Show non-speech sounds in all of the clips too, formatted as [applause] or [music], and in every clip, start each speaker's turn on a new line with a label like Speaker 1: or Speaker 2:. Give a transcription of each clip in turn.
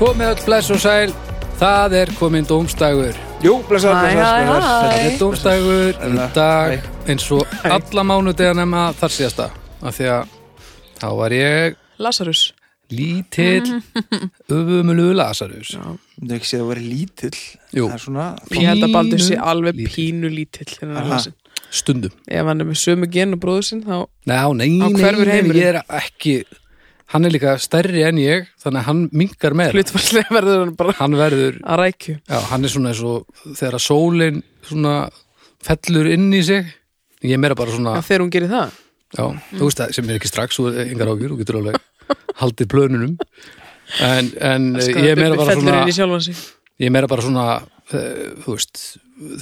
Speaker 1: komið öll bless og sæl það er komin dómstagur
Speaker 2: Jú, blessaður,
Speaker 3: Hæ, hæ,
Speaker 2: blessaður, blessaður.
Speaker 3: hæ.
Speaker 1: það er dómstagur í dag eins og alla mánudegar nema þar síðasta af því að þá var ég
Speaker 3: Lazarus
Speaker 1: lítill
Speaker 2: [laughs]
Speaker 1: öfumulu Lazarus
Speaker 2: Þú ekki séð að vera lítill
Speaker 1: Jú.
Speaker 2: Það er svona
Speaker 3: Ég held að Baldur sé
Speaker 1: Pínu
Speaker 3: alveg
Speaker 1: lítill.
Speaker 3: pínu lítill þennan
Speaker 2: Aha.
Speaker 3: Lazarus.
Speaker 1: stundum
Speaker 3: Ef hann er með sömu gen og bróður sinn þá
Speaker 1: Ná, nei, nei,
Speaker 3: Á hverfur
Speaker 1: nei,
Speaker 3: heimurinn?
Speaker 1: ég er ekki hann er líka stærri en ég þannig að hann mingar með
Speaker 3: hlutfarslega [laughs] verður hann bara
Speaker 1: hann verður
Speaker 3: að rækju
Speaker 1: Já, hann er svona eins og þegar að sólin svona fellur inn í sig ég er meira bara
Speaker 2: Ah.
Speaker 1: svona
Speaker 3: að þegar hún gerir það
Speaker 1: já,
Speaker 3: Mm.
Speaker 1: þú veist það sem er ekki strax þú er engar ágjur, þú getur alveg haldið plönunum en, en eh, ég er meira bara svona
Speaker 3: Sko, Fellur inn í sjálfan sig
Speaker 1: ég er meira bara svona eh, þú veist,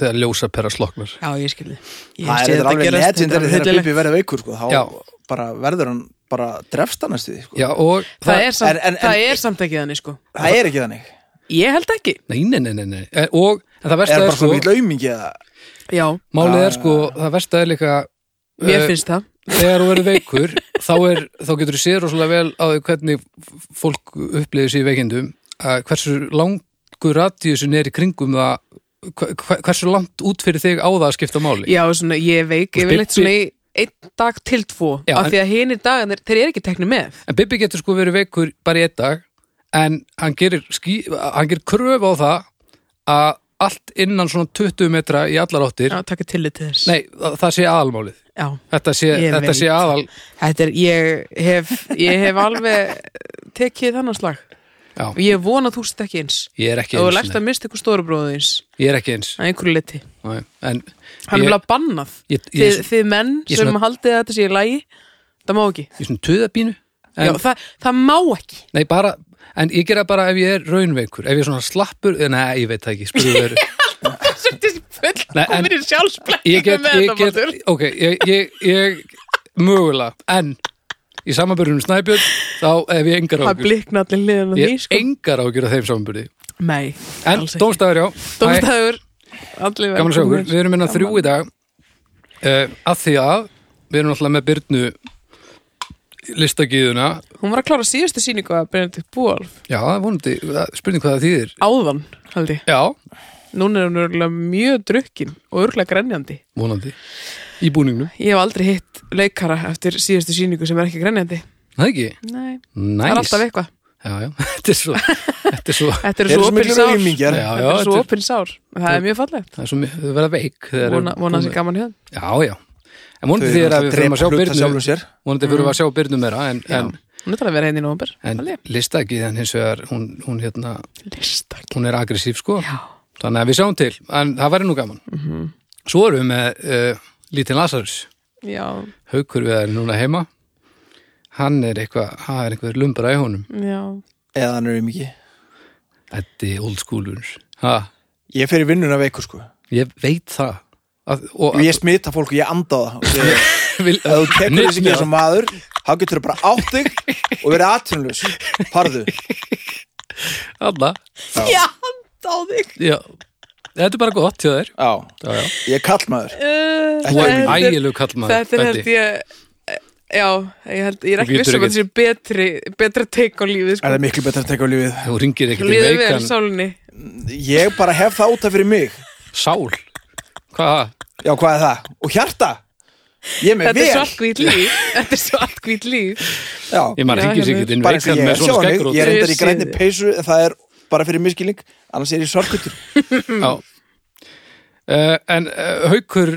Speaker 1: þegar ljósa pera sloknar
Speaker 3: Já, ég skilði
Speaker 2: Það er þetta alveg legend þegar Bibi verður veikur sko,
Speaker 1: Já.
Speaker 2: þá bara verður hann bara drefst hann næstu því sko.
Speaker 1: já og
Speaker 3: Það er samt-
Speaker 2: En- en-
Speaker 3: það
Speaker 2: en-
Speaker 3: er samt ekki þannig sko
Speaker 2: Það er ekki þannig
Speaker 3: Ég held ekki
Speaker 1: nei, nei, nei, nei, nei. Eh, og en það
Speaker 2: Er
Speaker 1: versta
Speaker 2: bara svona
Speaker 1: er
Speaker 2: Ah.
Speaker 1: sko
Speaker 2: mjög laumingi eða
Speaker 3: Já,
Speaker 1: málið
Speaker 2: Já,
Speaker 1: er sko, það versta er líka
Speaker 3: mér
Speaker 1: eh,
Speaker 3: finnst það
Speaker 1: þegar þú verður veikur þá, er, þá getur þú séð rosalega vel á því hvernig f- fólk upplifir sér í veikindum að hversu langur radíusin er í kringum það hva- hva- hversu langt út fyrir þig á það að skipta máli
Speaker 3: Já, svona, ég er veik
Speaker 1: Og
Speaker 3: yfirleitt
Speaker 1: Bibbi-
Speaker 3: svona í einn dag til tvo
Speaker 1: Já,
Speaker 3: af
Speaker 1: en-
Speaker 3: því að hinir dagarnir, þeir eru ekki teknir með
Speaker 1: en Bibi getur sko verið veikur bara í einn dag en hann gerir, ský, hann gerir kröf á það að allt innan svona 20 metra í allar áttir
Speaker 3: Já, taka tillit til þess
Speaker 1: nei, það, það sé aðalmálið
Speaker 3: Já,
Speaker 1: þetta sé,
Speaker 3: Ég
Speaker 1: þetta sé
Speaker 3: veit.
Speaker 1: aðal
Speaker 3: Þetta er, ég hef, ég hef alveg tekið þannan slag
Speaker 1: Já.
Speaker 3: og ég vona að þú sett ekki eins
Speaker 1: ég er ekki
Speaker 3: og þú
Speaker 1: eins,
Speaker 3: lærst
Speaker 1: nei.
Speaker 3: að mista ykkur stóru bróðu eins
Speaker 1: ég er ekki eins
Speaker 3: að einhverju leti,
Speaker 1: nei. en
Speaker 3: hann
Speaker 1: ég-
Speaker 3: er vel að bannað
Speaker 1: ég- ég-
Speaker 3: þið, þið menn
Speaker 1: ég
Speaker 3: sem
Speaker 1: svona-
Speaker 3: haldið að þetta sé í lagi það má ekki,
Speaker 1: í svona töðabínu
Speaker 3: Já, það, það má ekki
Speaker 1: Nei, bara, en ég gera bara ef ég er raunveikur, ef ég er svona slappur, eh, nei, ég veit það ekki, spurðu
Speaker 3: [laughs]
Speaker 1: veru.
Speaker 3: sem [laughs] þessi
Speaker 1: Nei,
Speaker 3: full
Speaker 1: en-
Speaker 3: komin í
Speaker 1: Ég
Speaker 3: sjálfsblækjum
Speaker 1: get,
Speaker 3: með
Speaker 1: ég
Speaker 3: þetta
Speaker 1: get,
Speaker 3: maður
Speaker 1: ok, ég, ég, ég mögulega, en í samanbyrjunum snæbjörn, þá hef ég engar
Speaker 3: það
Speaker 1: ágjur.
Speaker 3: blikna allir liðan að
Speaker 1: Ég
Speaker 3: því
Speaker 1: hef
Speaker 3: sko.
Speaker 1: engar ágjur af þeim samanbyrði.
Speaker 3: nei,
Speaker 1: En
Speaker 3: alls ekki.
Speaker 1: dómstæður, já. Hæ,
Speaker 3: dómstæður allir
Speaker 1: Gaman að sjá okkur.
Speaker 3: velkomnir.
Speaker 1: Við erum minna þrjú í dag, uh, að því að við erum alltaf með Byrnu listagiðuna.
Speaker 3: hún var að klára síðustu síningu að Benedikt Búolf
Speaker 1: Já, það er vonandi, það- spurning hvað það þýðir.
Speaker 3: áðan, held ég
Speaker 1: Já,
Speaker 3: Núna er hún örgulega mjög drukkin og örgulega grenjandi.
Speaker 1: vonandi. Í búningnum.
Speaker 3: Ég hef aldrei hitt leikara eftir síðustu síningu sem er ekki grenjandi.
Speaker 1: Það ekki?
Speaker 3: Nei,
Speaker 1: Næs.
Speaker 3: það er alltaf eitthvað.
Speaker 1: Já, [laughs] já, þetta er svo, þetta er svo,
Speaker 3: Þetta eru
Speaker 2: Er
Speaker 3: svo
Speaker 2: svo
Speaker 3: opinn
Speaker 2: miklu
Speaker 3: sár.
Speaker 2: laumingjar
Speaker 1: Já.
Speaker 3: Þetta eru svo
Speaker 1: þetta er-
Speaker 3: opinn sár. Það er mjög fallegt.
Speaker 1: það er svo, mi- þau verða veik. þegar
Speaker 3: Vona
Speaker 1: þau-
Speaker 3: vona að það sé gaman hjá. þeim.
Speaker 1: Já, já, en vonandi því er að við fyrir að sjá byrnu, vonandi fyrir að sjá byrnu meira, en, en,
Speaker 3: Hún er talað að vera henni í nóvambur.
Speaker 1: en lista ekki, en hins vegar, hún, hún hérna,
Speaker 3: Listak.
Speaker 1: hún er aggressív, sko,
Speaker 3: Já. Mhm.
Speaker 1: þannig að við sjáum til, en það væri nú gaman. Svo erum við með uh, Lítinn Lazarus,
Speaker 3: Já,
Speaker 1: haukur við erum núna heima, hann er eitthvað, hann er eitthvað lumbra í honum,
Speaker 3: já.
Speaker 2: Eða hann er aumingi
Speaker 1: þetta er old schoolur, ha,
Speaker 2: Ég fer í vinnuna veikur sko
Speaker 1: ég veit það, að, og,
Speaker 2: Ég smita fólk og ég anda á það Og ég- [laughs]
Speaker 1: vil,
Speaker 2: Ef þú tekur þessi ekki
Speaker 1: Hnyklar.
Speaker 2: þessu maður þá getur þú bara átt þig og verið atvinnlaus Harðu
Speaker 1: alla,
Speaker 3: Já, hann á þig.
Speaker 1: Já, þetta er bara gott hjá þér
Speaker 2: Já,
Speaker 1: já, já.
Speaker 2: ég er kallmaður
Speaker 3: Uh,
Speaker 1: Þú er
Speaker 3: þetta er-
Speaker 1: ægilegu kallmaður
Speaker 3: Þetta er held
Speaker 1: Beddi.
Speaker 3: ég... eh, Já, ég held, ég er
Speaker 1: Þú getur
Speaker 3: ekki vissum að
Speaker 1: ekki-
Speaker 3: þetta sé betri, betra teik á lífið,
Speaker 2: Er
Speaker 3: sko.
Speaker 2: það miklu betra að teka á lífið
Speaker 1: Þú ringir ekkert í
Speaker 3: Lífið verið
Speaker 1: veikan
Speaker 3: sálinni.
Speaker 2: Ég bara hef það út af fyrir mig
Speaker 1: sál Hvað?
Speaker 2: Já, hvað er það? Og hjarta Ég er með
Speaker 3: Þetta er
Speaker 2: vel
Speaker 3: svartkvít líf. [laughs] Þetta er svartkvít líf.
Speaker 2: Já,
Speaker 1: Ég maður
Speaker 3: Já,
Speaker 1: ringir sér
Speaker 3: hérna.
Speaker 1: ekkert inn í
Speaker 2: bara eins og
Speaker 1: veikan
Speaker 2: ég
Speaker 1: með
Speaker 2: er
Speaker 1: svona
Speaker 2: sjónið
Speaker 1: skeggur
Speaker 2: Ég er endar í
Speaker 3: Ég sé
Speaker 2: grænni
Speaker 3: þig.
Speaker 2: peysu en það er bara fyrir miskilning annars er ég sorgutur
Speaker 1: uh, En uh, Haukur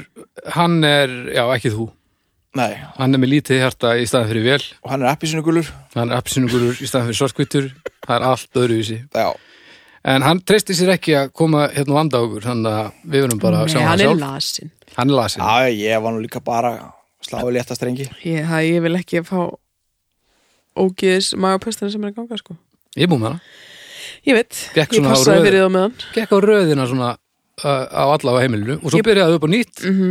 Speaker 1: hann er, já ekki þú
Speaker 2: Nei,
Speaker 1: hann er með lítið hjarta í staðan fyrir vel
Speaker 2: og hann er appisunugulur
Speaker 1: hann er apsinugurur í staðan fyrir sorskvítur það er allt öðruvísi
Speaker 2: Já,
Speaker 1: en hann treystir sér ekki að koma hérna og anda á okkur þannig að við verum bara að sjá hann
Speaker 3: hann er
Speaker 1: sjálf
Speaker 3: lasin.
Speaker 1: hann er lasin
Speaker 2: Já, ég var nú líka bara að slá í létta strengi
Speaker 3: Ég, það, ég vil ekki fá ógiðis magapestina sem er að ganga sko.
Speaker 1: ég er búið með hana
Speaker 3: Ég veit,
Speaker 1: Gekk
Speaker 3: ég
Speaker 1: svona á
Speaker 3: passaði
Speaker 1: röðu.
Speaker 3: fyrir þá meðan
Speaker 1: gekk á röðina svona uh, á alla á heimilinu og svo
Speaker 3: Ég-
Speaker 1: byrjaði upp á nýtt
Speaker 3: Mhm.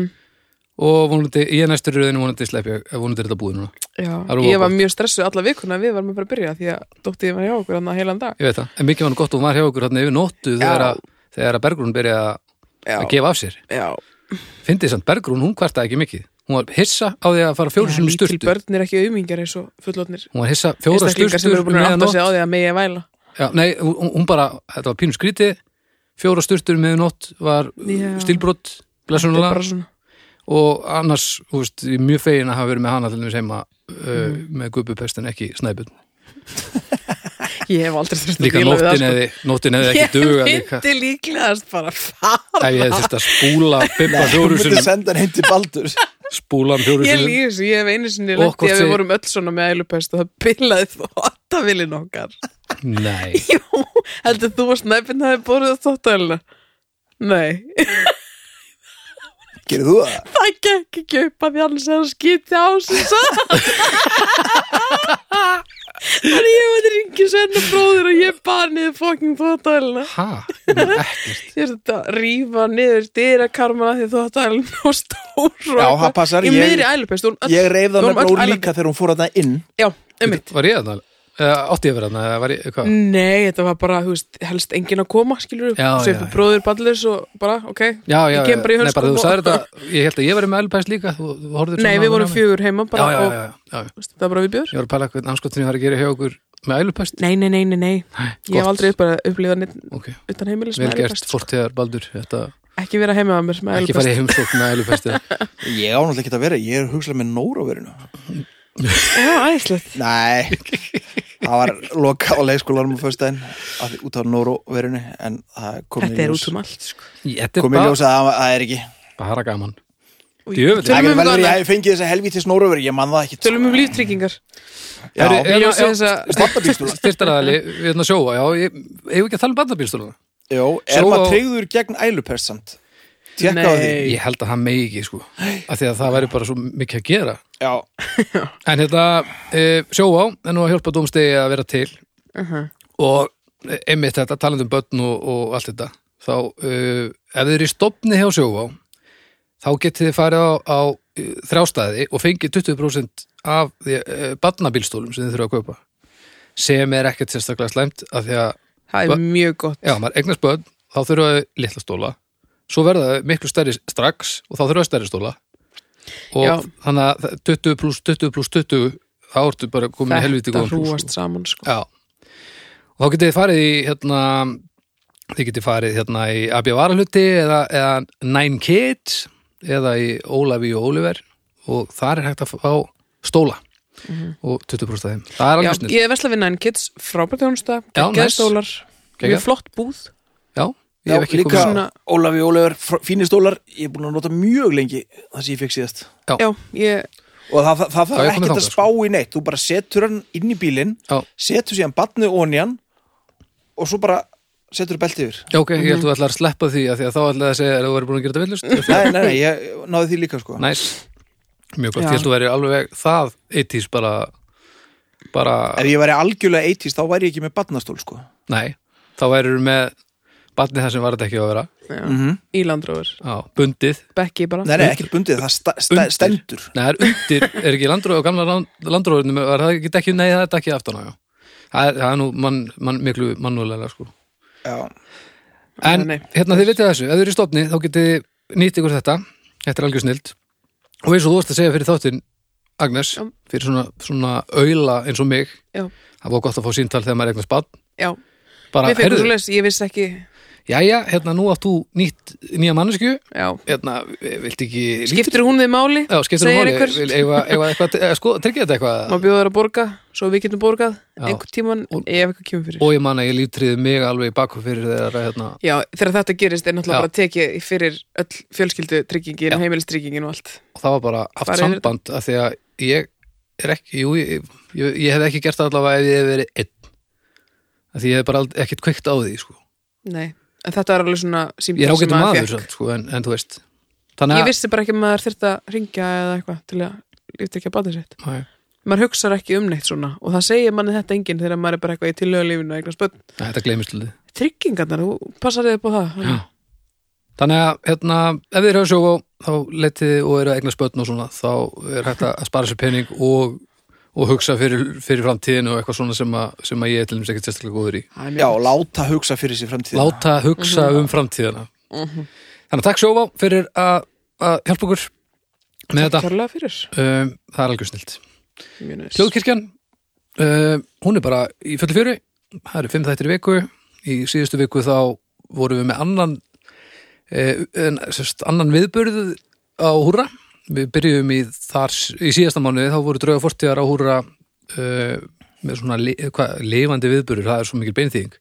Speaker 1: og vonandi, ég er næstur í röðinu vonandi slepp ég, vonandi er þetta búið núna Það
Speaker 3: Já,
Speaker 1: er
Speaker 3: Ég var
Speaker 1: gott.
Speaker 3: mjög stressuð alla vikuna Við varum bara að byrja því að dóttið var hjá okkur Þannig að heilan dag
Speaker 1: ég veit það, en mikið var nú gott og hún var hjá okkur þarna yfir nóttu þegar að, þegar að Bergrún byrjaði að- að
Speaker 3: Já,
Speaker 1: gefa af sér
Speaker 3: já.
Speaker 1: fyndið samt Bergrún, hún kvartaði ekki mikið hún var hissa á því að fara fjóru sinni
Speaker 3: Lítil
Speaker 1: sturtu
Speaker 3: börn er ekki auðmingjar eins og fullotnir
Speaker 1: hún var hissa fjóra
Speaker 3: Einstaklingar sem
Speaker 1: sturtur um
Speaker 3: eru búin að átta sig
Speaker 1: meðanótt
Speaker 3: á því að megi að væla
Speaker 1: Já, nei, hún, hún bara, þetta var pínu skríti fjóra sturtur með nótt var
Speaker 3: Já.
Speaker 1: stílbrott,
Speaker 3: Þetta er
Speaker 1: blessunlega
Speaker 3: bara svona
Speaker 1: og annars, þú veist, ég er mjög fegin að hafa verið með hana til þess heima uh,
Speaker 3: Mm.
Speaker 1: með gubbupest en ekki snæbjörn
Speaker 3: Ég hef aldrei þurft að
Speaker 1: líka
Speaker 3: díla við
Speaker 1: nóttin
Speaker 3: það,
Speaker 1: eði, nóttin eði ekki
Speaker 3: sko.
Speaker 1: duga
Speaker 3: [laughs] Ég
Speaker 1: líka
Speaker 3: myndi líklegast bara fara
Speaker 1: ef ég hefði þurft að spúla bimba
Speaker 2: Þú
Speaker 1: fjóru
Speaker 2: myndir
Speaker 1: sinum
Speaker 2: senda hann heim til Baldur
Speaker 1: spúla hann fjóru
Speaker 3: Ég
Speaker 1: sinum
Speaker 3: líður þessu, ég hef einu sinni
Speaker 1: Og
Speaker 3: lenti
Speaker 1: hvort
Speaker 3: að við
Speaker 1: þið-
Speaker 3: vorum öll svona með ælupest og það bilaði [laughs] þóttavillin
Speaker 2: [laughs]
Speaker 3: okkar
Speaker 1: nei,
Speaker 3: [laughs] Jú, heldur þú að snæpinn hafi borðið þóttavillina? Nei, [laughs]
Speaker 2: Gerir þú það?
Speaker 3: það gekk ekki upp að því annars er að skýti á sig satt Þannig ég var að ringja senna bróður og ég bar niður fóking þóttavillina
Speaker 1: ha, ekkert
Speaker 3: Ég er þetta að rífa niður dyrakarmana því þóttavillin og stór
Speaker 2: Já, það passar,
Speaker 3: Í
Speaker 2: ég-
Speaker 3: miðri ælupest, hún öll
Speaker 2: Ég reif það
Speaker 3: Við
Speaker 2: með
Speaker 3: vorum öll
Speaker 2: bróð
Speaker 3: ælandi.
Speaker 2: líka þegar hún fór að það inn
Speaker 3: Já, um mitt
Speaker 1: var ég þarna? eða átti ég að vera þarna? eða var ég, hvað?
Speaker 3: Mm. Nei, þetta var bara, þú veist, helst enginn að koma, skilur
Speaker 1: Já, já,
Speaker 3: Sveipi
Speaker 1: já.
Speaker 3: bróður ballis og bara, ok
Speaker 1: já, já,
Speaker 3: Ég kem bara í
Speaker 1: nei, bara þú
Speaker 3: hönskum og-
Speaker 1: sagði þetta ég held að ég verið með elpæst líka þú, þú horfðir
Speaker 3: Nei,
Speaker 1: svona á
Speaker 3: við
Speaker 1: mig á
Speaker 3: vorum
Speaker 1: mig.
Speaker 3: fjögur heima bara
Speaker 1: já, já,
Speaker 3: og
Speaker 1: já, já, já.
Speaker 3: þú veist, það var bara við björ
Speaker 1: Ég var að pæla hvernig anskotinni var að gera hjá okkur með ælupest.
Speaker 3: Nei, nei, nei, nei, nei Ég hef aldrei sko. upp- upplifað neitt
Speaker 1: Ok,
Speaker 3: utan heimilis
Speaker 1: vel
Speaker 3: með
Speaker 1: gert,
Speaker 3: ælupest
Speaker 1: fortíðar baldur, þetta
Speaker 3: Ekki vera heima að mér með
Speaker 1: ekki
Speaker 3: ælupest
Speaker 1: farið heimsókn með
Speaker 2: [laughs]
Speaker 1: ælupest. eða-
Speaker 2: Ég ánáttúrulega ekki að vera, ég er hugslega með nóraverinu
Speaker 3: Já, æslegt
Speaker 2: Nei, það var loka á leikskólanum á föstudaginn af því- út af nóraverinu en það kom
Speaker 3: Þetta er út um allt, sko
Speaker 1: Í- Þetta er
Speaker 2: kom í
Speaker 1: bara,
Speaker 2: ljós að það- það er ekki
Speaker 1: bara gaman.
Speaker 3: Og
Speaker 1: Djöfull.
Speaker 3: ég-
Speaker 2: Það
Speaker 1: Það
Speaker 2: getur
Speaker 3: Tölum um
Speaker 2: vel verið að ég
Speaker 3: það
Speaker 2: hef fengið þessa helvítis nóraveru, ég man það ekki
Speaker 3: Tölum um líftryggingar
Speaker 2: Já,
Speaker 1: Herri,
Speaker 3: Í
Speaker 1: Já,
Speaker 3: ljósi
Speaker 1: já.
Speaker 3: þess
Speaker 2: [laughs]
Speaker 3: að-
Speaker 1: [laughs]
Speaker 2: Barnabílstúla.
Speaker 1: Styrtaraðali, við erum að sjóa, já, ég hefur ekki að tala um bandabílstóluna.
Speaker 2: Jó, er
Speaker 1: Svo-
Speaker 2: maður tryggður gegn ælupest samt? Tjekka á því
Speaker 3: Nei.
Speaker 1: Ég held að það megi ekki, sko, af því að það væri bara svo mikið að gera.
Speaker 2: Já,
Speaker 1: En hérna, e, sjóa er nú að hjálpa dómstegi að vera til
Speaker 3: Mhm.
Speaker 1: og eh, einmitt þetta talandi um börn og, og allt þetta þá uh, ef þið eru í stopni hjá sjóvá þá getið þið farið á, á eh, þrjá staði og fengið 20% af því, uh, barnabílstólum sem þið þurfa að kaupa sem er ekkert sérstaklega slæmt af því að,
Speaker 3: Það
Speaker 1: Va-
Speaker 3: er mjög gott
Speaker 1: já, maður eignast börn þá þurfa þau litla stóla svo verða þau miklu stærri strax og þá þurfa þau stærri stóla og
Speaker 3: Já.
Speaker 1: þannig að það- 20 pluss 20 pluss 20 þá ertu bara komin í helviti
Speaker 3: Þetta
Speaker 1: góðan plús, sko.
Speaker 3: hrúast saman, sko
Speaker 1: Já, og þá getið þið farið í hérna, þið getið farið hérna í Abja Varahluti eða, eða Nine Kids eða í Ólafi og Óliver og þar er hægt að fá stóla og 20% af þeim. Það er
Speaker 3: Mhm. Já,
Speaker 1: alveg snill.
Speaker 3: ég vesla við Nine Kids, frábært þjónusta
Speaker 1: Já,
Speaker 3: Gekkið
Speaker 1: næs.
Speaker 3: stólar,
Speaker 1: Geggjað.
Speaker 3: mjög flott búð
Speaker 1: Já,
Speaker 2: já
Speaker 1: ég hef ekki
Speaker 2: líka
Speaker 1: komið
Speaker 3: svona-
Speaker 2: Ólafi Ólafur, fínir stólar ég er búin að nota mjög lengi það sem ég fekk síðast
Speaker 3: Já, ég
Speaker 2: og það, það, það
Speaker 1: Já,
Speaker 2: þarf
Speaker 1: ég kom
Speaker 2: ekkert
Speaker 1: þangað, sko.
Speaker 2: að spá í neitt þú bara setur hann inn í bílinn
Speaker 1: Já.
Speaker 2: setur síðan batnið onni hann og svo bara setur þú belti yfir
Speaker 1: Já, ok, ég
Speaker 3: Mhm.
Speaker 1: held að þú ætlar að sleppa því að því að þá ætlaði að segja að þú verður búin að gera þetta villust.
Speaker 2: nei, nei, nei, ég náði því líka sko
Speaker 1: Næs, mjög gott,
Speaker 3: Já.
Speaker 1: ég held að þú verður alveg það eitís bara, bara,
Speaker 2: ef ég væri algjörlega 80s þá væri ég ekki með batnastól sko
Speaker 1: nei, þá verður með batni það sem var þetta ekki að vera,
Speaker 3: já,
Speaker 2: mm
Speaker 3: Ílandróður,
Speaker 1: já, bundið
Speaker 3: Becky bara
Speaker 2: nei, nei, ekki bundið, það sta, sta,
Speaker 1: Hm? Undir.
Speaker 2: stendur
Speaker 1: Nei, það er undir, er ekki landróð og gamla landróðunum, er það ekki dekkið, nei, það er dekkið aftan á, já. Það er, það er nú mann, mann, miklu mannúlega, sko.
Speaker 2: já,
Speaker 1: En
Speaker 3: Nei, nei.
Speaker 1: hérna þið vitið þessu, ef þið eru í stofni, þá getið þið nýtt ykkur þetta, þetta er algjör snild. Og eins og þú varst að segja fyrir þáttinn, Agnes,
Speaker 3: Já.
Speaker 1: fyrir svona, svona auðla eins og mig,
Speaker 3: Já.
Speaker 1: það var gott að fá síntal þegar maður er eignast bann.
Speaker 3: Já,
Speaker 1: Bara,
Speaker 3: við fengum svo
Speaker 1: heyrðu,
Speaker 3: les, ég vissi ekki
Speaker 1: jæja, hérna nú átt þú nýtt nýja mannesku,
Speaker 3: Já,
Speaker 1: hérna, vilt ekki...
Speaker 3: skiptir hún við máli
Speaker 1: Já, skiptir
Speaker 3: segir
Speaker 1: máli,
Speaker 3: einhver.
Speaker 1: vil- eigum við- eigum við eitthvað, eh, sko, tryggja þetta eitthvað?
Speaker 3: Má bjóða þær að borga, svo við getum borgað
Speaker 1: Já.
Speaker 3: einhvern tíman,
Speaker 1: Og-
Speaker 3: ef eitthvað kemur fyrir
Speaker 1: og ég man að ég lítriði mig alveg í baku fyrir þegar hérna,
Speaker 3: Já, þegar þetta gerist er
Speaker 1: Já.
Speaker 3: náttúrulega bara tekið fyrir öll fjölskyldu tryggingin,
Speaker 1: Já.
Speaker 3: heimilistryggingin og allt
Speaker 1: og það var bara haft
Speaker 3: Farið yfir
Speaker 1: samband af því að ég er ekki jú, ég, ég, ég hef ekki gert það allavega ef ég hef verið einn af því ég hef bara ald- ekkert kveikt á því sko.
Speaker 3: Nei, en þetta er alveg svona
Speaker 1: ég er
Speaker 3: símtál
Speaker 1: ágættum maður
Speaker 3: fékk.
Speaker 1: samt, sko, en, en þú veist
Speaker 3: Ég
Speaker 1: þannig
Speaker 3: vissi bara ekki að maður þyrfti að ringja eða eitthvað til að lífta ekki að bata sitt
Speaker 1: að Æ,
Speaker 3: Maður hugsar ekki um neitt svona og það segir manni þetta enginn þegar maður er bara eitthvað í tilögulífinu og eignast börn
Speaker 1: þetta gleymist lítið
Speaker 3: tryggingarnar, þú passar þig upp á það
Speaker 1: Já. þannig að hérna, ef þið eru að sjófa þá letið og eru að eigna spötn og svona þá er hægt að spara sér pening og, og hugsa fyrir, fyrir framtíðinu og eitthvað svona sem að, sem að ég er til þess ekki sérstaklega góður í
Speaker 3: Það er mjög
Speaker 2: já,
Speaker 3: gott.
Speaker 2: láta hugsa fyrir sér framtíð
Speaker 1: láta hugsa um framtíðina þannig að takk sjófá fyrir að að hjálpa okkur með þetta
Speaker 3: Kjárlega fyrir
Speaker 1: um, það er algjör snilt
Speaker 3: Mjög
Speaker 1: eh,
Speaker 3: næs.
Speaker 1: Hljóðkirkjan, um, hún er bara í fullu fjöri það eru fimm þættir í viku í síðustu viku þá vorum við með annan eh, en, sérst, annan viðburð á húra við byrjuðum í þar í síðasta mánuði þá voru drauga fortíðar á húra eh, með svona li, hva, lifandi viðburður, það er svo mikil beinþýðing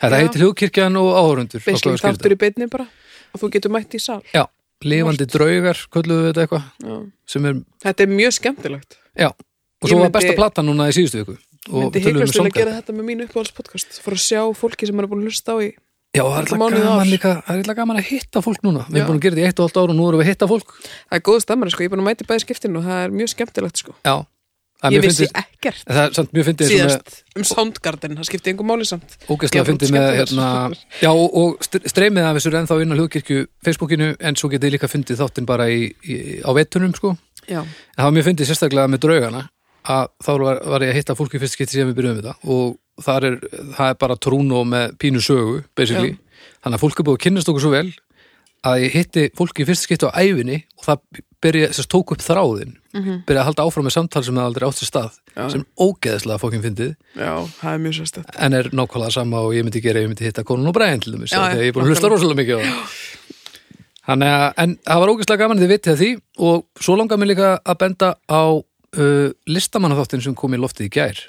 Speaker 1: þetta
Speaker 3: Já.
Speaker 1: heitir hlugkirkjan og áhörundur
Speaker 3: Beisling þáttur í beinni bara og þú getur mætt í sal
Speaker 1: já, lifandi draugar kölluðu við þetta eitthvað
Speaker 3: já.
Speaker 1: sem er,
Speaker 3: Þetta er mjög skemmtilegt
Speaker 1: já og
Speaker 3: Ég
Speaker 1: svo var
Speaker 3: myndi-
Speaker 1: besta platan núna í síðustu viku og
Speaker 3: Myndi
Speaker 1: við tölum um
Speaker 3: heiklast til að
Speaker 1: samgæði
Speaker 3: gera þetta með mínu uppáhaldspodcast fyrir að sjá fólki sem er búin að hlusta á í
Speaker 1: Já, það er
Speaker 3: Alla
Speaker 1: eitthvað
Speaker 3: mánuði
Speaker 1: gaman
Speaker 3: ár.
Speaker 1: líka, það er eitthvað gaman að hitta fólk núna. Við
Speaker 3: Já.
Speaker 1: erum búin að gera þetta í eitt og allt ára og nú erum við að hitta fólk.
Speaker 3: Það er góð stemmar, sko, ég er búin að mæti bæði skiptinu og það er mjög skemmtilegt, sko
Speaker 1: Já, það er
Speaker 3: Ég
Speaker 1: mjög
Speaker 3: vissi
Speaker 1: fyndið,
Speaker 3: ekkert
Speaker 1: það er samt mjög fyndið sem er
Speaker 3: síðast um Soundgarden, það skipti einhver máli samt
Speaker 1: ógeðslega
Speaker 3: Ég fór
Speaker 1: fyndið með, hérna,
Speaker 3: skemmtilega.
Speaker 1: já og, og str- streymið af þessu er ennþá inn á hlugkirkju Facebookinu en svo getið þið líka fyndið þáttinn bara í, í, á vettunum sko.
Speaker 3: Já,
Speaker 1: En það var mjög fyndið sérstaklega með draugana að þá var, var ég að hitta fólk í fyrst skipti sem við byrjuðum við það og það er, það er bara trúnó með pínu sögu, basically.
Speaker 3: Já.
Speaker 1: Þannig að fólk er búið að kynnast okkur svo vel að ég hitti fólki í fyrst skipti á æfinni og það byrja, sérst, tók upp þráðin byrja að halda áfram með samtal sem það aldrei átt sér stað
Speaker 3: Mhm. Já.
Speaker 1: sem ógeðslega fókin fyndið
Speaker 3: já, það er mjög sérstætt
Speaker 1: en er nákvæmlega sama og ég myndi gera ef ég myndi hitta konun og bræðin til dæmis
Speaker 3: Já,
Speaker 1: af því að ég
Speaker 3: já,
Speaker 1: er búin að hlusta
Speaker 3: nákvæmlega.
Speaker 1: rosalega mikið á það Þannig að, en það var ógeðslega gaman að þið vitið að því og svo langar mér líka að benda á uh, listamannaþáttin sem kom í loftið í gær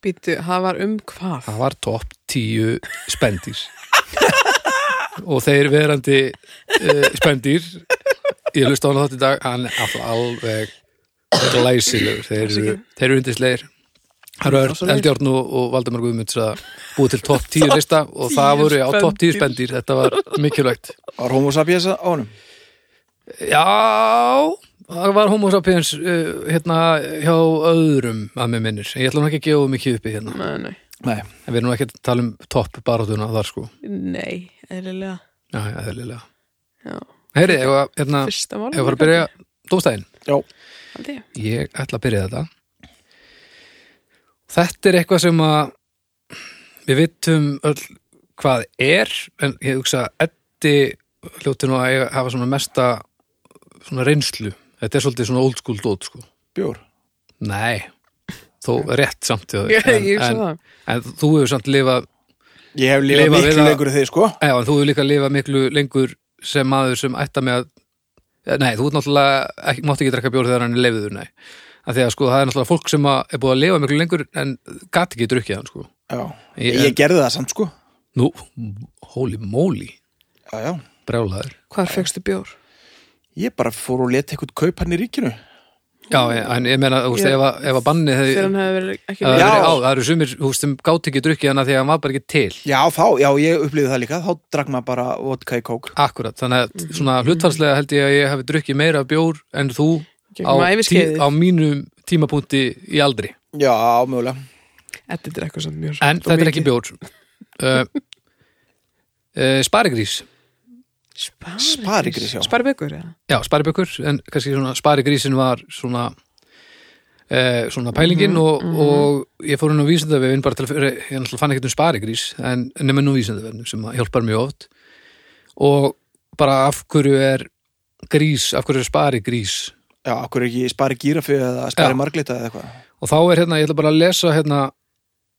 Speaker 3: Býtu, það var um hvað?
Speaker 1: Það var topp 10 spendýr [laughs] og þeir verandi uh, spendýr ég hlusta á hana þátt í dag hann er alltaf alveg glæsilegur, þeir eru, þeir eru yndislegir Það eru
Speaker 3: Rosalegir.
Speaker 1: Eldjárn og, og Valdemar Guðmunds að búið til topp 10 lista og það
Speaker 3: 10
Speaker 1: voru á topp 10
Speaker 3: spendýr.
Speaker 1: spendýr, þetta var mikilvægt
Speaker 2: Var homo sapiens á honum?
Speaker 1: Já, það var homo sapiens uh, hérna hjá öðrum að mér minnir, ég ætla nú ekki að gefa of mikið uppi hérna,
Speaker 3: Nei, nei,
Speaker 2: Nei,
Speaker 1: en við erum nú ekki að tala um topp barátuna þar sko
Speaker 3: nei, eðlilega
Speaker 1: Já, já, eðlilega.
Speaker 3: Já,
Speaker 1: Heyri, ef að, hérna, ef
Speaker 3: fyrsta máli
Speaker 1: að fara að byrja dómstæðin.
Speaker 2: já,
Speaker 3: Haldi ég [laughs]
Speaker 1: Ég ætla að byrja þetta. Þetta er eitthvað sem að við vitum öll hvað er, en ég hugsa að Eddi hljóti nú að eiga, hafa svona mesta svona reynslu. Þetta er svolítið svona old school dót, sko.
Speaker 2: bjór
Speaker 1: Nei, þó rétt samt. hjá þér,
Speaker 3: [laughs] Ég,
Speaker 1: en,
Speaker 3: ég hugsa
Speaker 1: en,
Speaker 3: það
Speaker 1: en þú hefur samt lifað
Speaker 2: Ég hef
Speaker 1: Lifa
Speaker 2: lifað
Speaker 1: við
Speaker 2: miklu
Speaker 1: að-
Speaker 2: lengur en þið sko
Speaker 1: Já, en þú hefur líka að lifa miklu lengur sem maður sem ætta með að Já, Nei, þú ert náttúrulega, ekki, mátt ekki drekka bjór þegar hann er leifiður, nei að Því að sko, það er náttúrulega fólk sem að er búið að lifa miklu lengur en gat ekki drukkið hann, sko
Speaker 2: Já,
Speaker 1: Ég-
Speaker 2: ég, gerði það samt sko
Speaker 1: Nú, holy moly,
Speaker 2: Já, já
Speaker 1: brjálaður
Speaker 3: Hvar fegstu bjór?
Speaker 2: Ég bara fór og leta eitthvað kaup hann í ríkinu
Speaker 1: Já, en- en ég meina, þú veist,
Speaker 3: Ég-
Speaker 1: ef að, ef að banni hefði
Speaker 3: Þegar hann hefði verið ekki
Speaker 1: það hefði
Speaker 2: Já.
Speaker 1: verið á, það eru sumir, þú veist, sem gátt ekki drukkið hann af því að hann var bara ekki til
Speaker 2: Já, þá, já, ég upplýði það líka Þá drakk maður bara vodka í kók
Speaker 1: Akkurat, þannig að
Speaker 3: Mhm.
Speaker 1: svona hlutfarslega held ég að ég hafi drukkið meira bjór en þú á,
Speaker 3: Gegnum æviskeiðið.
Speaker 1: á mínum tímapunkti í aldri
Speaker 2: Já, mögulega
Speaker 3: Þetta er eitthvað samt mjög
Speaker 1: En þetta er ekki bjór uh, uh, Sparigrís
Speaker 2: Sparigrís, já.
Speaker 3: Sparibyggur, já
Speaker 1: Já, sparibökkur, en kannski svona Sparigrísin var svona uh, svona pælingin og, og ég fór inn á vísindavefin bara til að fyrir, ég náttúrulega fann ekkert um sparigrís en nema nú vísindavefin sem að hjálpar mjög oft og bara af hverju er grís, af hverju er sparigrís
Speaker 2: Já, okkur ekki spari gírafi eða
Speaker 1: Já.
Speaker 2: spari marglita eða eitthvað
Speaker 1: og þá er hérna, ég ætla bara að lesa hérna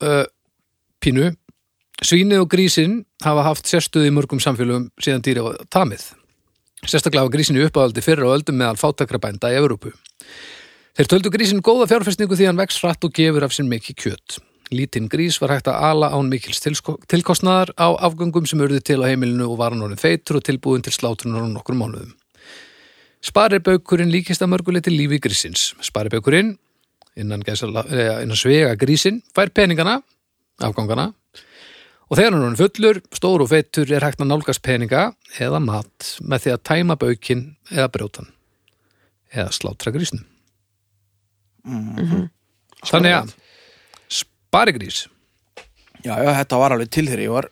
Speaker 1: uh, pínu Svínið og grísin hafa haft sérstuð í mörgum samfélögum síðan dýri á tamið. Sérstaklega hafa grísin í uppáhaldi fyrra á öldum meðal fátakrabænda í Evrópu. Þeir töldu grísin góða fjárfestningu því hann vex hratt og gefur af sinn mikið kjöt. Lítinn grís var hægt að ala án mikils tilsko- tilkostnaðar á afgöngum sem urðu til á heimilinu og var hann orðin feitur og tilbúin til slátrunar á nokkrum mánuðum. Sparibaukurinn líkist að mörguleiti lífi grísins. Sparibaukurinn, innan, gæsala, eh, innan svega grísin, fær peningana, afgangana, og þegar hann er orðinn fullur, stór og feitur er hægt að nálgast peninga eða mat með því að tæma baukinn eða brjótan eða slátra grísnum.
Speaker 3: Mhm.
Speaker 1: Þannig að sparigrís,
Speaker 2: Já, já, þetta var alveg til þegar ég var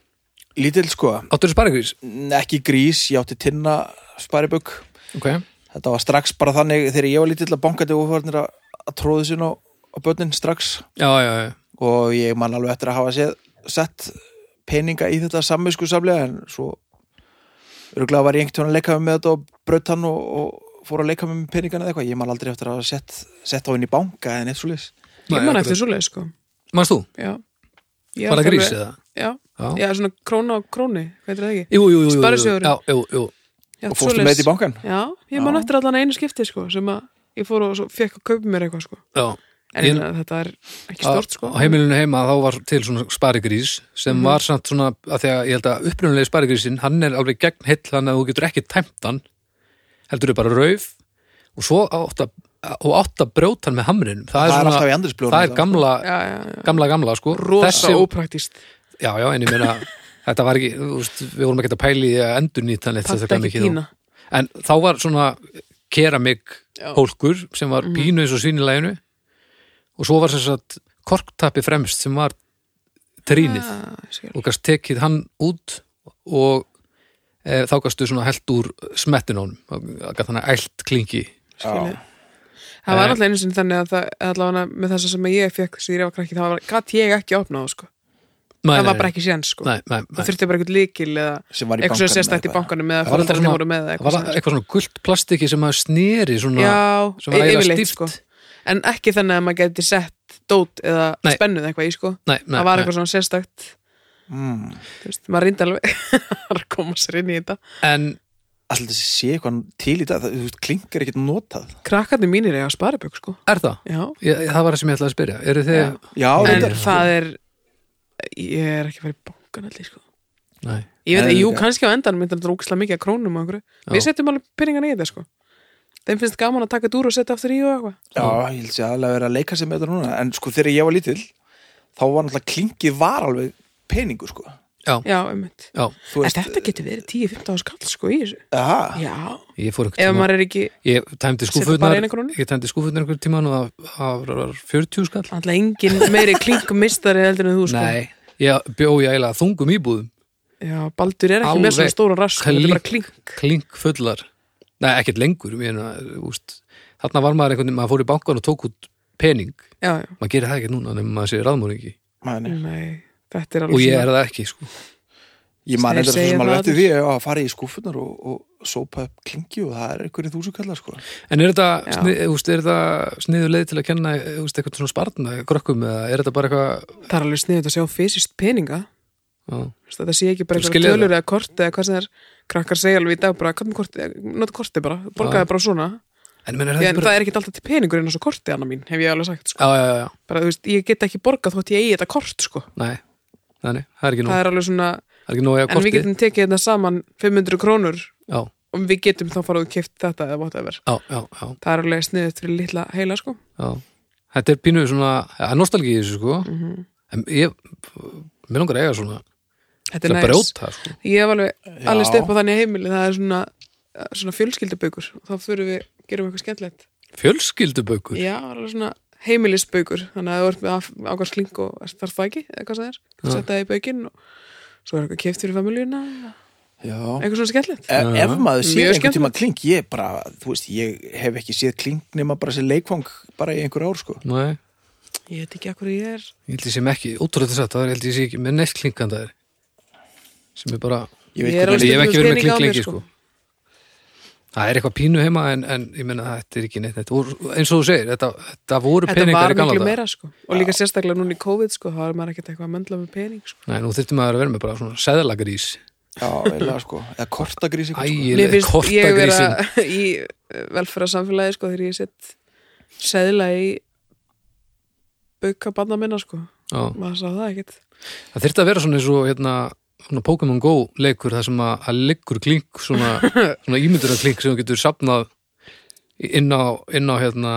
Speaker 2: lítill sko
Speaker 1: áttur sparigrís
Speaker 2: N- Ekki grís, ég átti tinna sparibögg
Speaker 1: okay.
Speaker 2: Þetta var strax bara þannig þegar ég var lítill að bankandi ofarnir að, að tróðu sín á, á börnin strax
Speaker 1: já, já, já,
Speaker 2: og ég man alveg eftir að hafa séð, sett peninga í þetta samvisku samlega en svo örgulega var ég einhvern tímann að leika mig með þetta og braut hann og, og fór að leika mig með peningana eða eitthvað, ég man aldrei eftir að hafa sett, sett á inn í banka eða neitt svo
Speaker 3: Ég
Speaker 1: Nei,
Speaker 3: man
Speaker 1: akkurat.
Speaker 3: eftir svoleið, sko
Speaker 1: manst þú?
Speaker 3: Já Ég
Speaker 1: bara
Speaker 3: átti
Speaker 1: grís
Speaker 3: alveg-
Speaker 1: eða?
Speaker 3: Já,
Speaker 1: Já.
Speaker 3: já, svona krónu á krónu, hvað heitir það ekki?
Speaker 1: Jú, jú, jú, jú, jú,
Speaker 3: Sparisjóðurinn.
Speaker 1: já, jú, jú.
Speaker 3: Já,
Speaker 2: og fórstu með þetta í bankan
Speaker 3: Já, ég man
Speaker 2: Já.
Speaker 3: eftir allan einu skipti sko, sem að ég fór og svo fekk að kaupa mér eitthvað sko.
Speaker 1: Já.
Speaker 3: en
Speaker 1: Ég-
Speaker 3: ég, meina, þetta er ekki stort sko. Mhm.
Speaker 1: á heimilinu heima þá var til svona sparigrís sem var samt svona, að því að ég held að upprunalegi sparigrísin, hann er alveg gegn hill þannig að þú getur ekki tæmt hann heldur þau bara rauf og svo átt að, og átt að brjóta hann með hamrinum, það,
Speaker 2: það er
Speaker 1: er
Speaker 2: alltaf
Speaker 1: svona
Speaker 2: í andrisblóðum
Speaker 1: það er gamla,
Speaker 3: já, já, já.
Speaker 1: gamla, gamla sko.
Speaker 3: rosa ópraktist
Speaker 1: já, já, en ég meina
Speaker 3: [laughs]
Speaker 1: þetta var ekki, þú veist, við vorum ekki að pæli að endurnýta hann eitt
Speaker 3: panta
Speaker 1: sérstaklega
Speaker 3: ekki
Speaker 1: mikið
Speaker 3: kína
Speaker 1: þá. en þá var svona keramik
Speaker 3: Já. Mhm.
Speaker 1: hólkur sem var pínu eins og svínileginu og svo var sem sagt korktappi fremst sem var trínið
Speaker 3: Já, ég skil.
Speaker 1: og gast tekið hann út og e, þá gastu svona held úr smettin á honum gætt hann að eld klingi
Speaker 3: Skilið.
Speaker 2: Já.
Speaker 3: það var
Speaker 1: Eh.
Speaker 3: alltaf einu sinni þannig að það allavega með þess sem ég fekk þegar ég var krakki það var, gat ég ekki opnað það, sko.
Speaker 1: Nei,
Speaker 3: það
Speaker 1: nei,
Speaker 3: var bara ekki séns sko.
Speaker 1: nei, nei, nei.
Speaker 3: það þurfti bara eitthvað líkil eða
Speaker 2: sem var í
Speaker 3: eitthvað sem
Speaker 2: bankanum
Speaker 3: sérstætt í
Speaker 2: eða eitthvað.
Speaker 3: bankanum
Speaker 1: Það
Speaker 3: eða
Speaker 1: var
Speaker 3: fólk
Speaker 1: alltaf
Speaker 3: sem
Speaker 1: svona-
Speaker 3: voru með eða
Speaker 1: það var
Speaker 3: eitthvað
Speaker 1: eitthvað svona gult plastiki sem að sneri svona
Speaker 3: Já,
Speaker 1: sem var
Speaker 3: e-
Speaker 1: eiginlega
Speaker 3: yfirleitt
Speaker 1: stíft.
Speaker 3: sko En ekki þannig að maður geti sett dót eða
Speaker 1: Nei.
Speaker 3: spennuð eitthvað í sko
Speaker 1: nei, nei,
Speaker 3: Það var
Speaker 1: nei.
Speaker 3: eitthvað svona sérstakt
Speaker 2: mm.
Speaker 3: þú veist, Maður reyndi alveg [laughs] að koma sér inn í þetta
Speaker 1: en
Speaker 2: alltaf þessi sé eitthvað til í dag það, þú veist, klinkar ekkert notað
Speaker 3: Krakkarnir mínir eiga sparibögg sko
Speaker 1: er það?
Speaker 3: Já,
Speaker 1: Ég, það var það sem ég ætlaði að spyrja eru þið,
Speaker 3: Já.
Speaker 2: já,
Speaker 1: En-
Speaker 3: en
Speaker 2: reyndar.
Speaker 3: það er Ég er ekki að fara í bankan allir sko
Speaker 1: nei,
Speaker 3: Ég veit
Speaker 2: En-
Speaker 3: að, jú, kannski á endan myndi þetta rúksla mikið að krónum og einhverju. Við setjum alveg peningan í þetta sko Þeim finnst gaman að taka þetta úr og setja aftur í og eitthvað
Speaker 2: já, ég held sér aðlega að vera að leika sér með þetta núna en sko þegar ég var lítill þá var náttúrulega klinkið var alveg peningur sko
Speaker 3: Já, einmitt
Speaker 1: já,
Speaker 2: þú
Speaker 3: En þetta getur verið 10-15 skall sko í þessu
Speaker 2: aha,
Speaker 3: Já,
Speaker 1: ég fór
Speaker 3: ef
Speaker 1: einhvern tíma
Speaker 3: maður er ekki
Speaker 1: ég tæmdi
Speaker 3: Settu bara
Speaker 1: skúfutnar
Speaker 3: eina krónu?
Speaker 1: ég tæmdi skúfutnar einhvern tíma og það- það var- var 40 skall
Speaker 3: Alltaf engin meiri klinkmistari heldur en þú sko
Speaker 1: nei, ég bjó ég eiginlega þungum íbúðum
Speaker 3: Já, Baldur er ekki
Speaker 1: Alveg
Speaker 3: með svona stóra rask Þetta er bara klink
Speaker 1: klink fullar nei, ekkert lengur ég meina, úst, þarna var maður einhvern veginn, maður fór í bankan og tók út pening
Speaker 3: Já, já,
Speaker 1: maður gerir það ekki núna nema maður sé ráðmóringi
Speaker 2: maður
Speaker 3: nei, þetta er
Speaker 1: og
Speaker 3: alveg
Speaker 1: ég er
Speaker 3: svona-
Speaker 1: það ekki sko.
Speaker 2: Ég man
Speaker 3: Þeir
Speaker 2: eitthvað
Speaker 3: segja
Speaker 2: sem
Speaker 3: það
Speaker 2: alveg eftir
Speaker 3: allir.
Speaker 2: því að ég á að fara í skúfunar og, og sópa upp klingi og það er einhverjum þúsukallar sko.
Speaker 1: en er
Speaker 3: Já.
Speaker 1: þetta, snið, úst, er þetta sniður leið til að kenna úst, eitthvað svona spartna krökkum eða er þetta bara eitthvað
Speaker 3: Það er alveg sniðið að sjá fysiskt peninga
Speaker 1: já,
Speaker 3: Þú veist, Þetta sé ekki
Speaker 1: Þú
Speaker 3: bara eitthvað
Speaker 1: skilur
Speaker 3: tölur eða kort eða hvað sem er Krakkar segja alveg í dag bara, hvað með kortið, nota kortið bara
Speaker 1: Já.
Speaker 3: Borgaði bara svona,
Speaker 1: en, menn, er
Speaker 3: Því
Speaker 1: þetta
Speaker 3: en
Speaker 1: bara,
Speaker 3: það er ekkit alltaf til peningur en þessu kortið annar mín, hef ég alveg sagt sko.
Speaker 1: já, já, já, já.
Speaker 3: Bara, þú veist, ég get ekki borgað þótt ég eigi þetta kort sko.
Speaker 1: Nei, nei, nei, það er ekki nóg
Speaker 3: Það er alveg svona,
Speaker 1: Það er ekki nóg að
Speaker 3: en
Speaker 1: korti
Speaker 3: við getum tekið þetta saman 500 krónur
Speaker 1: Já,
Speaker 3: og við getum þá farað og kipt þetta eða whatever
Speaker 1: já, já, já,
Speaker 3: það er alveg sniðut fyrir litla heila sko
Speaker 1: já Þetta er pínuð svona, það er nostalgi í þessu sko
Speaker 3: Mhm.
Speaker 1: En ég, mér langar að eiga svona
Speaker 3: þetta
Speaker 1: Til
Speaker 3: er
Speaker 1: að
Speaker 3: næs
Speaker 1: brjóta sko
Speaker 3: ég hef alveg
Speaker 2: Já.
Speaker 3: alveg stepp á þannig heimili það er svona, svona fjölskyldubaukur þá fyrir við, gerum við eitthvað skemmtilegt
Speaker 1: Fjölskyldubaukur
Speaker 3: já, alveg svona heimilisbaukur þannig að þú ert með ákvæmst klink og þarf það ekki eða hvað það er,
Speaker 1: Já.
Speaker 3: setja það í baukinn og svo er eitthvað keft fyrir familjuna
Speaker 2: Já.
Speaker 3: eitthvað svona skemmtilegt
Speaker 1: Eh.
Speaker 2: Ef, E- ef maður sé
Speaker 3: Mjög
Speaker 2: einhvern tíma kling, ég bara, þú veist, ég hef ekki séð kling nema bara sér leikvang bara í einhver ár sko.
Speaker 1: Nei,
Speaker 3: ég veit ekki að hverju ég er
Speaker 1: ég held ég sem ekki, útrúlega þess að það er ég held ég sé ekki með neitt klinkanda þér Sem er bara,
Speaker 2: Ég veit
Speaker 3: Ég er
Speaker 2: hvernig
Speaker 3: alveg-
Speaker 1: ég hef
Speaker 3: stundum
Speaker 1: ekki verið með
Speaker 3: peninga á
Speaker 1: klink
Speaker 3: mér,
Speaker 1: lengi
Speaker 3: sko.
Speaker 1: sko Það er eitthvað pínu heima en, en ég meina þetta er ekki neitt þetta voru, eins og þú segir, þetta, þetta voru
Speaker 3: þetta
Speaker 1: peningar
Speaker 3: var
Speaker 1: í gamla
Speaker 3: miklu
Speaker 1: daga.
Speaker 3: meira sko og líka sérstaklega núna í COVID sko þá er maður ekkert eitthvað að möndla með pening sko.
Speaker 1: Nei, nú þyrftum maður að vera með bara svona seðlagrís
Speaker 2: Já, eiginlega sko. Eða kortagrís eitthvað sko.
Speaker 3: Mér
Speaker 1: Ægileg
Speaker 3: finnst ég
Speaker 1: kortagrísin
Speaker 3: vera [laughs] í velferðarsamfélagi sko þegar ég sett seðla í bauka banna minna sko
Speaker 1: Já.
Speaker 3: maður sá það ekkert
Speaker 1: Það þyrfti að vera svona eins og hérna, svona Pokémon Go leikur þar sem að, að liggur klink svona, svona ímyndur að klink sem þú getur safnað inn á, inn á hérna,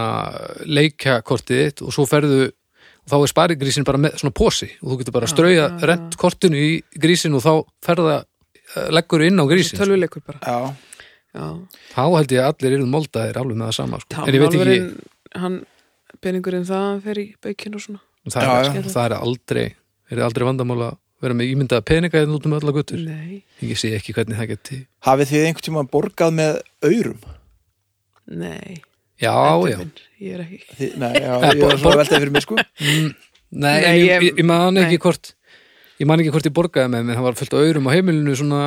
Speaker 1: leikjakortið þitt og svo ferðu og þá er sparigrísin bara með svona posi og þú getur bara
Speaker 3: Já,
Speaker 1: að strauja
Speaker 3: já, já.
Speaker 1: rent kortinu í grísin og þá ferða eh, leggur inn á grísin sko.
Speaker 3: tölvuleikur bara
Speaker 2: Já,
Speaker 3: Já.
Speaker 1: þá held ég að allir eru moldaðir alveg með það sama sko. en ég veit ekki,
Speaker 3: Tálmálfurinn, hann peningurinn það hann fer í baukinn og svona
Speaker 1: það,
Speaker 2: Já,
Speaker 1: er, sko, það er aldrei er aldrei vandamála að vera með ímyndaða peninga eða út um öll að guttur
Speaker 3: Nei,
Speaker 1: ég sé ekki hvernig það geti
Speaker 2: hafið þið einhvern tíma borgað með aurum?
Speaker 3: nei
Speaker 1: já,
Speaker 3: Eddu
Speaker 1: já,
Speaker 3: minn, Ég er ekki
Speaker 2: Þið, nei, já,
Speaker 1: Eh,
Speaker 2: ég
Speaker 1: bor-
Speaker 2: var svona veltað fyrir mig sko.
Speaker 1: Nei,
Speaker 3: Nei,
Speaker 1: en ég,
Speaker 3: ég-
Speaker 1: ég, ég man ekki
Speaker 3: nei.
Speaker 1: hvort ég man ekki hvort ég borgaði með mér, það var fullt á aurum á heimilinu svona,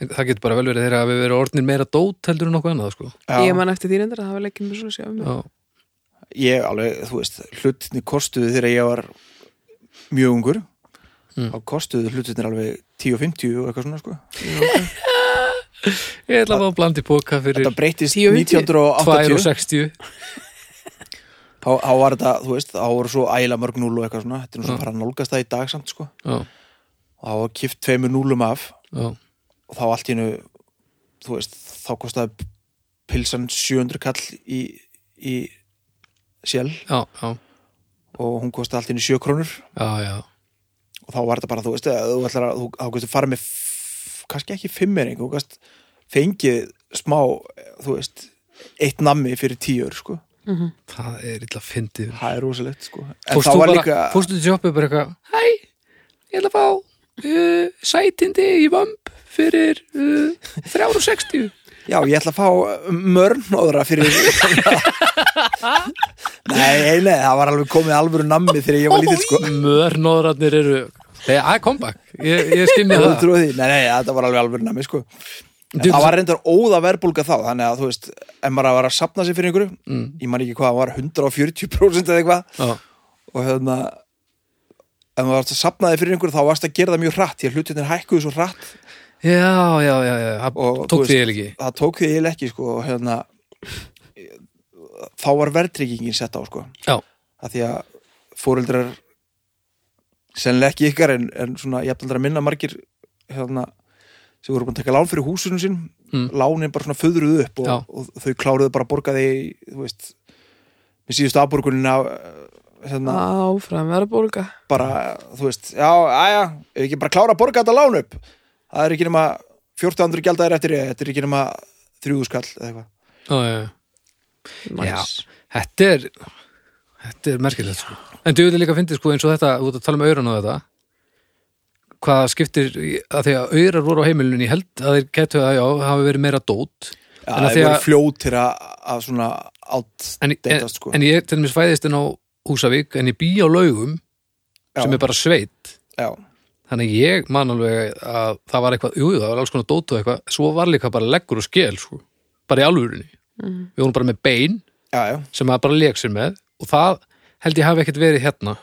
Speaker 1: en það getur bara vel verið þeirra að við verið orðnir meira dót heldur en nokkuð annað sko.
Speaker 2: Já,
Speaker 3: Ég man eftir þín endur að það var leikin með svona sjá um
Speaker 1: Já,
Speaker 2: ég alveg, þú veist, hlutni kostuði þegar ég var mjög ungur þá kostuðu hlutinir alveg 10.50 og eitthvað svona sko
Speaker 1: Ég ætla að fá að blandi póka fyrir
Speaker 2: þetta breytist
Speaker 3: 10.50?
Speaker 2: 1980
Speaker 1: 2,60
Speaker 2: þá, þá var þetta, þú veist, þá voru svo æla mörg núl og eitthvað svona, þetta er nú svo
Speaker 1: Já.
Speaker 2: bara að nálgast það í dag samt sko,
Speaker 1: Já,
Speaker 2: og þá var kift tveimur núlum af
Speaker 1: já,
Speaker 2: og þá allt í hennu þú veist, þá kostaði pilsan 700 kall í, í sjál
Speaker 1: já, já,
Speaker 2: og hún kostaði allt í hennu 7 krónur
Speaker 1: já, já.
Speaker 2: og þá var þetta bara, þú veist, ef þú ætlar að þú, þá kostu fara með, f- kannski ekki fimmering, þú kannst fengið smá, þú veist eitt nammi fyrir tíur, sko
Speaker 1: Það er illa fyndið
Speaker 2: það er rosalegt, sko en
Speaker 1: Fórstu
Speaker 2: þá var
Speaker 1: bara,
Speaker 2: líka,
Speaker 1: fórstu til sjoppið bara eitthvað Hæ, ég ætla að fá uh, sætindi í vamp fyrir uh, 3,60
Speaker 2: já, ég ætla að fá mörnóðra fyrir [laughs] nei, nei, það var alveg komið alvöru nammi þegar ég var lítill, sko
Speaker 1: Mörnóðrarnir eru Hey, I come back, ég, ég skynni
Speaker 2: Þú
Speaker 1: það
Speaker 2: trúið því, nei, nei, þetta var alveg alveg nami sko. En
Speaker 1: Djú,
Speaker 2: Það var reyndar óða verðbólga þá Þannig að þú veist, ef maður var að sapna sér fyrir einhverju Ég man ekki hvað, það var 140% eða eitthvað
Speaker 1: Já,
Speaker 2: Og hérna Ef maður varst að sapna þér fyrir einhverju Þá varst að gera það mjög hratt Því að hlutinir hækkuðu svo hratt
Speaker 1: já, já, já, já. það
Speaker 2: Og,
Speaker 1: tók
Speaker 2: þú
Speaker 1: því
Speaker 2: veist-
Speaker 1: eiginlega ekki
Speaker 2: Það tók því eiginlega ekki sko, og, hérna, Þá var verðtryggingin sett á sko.
Speaker 1: Já,
Speaker 2: að Því að fóreldrar Sennilega ekki ykkar En, en svona, ég að minna margir Hérna sem voru búin að taka lán fyrir húsunum sín
Speaker 1: Mm.
Speaker 2: lánin bara svona föðruð upp
Speaker 1: Já.
Speaker 2: og, og þau kláruðu bara að borga því þú veist, með síðustu afborgunina eh,
Speaker 3: Ah.
Speaker 2: hérna,
Speaker 3: Áfram verðbólga.
Speaker 2: bara, þú veist já, aðja, ef ekki bara klára að borga þetta lán upp það er ekki nema 1400 gjaldæðir eftir ég, þetta er ekki nema 3000 skall eða eitthvað
Speaker 1: já, já, já
Speaker 3: Nice.
Speaker 1: Þetta er Þetta er merkilegt sko. En þú veit líka að fyndið sko eins og þetta út að tala um auran og þetta hvað skiptir að því að aurar voru á heimilinu ég held að þeir getu að já, hafi verið meira dót
Speaker 2: já,
Speaker 1: En að
Speaker 2: það
Speaker 1: því
Speaker 2: voru
Speaker 1: að-
Speaker 2: fljótir að, að svona allt
Speaker 1: en, en,
Speaker 2: deytast sko
Speaker 1: en ég til mér svæðist en á Húsavík en ég bý á laugum
Speaker 2: Já.
Speaker 1: sem er bara sveit
Speaker 2: já,
Speaker 1: þannig að ég man alveg að það var eitthvað, jú, jú, það var alls konar dót og eitthvað svo var líka bara leggur og skel sko. bara í alvörinni, við vorum bara með bein
Speaker 2: já, já,
Speaker 1: sem maður bara leik sér með og það held ég hafi ekkert verið hérna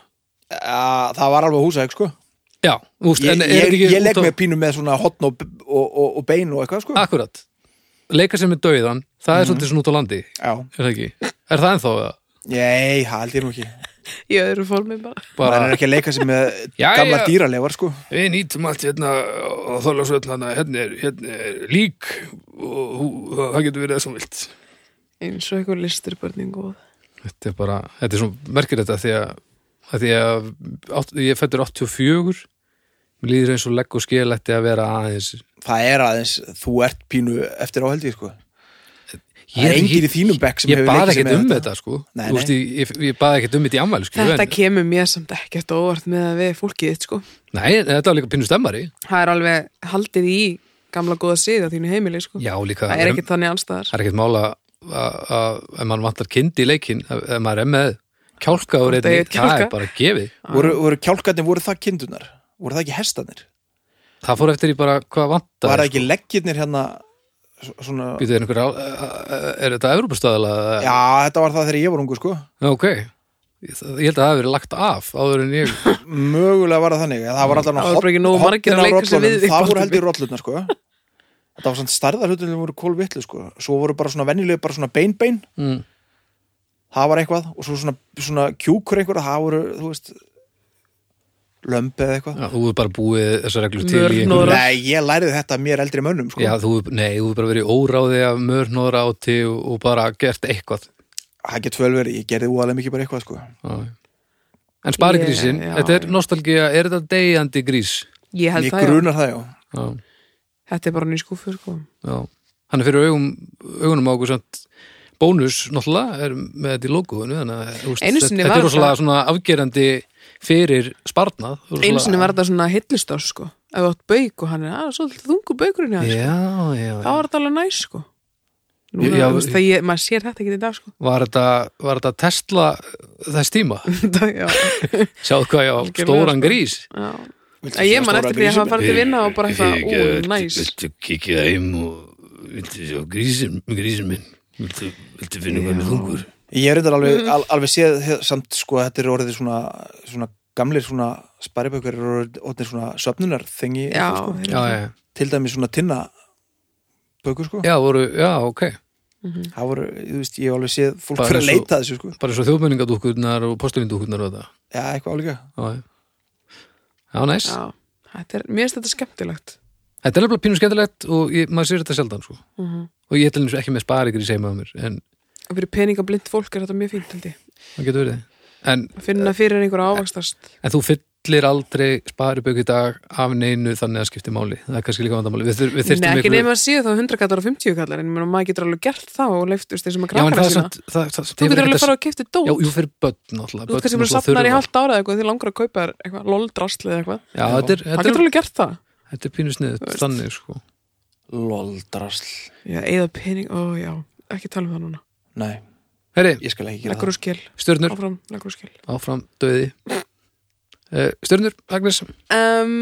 Speaker 2: að, það var alveg húsæk sko
Speaker 1: Já, úst,
Speaker 2: ég,
Speaker 1: en er
Speaker 2: ég,
Speaker 1: þetta ekki
Speaker 2: ég legg
Speaker 1: út Ah. á-
Speaker 2: með pínu með svona hotn og, og, og, og bein og eitthvað sko
Speaker 1: Akkurat, leika sem er dauðan Það
Speaker 2: Mhm.
Speaker 1: er svolítið svona út á landi,
Speaker 2: já,
Speaker 1: er það ekki? Er það ennþá það?
Speaker 2: nei, það held ég nú ekki
Speaker 3: Í öðru formi bara.
Speaker 2: bara...
Speaker 1: Bara,
Speaker 2: er ekki að leika sér með
Speaker 1: Já,
Speaker 2: gamla
Speaker 1: já.
Speaker 2: dýraleifar sko
Speaker 1: við nýtum allt hérna og þólasveitna, hérna er, hérna er lík og hú- það getur verið það sem vilt
Speaker 3: Eins og eitthvað listur börnin góð.
Speaker 1: Þetta er bara, þetta er svona merkilegt að því að, að, því að átt, ég fættur 84 mér líður eins og legg og skil ætti að vera aðeins
Speaker 2: það er aðeins, þú ert pínu eftir áheldi sko. það
Speaker 1: Ég-
Speaker 2: er engin
Speaker 1: ég-
Speaker 2: í þínum bekk sem
Speaker 1: Ég
Speaker 2: hefur
Speaker 1: baði
Speaker 2: leikið sér
Speaker 1: ekkert
Speaker 2: með
Speaker 1: um
Speaker 2: þetta.
Speaker 1: þetta sko
Speaker 2: Nei,
Speaker 1: Þú veist,
Speaker 2: nei.
Speaker 1: ég, ég, ég baði ekkert um þetta í ammælisku
Speaker 3: Þetta kemur mér samt ekkert á óvart með að við fólkið þitt sko.
Speaker 1: Nei, en þetta var líka pínu stemmari
Speaker 3: Það er alveg haldið í gamla góða síða þínu heimili sko.
Speaker 1: Já, líka
Speaker 3: það er ekkert þannig allstaðar.
Speaker 1: það er ekkert mála að að- ef mann vantar kind í leikin ef ef maður er með kjálka úr
Speaker 3: Vantar
Speaker 1: einni,
Speaker 3: eitt
Speaker 1: það
Speaker 3: kjálka.
Speaker 1: er bara gefið
Speaker 2: voru, voru kjálkarnir, voru það kindunar voru það ekki hestanir,
Speaker 1: það fór eftir í bara hvað vantar
Speaker 2: var það ekki leggirnir hérna s- svona,
Speaker 1: Býtu, er, einhver, á- er þetta Evropastöðala?
Speaker 2: já, þetta var það þegar ég var ungu sko,
Speaker 1: Ok, ég ég held að það hafi verið lagt af áður en ég
Speaker 3: [laughs]
Speaker 2: mögulega var það þannig en það var alltaf
Speaker 3: Það voru bara ekki nógu margir að leika sér við í
Speaker 2: það voru
Speaker 3: boltanum.
Speaker 2: heldur rollurnar sko þetta var svona stærðar hlutin sem voru kólvitlu sko, svo voru bara svona venjulega bara svona bein-bein
Speaker 1: mm,
Speaker 2: það var eitthvað og svo svona, svona kjúkur einhver það voru, þú veist lömbi eða eitthvað
Speaker 1: já, Þú hefur bara búið þessar reglur til í
Speaker 3: Mörnóðra.
Speaker 1: einhverju-
Speaker 2: Nei, ég læriði þetta mér eldri mönnum sko.
Speaker 1: Já, þú, nei, þú hefur bara verið í óráði af mörnóðra áti og, og bara gert eitthvað
Speaker 2: Það getur vel verið, ég gerði úalega mikið bara eitthvað sko.
Speaker 1: Já. En sparigrísin,
Speaker 3: Ég- já,
Speaker 1: þetta er
Speaker 3: já.
Speaker 1: nostalgía, er þetta deyjandi grís?
Speaker 3: Ég held
Speaker 2: Mér
Speaker 3: það já.
Speaker 2: grunar það, já
Speaker 1: Já
Speaker 3: Þetta er bara ný skúfu sko.
Speaker 1: Já, hann er fyrir augum, augunum á okkur samt bónus náttúrulega er með þetta í logoinu þannig að þú veist,
Speaker 3: Einu
Speaker 1: þetta
Speaker 3: sinni
Speaker 1: þetta
Speaker 3: var
Speaker 1: er rosalega
Speaker 3: það-
Speaker 1: svona afgerandi fyrir sparnað rosalega-
Speaker 3: Einu sinni var þetta svona hillustás sko. Ef þú átt bauk og hann er að svolítið þungu baukurinn hjá þér, sko.
Speaker 1: Já, já,
Speaker 3: Það var þetta alveg næs sko. Núna,
Speaker 1: Já,
Speaker 3: þú veist, það ég, maður sér þetta ekki í
Speaker 1: [laughs]
Speaker 3: dag sko.
Speaker 1: var þetta, var þetta Tesla þess
Speaker 3: [laughs]
Speaker 1: tíma?
Speaker 3: Það- já,
Speaker 1: Sjáðu hvað ég á
Speaker 3: Algjörlega,
Speaker 1: stóran
Speaker 3: sko.
Speaker 1: grís
Speaker 3: já.
Speaker 2: Viltu
Speaker 3: Að Ég
Speaker 2: sjá
Speaker 3: man
Speaker 2: stóra
Speaker 3: eftir því að hafa
Speaker 2: grísinn?
Speaker 3: farið til vinna og bara eitthvað, ó, næs
Speaker 1: kikið heim og viltu sjá grísin, grísin minn viltu, viltu finna hvað með þungur
Speaker 3: Mhm.
Speaker 2: Ég er reyndar alveg, al, alveg séð he- samt sko að þetta er orðið svona, svona gamlir svona sparibökur eru orðnir svona söfnunar þengi
Speaker 3: já,
Speaker 2: sko.
Speaker 3: þeir
Speaker 1: já,
Speaker 3: eru-
Speaker 1: já,
Speaker 2: til dæmis svona tinna bökur sko
Speaker 1: já, voru, já, ok
Speaker 2: það voru, þú veist, ég hef alveg séð fólk
Speaker 1: Bara
Speaker 2: fyrir að
Speaker 1: eins og-
Speaker 2: leita að þessu sko
Speaker 1: bara svo þjóðmenningardúkurnar og postulindúkurnar og þetta
Speaker 2: já, eitthvað álíka
Speaker 1: já, já. já næs
Speaker 3: já, þetta er, mér finnst þetta skemmtilegt
Speaker 1: þetta er alveg pínu skemmtilegt og ég, maður sér þetta sjaldan sko.
Speaker 3: mm -hmm.
Speaker 1: og ég er til dæmis ekki með sparikri sem að mér en
Speaker 3: og fyrir peningablind fólk er þetta mjög fínt held ég.
Speaker 1: það getur verið en,
Speaker 3: að finna fyrir einhverja ávaxtast
Speaker 1: en þú fyllir aldrei spariböku í dag af neinu þannig að skipti máli það er kannski líka vandamáli við, þur, við
Speaker 3: Nei,
Speaker 1: þyrftum
Speaker 3: ekki
Speaker 1: einhverju-
Speaker 3: nefn að séu þá 100 kallar og 50 kallar en ég meina, maður getur alveg gert það og leiftust eins og maður
Speaker 1: já, en
Speaker 3: krakkar
Speaker 1: það
Speaker 3: að
Speaker 1: er
Speaker 3: sína
Speaker 1: samt það, það,
Speaker 3: þú
Speaker 1: það
Speaker 3: getur
Speaker 1: það,
Speaker 3: alveg fara að kipta dót
Speaker 1: já, jú, fyrir börn náttúrulega
Speaker 3: þú
Speaker 1: börn
Speaker 3: ert kannski mér
Speaker 1: náttúrulega
Speaker 3: safnar í
Speaker 1: þurfa-
Speaker 3: hálft ára eða eitthvað því langar að kaupa þér eitthvað loldrasli eða eitthvað
Speaker 1: já, þetta er,
Speaker 3: það
Speaker 1: þetta er,
Speaker 3: getur alveg gert það
Speaker 1: þetta er pínu snið
Speaker 3: veist.
Speaker 1: þannig sko
Speaker 2: loldrasl,
Speaker 3: já, eða pening, ó já, ekki tala um það núna
Speaker 2: nei,
Speaker 1: herri,
Speaker 2: ég skal ekki gera
Speaker 3: leggur úr skil,
Speaker 1: stjörnur
Speaker 3: áfram, leggur úr skil
Speaker 1: áfram döði uh, stjörnur, Agnes
Speaker 3: um,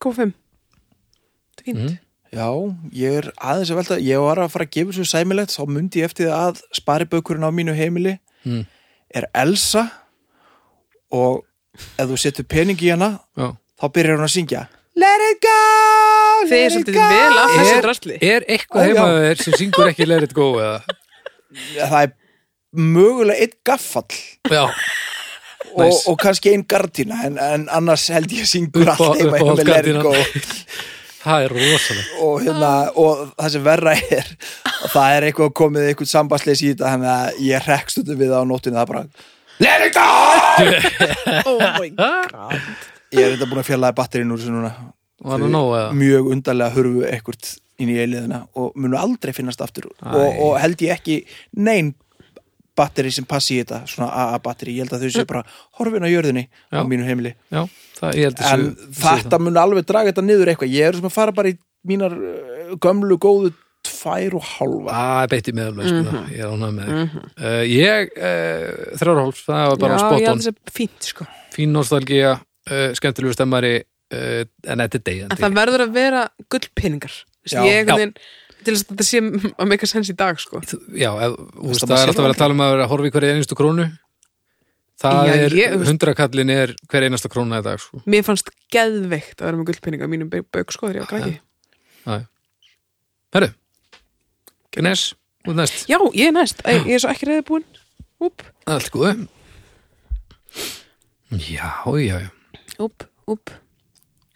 Speaker 3: og 5 þetta er fínt
Speaker 2: það
Speaker 1: Mhm.
Speaker 2: já, ég er aðeins að velta ég var að fara að gefa svo sæmilegt þá mundi ég eftir það að sparibökurinn á mínu heimili
Speaker 1: Mm.
Speaker 2: er Elsa og ef þú setur pening í hana
Speaker 1: Já.
Speaker 2: þá byrjar hún að syngja Let it go, let
Speaker 3: þið er
Speaker 2: it
Speaker 3: svolítið
Speaker 2: go
Speaker 3: vel af þessu
Speaker 1: Er-
Speaker 3: drasli
Speaker 1: er
Speaker 2: Ó,
Speaker 1: eitthvað
Speaker 2: já.
Speaker 1: heimaður sem syngur ekki let it go
Speaker 3: [laughs]
Speaker 1: eða
Speaker 2: það er mögulega eitt gaffall
Speaker 1: já,
Speaker 2: og,
Speaker 1: Nice.
Speaker 2: og kannski einn gardína en, en annars held ég syngur
Speaker 1: Upp á-
Speaker 2: allt heima
Speaker 1: upp á
Speaker 2: heima með
Speaker 1: gardínan.
Speaker 2: Lergo
Speaker 1: [laughs] það er rosalegt
Speaker 2: og, hérna, og það sem verra er að það er eitthvað komið eitthvað sambandsleis í þetta þannig að ég rekst út við það á nóttinu það er bara Let it go!
Speaker 3: [laughs] oh my god
Speaker 2: Ég er þetta búin að fjallaði batterín úr þessu núna
Speaker 1: og hann að nóg eða
Speaker 2: mjög undarlega hurfu ekkert inn í eiliðina og munu aldrei finnast aftur og, og held ég ekki nein batteri sem passi í þetta svona AA batteri, ég held að þau séu bara horfin á jörðinni
Speaker 1: Já.
Speaker 2: á mínu heimili
Speaker 1: já, það, ég held
Speaker 2: en
Speaker 1: þessu
Speaker 2: þetta mun alveg draga þetta niður eitthvað ég er svona að fara bara í mínar uh, gömlu góðu tvær og halva
Speaker 1: að beitti með alveg sko,
Speaker 3: Mhm.
Speaker 1: ég er ánægð með þig uh, ég, uh, þrjára hálf, það var bara
Speaker 3: já, ég
Speaker 1: spot
Speaker 3: held
Speaker 1: on
Speaker 3: þessi fínt sko
Speaker 1: fín nostalgía, uh, skemmtilegu stemmari uh, en þetta er degjandi
Speaker 3: en það verður að vera gullpeningar Þú veist,
Speaker 2: Já.
Speaker 3: ég einhvern veginn til þess að þetta sé að meika sens í dag sko
Speaker 1: já, ef,
Speaker 2: að
Speaker 1: úst, það
Speaker 2: maður
Speaker 1: er
Speaker 2: sér
Speaker 1: alltaf verið að tala um að vera að horfa í hverja einustu krónu það
Speaker 3: Já,
Speaker 1: er,
Speaker 3: ég-
Speaker 1: hundrakallin er hver einasta króna í dag sko.
Speaker 3: mér fannst geðveikt að vera með gullpeninga á mínum bauk sko þegar ég var krakki
Speaker 1: herru, Gnes út næst,
Speaker 3: já, ég er næst, Æ, ég er svo ekki reyði búinúp,
Speaker 1: allt góðu já, já, já
Speaker 3: úp,úp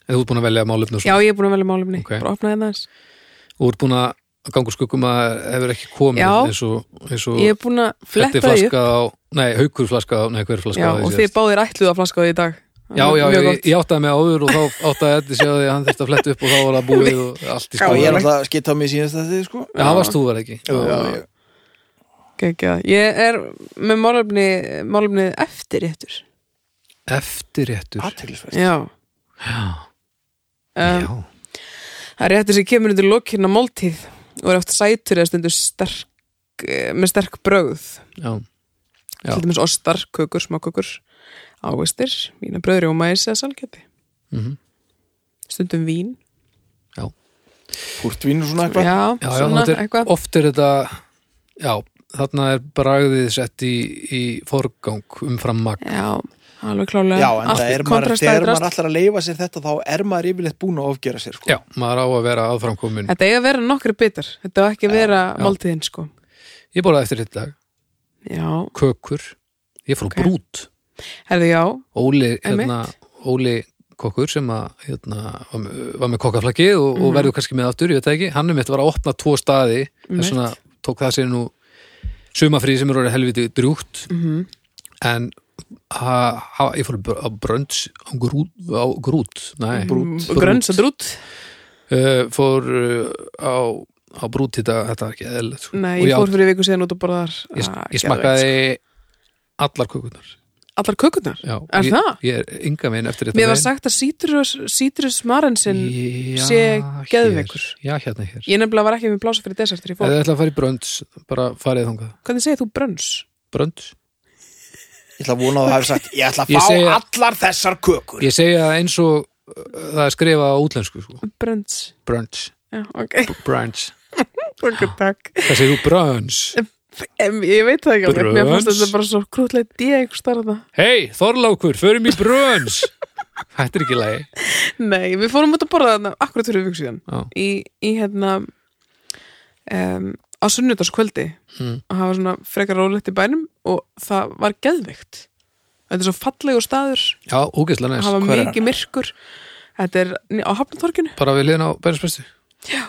Speaker 1: eða þú ert búin að velja málefni og
Speaker 3: já,
Speaker 1: svo
Speaker 3: ég er búin að velja málumni,
Speaker 1: Ok.
Speaker 3: bara opnaði það aðeins.
Speaker 1: og þú ert búin að ganga úr skuggum að það hefur ekki komið
Speaker 3: Já.
Speaker 1: eins og, eins og
Speaker 3: ég er búin að fletta því upp
Speaker 1: flaska á, nei, haukur flaska á, nei, hver flaska
Speaker 3: já,
Speaker 1: á því
Speaker 3: og
Speaker 1: síðast.
Speaker 3: þið báðir ætluðu að flaska á því í dag
Speaker 1: Já, já,
Speaker 3: Mjög
Speaker 1: ég,
Speaker 3: gott.
Speaker 1: ég áttaði mig áður og þá áttaði Eddi sig á því að hann þurfti að fletta upp og þá var það búið og allt í
Speaker 2: og
Speaker 1: skoðu.
Speaker 2: ég
Speaker 1: Já,
Speaker 2: er alltaf að skita á mig síðast þetta sko
Speaker 1: það varst þú verið ekki.
Speaker 2: já,
Speaker 3: Geggjað. Ég er með málumni, málumni eftir réttur.
Speaker 1: Eftirréttur.
Speaker 2: aðteglisverð
Speaker 3: Já.
Speaker 1: Já,
Speaker 3: Um, það er réttur sem kemur undir lokinna máltíð og er oft sætur eða stundur sterk, eh, með sterk bröð.
Speaker 1: já, Já.
Speaker 3: Til dæmis ostar, kökur, smákökur, ávistir, vína bröðri og mæs eða salgjöti.
Speaker 1: Mhm.
Speaker 3: Stundum vín.
Speaker 2: húrtvín og svona eitthvað
Speaker 1: já,
Speaker 3: Já,
Speaker 1: já
Speaker 3: svona
Speaker 1: þetta er,
Speaker 3: eitthvað.
Speaker 1: oft er þetta, já, þarna er bragðið sett í, í forgang umfram magn.
Speaker 3: Já, alveg klálega.
Speaker 2: já, en
Speaker 3: Allt
Speaker 2: það er maður,
Speaker 3: kontrastaði
Speaker 2: þegar
Speaker 3: drast.
Speaker 2: maður allar að leifa sér þetta þá er maður yfirleitt búin að ofgera sér sko.
Speaker 1: Já, maður á að vera aðframkomin.
Speaker 3: Þetta eiga að vera nokkri bitar. Þetta á ekki að vera máltíðin, sko.
Speaker 1: Ég borðaði eftir þetta dag,
Speaker 3: Já,
Speaker 1: kökur, ég fór
Speaker 3: Ok.
Speaker 1: okay. brút.
Speaker 3: herðu já,
Speaker 1: Óli, hérna,
Speaker 3: Einmitt.
Speaker 1: Óli kokkur sem að, hérna, var með- var með kokkaflakki og,
Speaker 3: Mhm.
Speaker 1: og verður kannski með aftur, ég veit það ekki hann er mitt var að opna tvo staði
Speaker 3: Einmitt.
Speaker 1: þess vegna tók það sér nú sumafrí sem er orðið helviti drjúgt
Speaker 3: Mhm.
Speaker 1: en ha, ha, ég fór br- á brönds á grút, á grút nei,
Speaker 3: Brút. Mm, Grönns og drút
Speaker 1: uh, fór uh, á, á brút þetta, þetta var ekki eðlilegt sko.
Speaker 3: Nei,
Speaker 1: og
Speaker 3: ég
Speaker 1: ég,
Speaker 3: fór
Speaker 1: át-
Speaker 3: fyrir viku síðan út og borðar
Speaker 1: ég,
Speaker 3: Ah,
Speaker 1: ég
Speaker 3: geðveikt.
Speaker 1: smakkaði allar kökunar
Speaker 3: Allar kökurnar?
Speaker 1: Já,
Speaker 3: Er
Speaker 1: ég,
Speaker 3: það?
Speaker 1: Ég er ynga minn eftir þetta
Speaker 3: Mér var
Speaker 1: veginn.
Speaker 3: sagt að sítrus, sítrus
Speaker 1: Já,
Speaker 3: marensinn sé
Speaker 1: hér.
Speaker 3: geðveikur.
Speaker 1: Já, hérna hér
Speaker 3: Ég nefnilega var ekki með plása fyrir desert þegar ég
Speaker 1: Ef
Speaker 3: fór
Speaker 1: þið ætla að fara í brönds, bara farið þangað
Speaker 3: Hvernig segir þú brönns?
Speaker 1: Brönds?
Speaker 2: ég ætla að vona að það hefur sagt ég ætla að
Speaker 1: Ég
Speaker 2: fá
Speaker 1: segi að-
Speaker 2: allar þessar kökur
Speaker 1: Ég segja eins og uh, það er skrifað á útlensku sko.
Speaker 3: Brönns
Speaker 1: Brönds,
Speaker 3: [laughs] Já, ok,
Speaker 1: brönds
Speaker 3: ok, takk
Speaker 1: Það segir þú brönds
Speaker 3: Em, ég veit það ekki alveg, mér fannst
Speaker 1: Brönns.
Speaker 3: þetta bara svo krútlega díð eitthvað starða.
Speaker 1: Hei, Þorlákur, förum í bröns
Speaker 3: [laughs]
Speaker 1: Þetta er ekki lægi
Speaker 3: Nei, við fórum út að borða þarna akkurat fyrir viku síðan
Speaker 1: Já.
Speaker 3: í, í hérna um, á sunnudagskvöldi
Speaker 1: Mm.
Speaker 3: og það var svona frekar rólegt í bænum og það var geðveikt þetta er svo fallegu staður
Speaker 1: Já, ógeðslega næs
Speaker 3: það var
Speaker 2: hver er
Speaker 3: mikið myrkur þetta er ni- á Hafnatorkinu
Speaker 1: Bara við liðin á Bærinspresti
Speaker 2: já,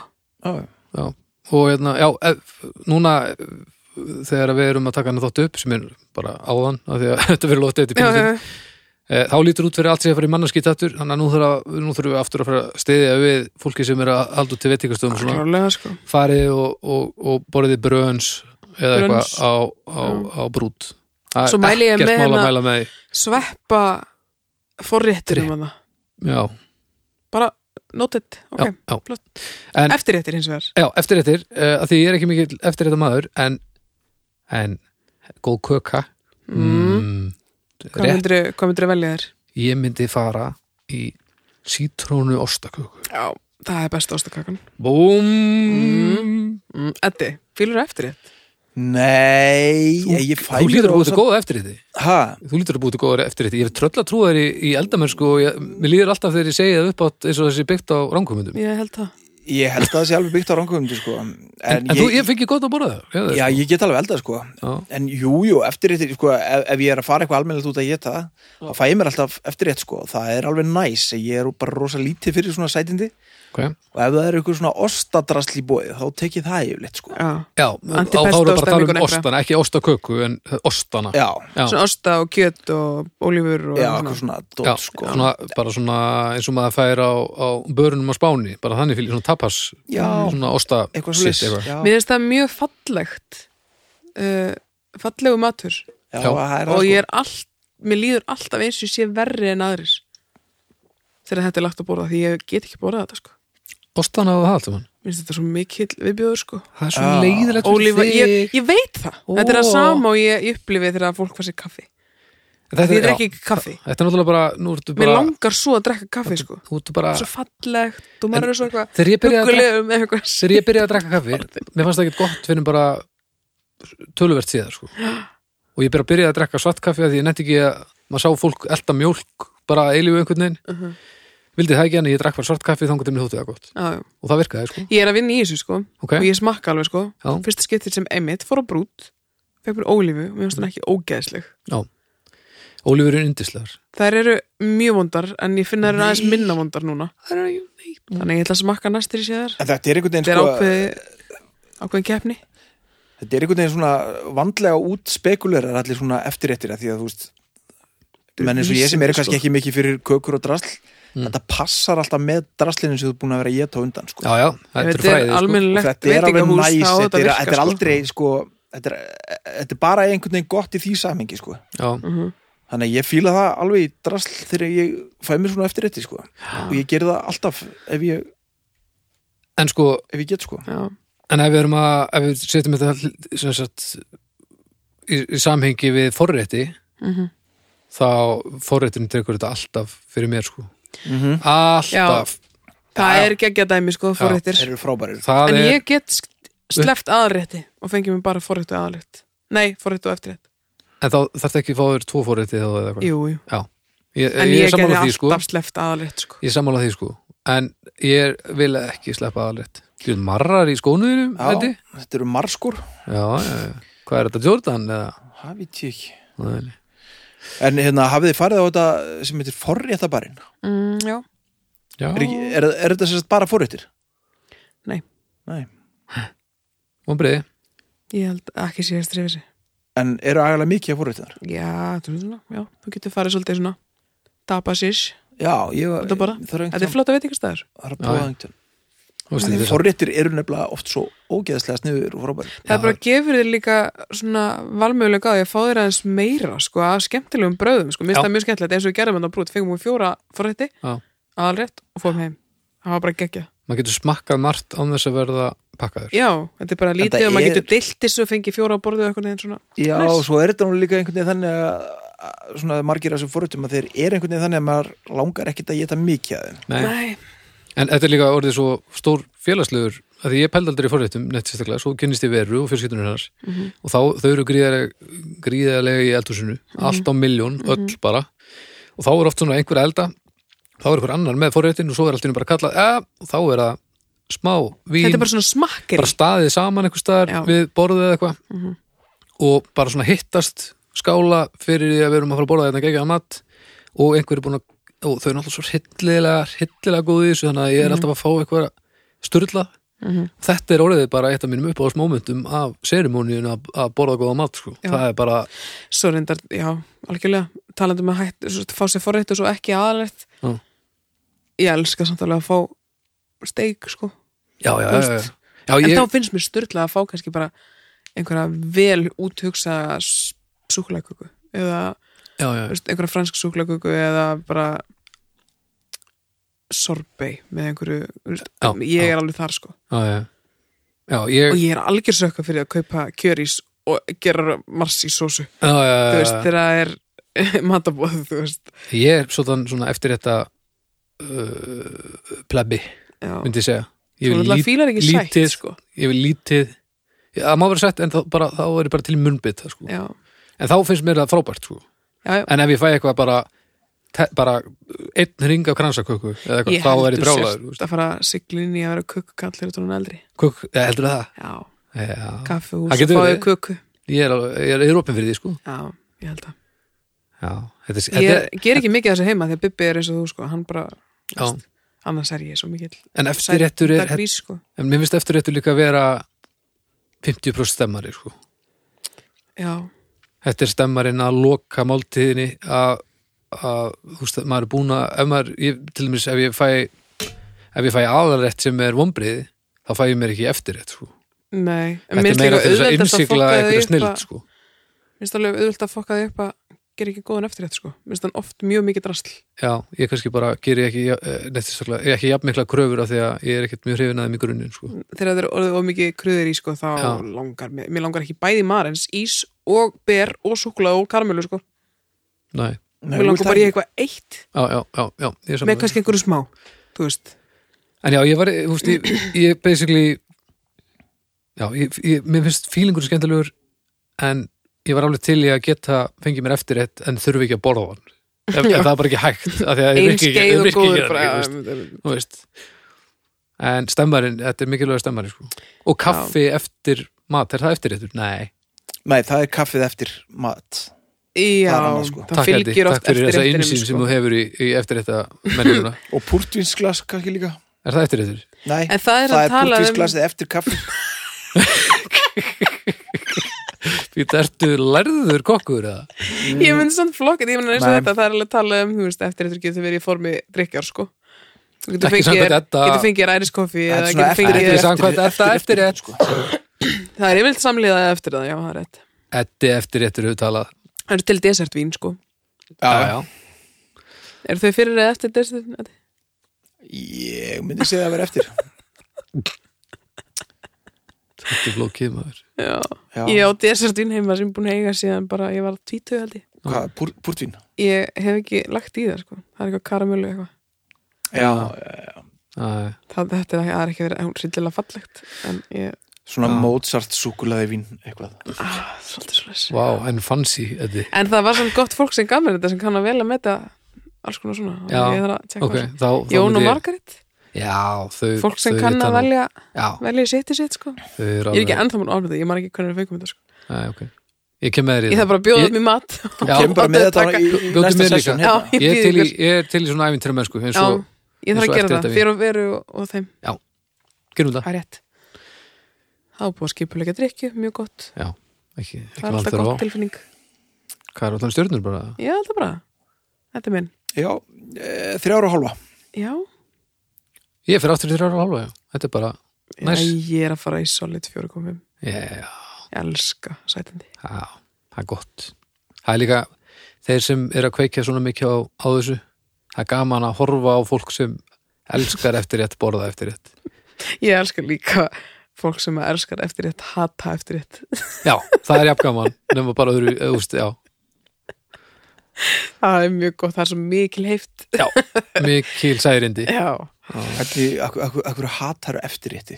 Speaker 1: Já, og hérna, já, ef, núna eh, þegar við erum að taka hann þátt upp sem er bara áðan, af því að [laughs] þetta verður lótið eftir
Speaker 3: Já,
Speaker 1: pínustin,
Speaker 3: já, já.
Speaker 1: e, þá lítur út fyrir allt sem að fara í mannarskitt aftur, þannig að nú þurfum, nú þurfum við aftur að fara að stiðja við fólki sem er að halda út til veitingastöðum og svona,
Speaker 3: klárlega sko
Speaker 1: farið og, og, og borðið bröns eða
Speaker 3: Brönns.
Speaker 1: eitthvað á, á, á brút Það er
Speaker 3: Svo mæli ég
Speaker 1: ekkert
Speaker 3: með
Speaker 1: mál að
Speaker 3: hérna-
Speaker 1: mæla með því.
Speaker 3: sveppa forréttir um hana
Speaker 1: já,
Speaker 3: bara noted, ok,
Speaker 1: já, já.
Speaker 3: flott.
Speaker 1: En-
Speaker 3: eftirréttir hins vegar
Speaker 1: já eftir eftir, að því ég er ekki mikill eftir þetta maður, en, en góð köka
Speaker 3: mm.
Speaker 1: mm,
Speaker 3: hvað myndirðu hvað myndirðu velja þér?
Speaker 1: ég myndi fara í sítrónu ostaköku
Speaker 3: Já, það er besta ástakakan
Speaker 1: Búm
Speaker 3: mm. Eddi, fylgur eftirrétt?
Speaker 2: nei
Speaker 1: Þú,
Speaker 2: ég, ég fæ
Speaker 1: þú
Speaker 2: mér
Speaker 1: lítur að búið
Speaker 2: rosa-
Speaker 1: til góða eftir þetta
Speaker 2: ha,
Speaker 1: Þú lítur að búið til góða eftir þetta Ég er tröll að trúa þér í, í eldamennsku og ég, mér líður alltaf þegar ég segi það upp átt eins og þessi byggt á ránkomundum En,
Speaker 3: Ég held það
Speaker 2: ég held að það sé alveg byggt á rangumdu sko. en,
Speaker 1: en ég, þú, ég fengi gott að borða það
Speaker 2: já, ég get alveg eldað sko.
Speaker 1: Já.
Speaker 2: en jú, jú, eftirréttir sko, ef, ef ég er að fara eitthvað almennilegt út að geta þá fæ ég mér alltaf eftirrétt sko. það er alveg næs, ég er bara rosa lítið fyrir svona sætindi
Speaker 1: okay.
Speaker 2: og ef það er eitthvað svona ostadrasl í bóði þá tek ég það yfirleitt sko.
Speaker 3: Já,
Speaker 1: já þá þá
Speaker 3: Antipesto
Speaker 1: erum bara að tala
Speaker 3: stemningun
Speaker 1: um
Speaker 3: eitthvað.
Speaker 1: ostana ekki ostaköku en ostana
Speaker 2: já,
Speaker 1: Já.
Speaker 3: svona osta og kjöt og ólífur og
Speaker 2: já,
Speaker 3: svona.
Speaker 2: eitthvað svona dót
Speaker 1: Já,
Speaker 2: sko.
Speaker 1: svona, bara svona eins og maður fær á, á börunum á Spáni, bara þannig fyrir svona tapas
Speaker 2: Já.
Speaker 1: svona osta
Speaker 2: eitthvað
Speaker 1: sitt,
Speaker 2: slis
Speaker 1: eitthvað.
Speaker 2: já,
Speaker 3: Mér finnst það mjög fallegt uh, fallegu matur
Speaker 2: já,
Speaker 1: Já.
Speaker 2: það er það
Speaker 3: og
Speaker 2: sko.
Speaker 3: ég er allt, mér líður alltaf eins og ég sé verri en aðris þegar þetta er lagt að borða því ég get ekki borðað þetta sko
Speaker 1: Ostana á það allt saman
Speaker 3: Mér finnst þetta svo mikill viðbjóður sko
Speaker 1: Það er
Speaker 2: svo leiðilegt
Speaker 3: Ólífa, ég, ég veit það Þetta er að
Speaker 1: Ó.
Speaker 3: sama og ég ég upplifi þegar að fólk fær sér kaffi
Speaker 1: Þetta
Speaker 3: Því ég
Speaker 1: er,
Speaker 3: drekki
Speaker 1: já,
Speaker 3: ekki kaffi
Speaker 1: þetta er náttúrulega bara, nú ertu
Speaker 3: Mér
Speaker 1: bara,
Speaker 3: langar svo að drekka kaffi sko
Speaker 1: þú ertu bara
Speaker 3: Svo fallegt og maður
Speaker 1: En
Speaker 3: er svo eitthvað
Speaker 1: þegar ég byrjaði að drekka-
Speaker 3: huggulegum eða eitthvað
Speaker 1: Þegar ég byrjaði að drekka kaffi, mér fannst það ekki gott fyrir bara töluvert síðar sko. og ég byrjaði að byrjaði að drekka svart kaffi af því ég nefndi ekki að maður sá fólk elda mjólk bara að eilífu einhvern veginn
Speaker 3: Mhm.
Speaker 1: vildi það ekki en ég drekk bara svart kaffi þangar til mér þótti það gott
Speaker 3: [laughs] Já, já.
Speaker 1: og það virkaði sko
Speaker 3: Ég er að vinna í þessu sko
Speaker 1: okay.
Speaker 3: og ég smakka alveg sko
Speaker 1: Já.
Speaker 3: fyrsta skiptið sem Emmett fór á brút fekk mér ólífu og mér
Speaker 1: Mhm.
Speaker 3: finnst hann ekki ógeðsleg
Speaker 1: Ólífur er yndislegar
Speaker 3: þær eru mjög vondar en ég finn þær eru aðeins minna vondar núna
Speaker 1: Það er ekki
Speaker 3: þannig ég ætla að smakka næstir í séðar
Speaker 2: en þetta er einhvern veginn
Speaker 3: þetta er
Speaker 2: sko,
Speaker 3: ákveði ákveðin keppni
Speaker 2: þetta er einhvern veginn svona vandlega út spekulerar allir svona eftirréttir af því að þú veist menn eins og ég sem er
Speaker 3: vísindi,
Speaker 2: kannski
Speaker 3: sko.
Speaker 2: ekki mikið fyrir kökur og drasl
Speaker 1: Mm.
Speaker 2: þetta passar alltaf með draslinu sem þú er búin að vera að geta á undan sko.
Speaker 1: Já, já, þetta er
Speaker 3: þetta er
Speaker 1: fræðið sko.
Speaker 2: Og
Speaker 3: almennilegt
Speaker 2: þetta er alveg
Speaker 3: veitingahús
Speaker 2: næs
Speaker 3: þá á
Speaker 2: þetta er,
Speaker 3: að
Speaker 2: þetta er
Speaker 3: virka,
Speaker 2: aldrei sko, þetta, er, þetta er bara einhvern veginn gott í því samingi sko.
Speaker 1: Já,
Speaker 3: sko. Mhm.
Speaker 2: þannig að ég fíla það alveg í drasl þegar ég fæ mér svona eftirrétti sko. og ég geri það alltaf ef ég,
Speaker 1: En sko,
Speaker 2: ef ég get sko.
Speaker 3: Já.
Speaker 1: En ef við erum að, ef við setjum þetta hl- sem sagt í, í samhengi við forrétti
Speaker 3: Mhm.
Speaker 1: þá forréttin tekur þetta alltaf fyrir mér sko
Speaker 2: mm -hmm.
Speaker 1: Alltaf,
Speaker 3: það er ekki að geta dæmi sko forréttir
Speaker 2: þeir eru frábærir
Speaker 1: það
Speaker 3: en
Speaker 1: er
Speaker 3: ég get sleft aðrétti og fengi mér bara forréttu aðrétt nei, forréttu og eftirrétt
Speaker 1: en þá þarf ekki að fá þér tvo forrétti þá eða eitthvað
Speaker 3: jú, jú.
Speaker 1: Já, ég,
Speaker 3: en
Speaker 1: ég,
Speaker 3: ég
Speaker 1: er
Speaker 3: geti
Speaker 1: sammála því sko
Speaker 3: alltaf sleft aðrétt sko.
Speaker 1: Ég er sammála því sko En ég vil ekki sleppa aðalett Þú er marrar í skónuðinum,
Speaker 2: Já,
Speaker 1: hætti?
Speaker 2: þetta eru marskur
Speaker 1: Já, já, já, hvað er þetta, Jordan? Eða?
Speaker 2: það veit ég ekki
Speaker 1: Nei, nei.
Speaker 2: En hérna, hafið þið farið á þetta sem heitir forréttabarinn?
Speaker 3: mm, já
Speaker 1: Já,
Speaker 2: Er, ekki- er, er þetta sérst bara forréttir?
Speaker 3: Nei.
Speaker 2: Nei.
Speaker 1: vonbreiði
Speaker 3: Ég held ekki síðast reyfið sér.
Speaker 2: En eru agalega mikið af forréttinar?
Speaker 3: Já, þú, veist svona, já, þú getur farið svolítið svona dabasís.
Speaker 2: Já, ég
Speaker 3: Þetta bara-
Speaker 2: þarf
Speaker 3: Þetta
Speaker 2: einhvern
Speaker 3: er flotta veitingastæður.
Speaker 1: Já, já.
Speaker 2: veginn
Speaker 1: Þú veist, þetta
Speaker 2: Því
Speaker 1: er
Speaker 2: forréttir eru nefnilega oft svo ógeðslega sniður og frábæri
Speaker 3: Það bara gefur þér líka svona valmögulega að ég fá þér aðeins meira sko, að skemmtilegum bröðum. Sko. Mér
Speaker 1: Já.
Speaker 3: finnst það mjög skemmtilegt eins og við gerðum hann á brútt. Fengum við fjóra forrætti,
Speaker 1: Já.
Speaker 3: aðalrétt og fórum heim. Það var bara geggja.
Speaker 1: maður getur smakkað margt án þess að verða pakkaður
Speaker 3: Já, þetta er bara lítið
Speaker 2: Þetta
Speaker 3: og maður
Speaker 2: er-
Speaker 3: getur deilt þessu og fengið fjóra á borðið og eitthvað neginn svona.
Speaker 2: Já, sko.
Speaker 3: Nice.
Speaker 2: svo er þetta nú líka einhvern veginn þannig að að svona margir af þessum forréttum að þeir eru einhvern veginn þannig að maður langar ekkit að geta mikið að þeim
Speaker 1: Nei.
Speaker 3: Nei,
Speaker 1: en þetta er líka orðið svo stór félagslegur að því ég pældi aldrei í forréttum neitt sérstaklega, svo kynnist ég veru og fjölskyldunir hans
Speaker 3: Mhm.
Speaker 1: og þá, þau eru gríðarlega, gríðarlega í eldhúsinu,
Speaker 3: Mhm.
Speaker 1: allt á miljón öll bara, og þá er oft svona einhver að elda, þá er einhver annar með forréttin og svo er allt í einu bara kallað, ja, og þá er það smá vín,
Speaker 3: Þetta er bara svona smakkir
Speaker 1: bara staðið saman einhver staðar
Speaker 3: Já. Mhm.
Speaker 1: við borðið eða eitthvað og bara svona hittast skála fyrir því að við erum að fara að borða þetta geggjað mat og einhver er búin að og þau eru náttúrulega svo hryllilega, hryllilega góð í þessu þannig að ég er alltaf að fá eitthvað styrla
Speaker 3: Mhm.
Speaker 1: þetta er orðið bara eitt af mínum uppáðsmómentum af serimóníun að, að borða góða mat sko.
Speaker 3: Já.
Speaker 1: það er bara,
Speaker 3: Svo reyndar, já, algjörlega talandi um að hætt, svo, fá sér forrétt og svo ekki aðalegt
Speaker 1: Já.
Speaker 3: Ég elska samt alveg að fá steik, sko
Speaker 1: já, já,
Speaker 3: Þú
Speaker 1: já, já.
Speaker 3: veist,
Speaker 1: já
Speaker 3: En
Speaker 1: ég,
Speaker 3: þá finnst mér styrla að fá kannski bara einhverja vel úthugsa súkulæköku eða
Speaker 1: já, já,
Speaker 3: þú veist, einhverja fransk súklaköku eða bara sorbei með einhverju þú veist,
Speaker 1: Já,
Speaker 3: ég
Speaker 1: já.
Speaker 3: er alveg þar sko
Speaker 1: já, já. já, ég,
Speaker 3: og ég er algjör sökka fyrir að kaupa kjörís og gera mars í sósu
Speaker 1: já, já, já,
Speaker 3: þú
Speaker 1: já.
Speaker 3: veist, þegar það er [laughs] matabóð, þú veist
Speaker 1: ég er svona, svona eftir þetta uh, plebbi,
Speaker 3: já.
Speaker 1: myndi ég segja ég
Speaker 3: þú
Speaker 1: vil
Speaker 3: náttúrulega
Speaker 1: lít,
Speaker 3: fílar ekki
Speaker 1: lítið-
Speaker 3: sætt sko.
Speaker 1: ég vil lítið já, það má vera sett en þá, bara, þá er ég bara til munnbytt sko.
Speaker 3: já,
Speaker 1: en þá finnst mér það frábært sko.
Speaker 3: já, já
Speaker 1: en ef ég fæ eitthvað bara te, bara einn ring af kransaköku eða eitthvað, þá er ég
Speaker 3: þú
Speaker 1: brjálaður
Speaker 3: sért
Speaker 1: þú veist.
Speaker 3: að fara siglinn í að vera kukkukall þegar þú erum eldri
Speaker 1: Kukk, eða heldur það
Speaker 3: já,
Speaker 1: já, Það
Speaker 3: kaffehús,
Speaker 1: getur
Speaker 3: fáið
Speaker 1: verið.
Speaker 3: kukku
Speaker 1: ég er, alveg- ég er, ég er opin fyrir því sko.
Speaker 3: já, ég held að
Speaker 1: já, þetta, er-
Speaker 3: ég
Speaker 1: þetta
Speaker 3: er- ger ekki mikið af þessu heima því að Bibbi er eins og þú sko, hann bara
Speaker 1: er já.
Speaker 3: annars er ég svo mikill
Speaker 1: en eftirréttur er
Speaker 3: grís, sko.
Speaker 1: en mér finnst eftirréttur líka að vera 50% stemmari sko.
Speaker 3: já,
Speaker 1: þetta er stemmarinn að loka máltíðinni að, að þú veist, maður er búin að ef maður, ég, til dæmis ef ég fæ ef ég fæ aðalrætt sem er vombriði þá fæ ég mér ekki eftirrétt sko.
Speaker 3: nei En
Speaker 1: þetta
Speaker 3: mér
Speaker 1: er
Speaker 3: finnst
Speaker 1: meira
Speaker 3: líka
Speaker 1: til þess að
Speaker 3: auðveldast
Speaker 1: innsikla
Speaker 3: fokka því
Speaker 1: eitthvað
Speaker 3: upp að-
Speaker 1: snild sko.
Speaker 3: Mér finnst alveg auðvöld að fokka því upp að gera ekki góðan eftir þetta sko Mér finnst hann oft mjög mikið drasl
Speaker 1: já, ég kannski bara geri ekki eh, neitt sérstaklega- ég er ekki jafn mikla kröfur af því að ég er ekkert mjög hrifin að þeim í grunninn sko.
Speaker 3: þegar það er orðið of mikið kröður í sko þá
Speaker 1: Já.
Speaker 3: langar mér, mér langar ekki bæði marins ís og ber og súkula og karmelu sko,
Speaker 1: næ,
Speaker 2: Nei,
Speaker 3: mér
Speaker 2: þú
Speaker 3: langar
Speaker 2: vilt
Speaker 3: bara í
Speaker 2: ekki-
Speaker 3: eitthvað eitt
Speaker 1: já, já, já, já ég er sammála.
Speaker 3: með kannski einhverju smá, þú veist
Speaker 1: en já, ég var, þú veist, ég, ég basically já, ég, ég, mér finnst fílingur skemmtilegur en ég var alveg til í að geta fengið mér eftir eitt en þurfi ekki að borða hann ef, ef það er bara ekki hægt af því að það
Speaker 3: ein
Speaker 1: virki ekki,
Speaker 3: skeið og
Speaker 1: virki ekki,
Speaker 3: góður
Speaker 1: ekki,
Speaker 3: bara,
Speaker 1: ekki þú veist, þú veist. en stemmarinn, þetta er mikilvæg stemmarinn sko. og kaffi eftir mat, er það eftir eittur? Nei,
Speaker 2: Nei, það er kaffið eftir mat
Speaker 3: já,
Speaker 2: Það er annað, sko.
Speaker 3: það
Speaker 1: takk, Eddi,
Speaker 3: fylgir
Speaker 1: takk
Speaker 3: oft
Speaker 1: fyrir
Speaker 3: eftir
Speaker 1: þessa
Speaker 3: réttinum,
Speaker 1: einsýn sem
Speaker 3: sko.
Speaker 1: þú hefur í, í eftir þetta mennuna,
Speaker 2: og púrtvínsglas kannski líka
Speaker 1: er það eftir eittur?
Speaker 2: Nei,
Speaker 3: en það er
Speaker 2: það
Speaker 3: að
Speaker 2: er
Speaker 3: tala um
Speaker 2: púrtvínsglasið eftir kaffi
Speaker 1: Því þetta ertu lærður kokkur eða?
Speaker 3: ég myndi samt flokk, ég myndi eins og
Speaker 2: Nei.
Speaker 3: þetta það er alveg að tala um, þú veist, eftir þetta getur verið í formi drikjar sko þú getur
Speaker 1: Ekki
Speaker 3: fengið
Speaker 1: samkvæmt
Speaker 3: þér-
Speaker 1: Edda-
Speaker 3: getur fengið ræriskoffi
Speaker 2: Þetta
Speaker 3: eða
Speaker 2: er svona
Speaker 3: getur fengið
Speaker 1: eftir-
Speaker 3: þér-
Speaker 1: eftir- samkvæmt þetta eftir rétt,
Speaker 2: sko.
Speaker 3: það er yfirleitt samliðað eftir það, já, það er rétt
Speaker 1: Eddi eftir eittur hefur talað
Speaker 3: það eru til desertvín sko
Speaker 2: Já, já.
Speaker 3: eru þau fyrir eða eftir dessertvín?
Speaker 2: Ég myndi segja að vera eftir
Speaker 1: Þetta er flókið maður
Speaker 3: Já.
Speaker 2: Já.
Speaker 3: Ég á desertvín heima sem ég er búin að eiga síðan bara ég var tvítu held ég.
Speaker 2: Hvað, púr, púrtvín?
Speaker 3: Ég hef ekki lagt í það sko. Það er eitthvað karamölu eitthvað.
Speaker 2: Já,
Speaker 1: Æ,
Speaker 3: Það, þetta er, ekki- það er ekki verið, hún er sildilega fallegt en ég,
Speaker 2: svona
Speaker 1: Já.
Speaker 2: Mozart súkulaði vín eitthvað
Speaker 3: ah, svolítið svolítið.
Speaker 1: Vá, en fancy Eddi
Speaker 3: En það var svona gott fólk sem gaf mér þetta sem kann að vel að meta alls konar svona.
Speaker 1: Já,
Speaker 3: Ég þarf að tjekka
Speaker 1: Ok,
Speaker 3: á þessu.
Speaker 1: þá, þá
Speaker 3: Jón
Speaker 1: myndi
Speaker 3: og
Speaker 1: ég-
Speaker 3: Margaret,
Speaker 1: Já, þau
Speaker 3: fólk sem
Speaker 1: þau
Speaker 3: kann
Speaker 1: vita
Speaker 3: að
Speaker 1: nú.
Speaker 3: velja,
Speaker 1: Já,
Speaker 3: velja sitt í sitt sko.
Speaker 1: þau eru
Speaker 3: Ég er ekki
Speaker 1: alveg-
Speaker 3: ennþá mér orðið, ég man ekki hvernig við fengum þetta sko.
Speaker 1: Æ, ok. Ég kem með þér í
Speaker 3: Ég þarf bara að bjóða upp mér mat.
Speaker 1: Já,
Speaker 2: Kemur bara
Speaker 3: Láttu
Speaker 2: með
Speaker 3: þau
Speaker 2: þetta
Speaker 3: taka-
Speaker 2: í, í
Speaker 1: Bjóddu
Speaker 2: næsta
Speaker 1: mér líka.
Speaker 2: session
Speaker 3: [laughs] Já,
Speaker 2: hérna.
Speaker 3: ég
Speaker 1: Ég er til í,
Speaker 3: býð ykkur.
Speaker 1: ég er til í svona æfintra mennsku eins
Speaker 3: Já,
Speaker 1: og eins og
Speaker 3: ég þarf að gera
Speaker 1: eftir þetta
Speaker 3: það,
Speaker 1: vín.
Speaker 3: fyrir og veru og, og þeim.
Speaker 1: gerum það
Speaker 3: Það er rétt. Það var búið að skipulega drikju, mjög gott.
Speaker 1: Já, ekki,
Speaker 3: Það
Speaker 1: ekki
Speaker 3: er
Speaker 1: vant
Speaker 3: alltaf
Speaker 1: þar á
Speaker 3: gott tilfinning.
Speaker 1: Hvað er allan stjörnur bara?
Speaker 3: Já, þetta er bara. Þetta er minn.
Speaker 2: Já, e, þrjára og hálfa
Speaker 3: Já.
Speaker 1: Ég fyrir aftur í þrjára og hálfa, já Þetta er bara,
Speaker 3: Já,
Speaker 1: Næs.
Speaker 3: Ég er að fara í solid 4.5.
Speaker 1: já,
Speaker 3: Ég elska sætandi.
Speaker 1: já, það er gott Það er líka, þeir sem er að kveikja svona mikið á, á þessu Það er gaman að horfa á fólk sem elskar eftir rétt, borða eftir rétt
Speaker 3: Ég elska líka fólk sem elskar eftir rétt, hata eftir rétt.
Speaker 1: Já, það er jafngaman, nema bara öðru, eða, þú veist, já
Speaker 3: Það er mjög gott, það er svo mikil heift.
Speaker 1: Já, mikil særindi
Speaker 3: Já.
Speaker 2: Akkur, akkur, akkur hatar eftir rétti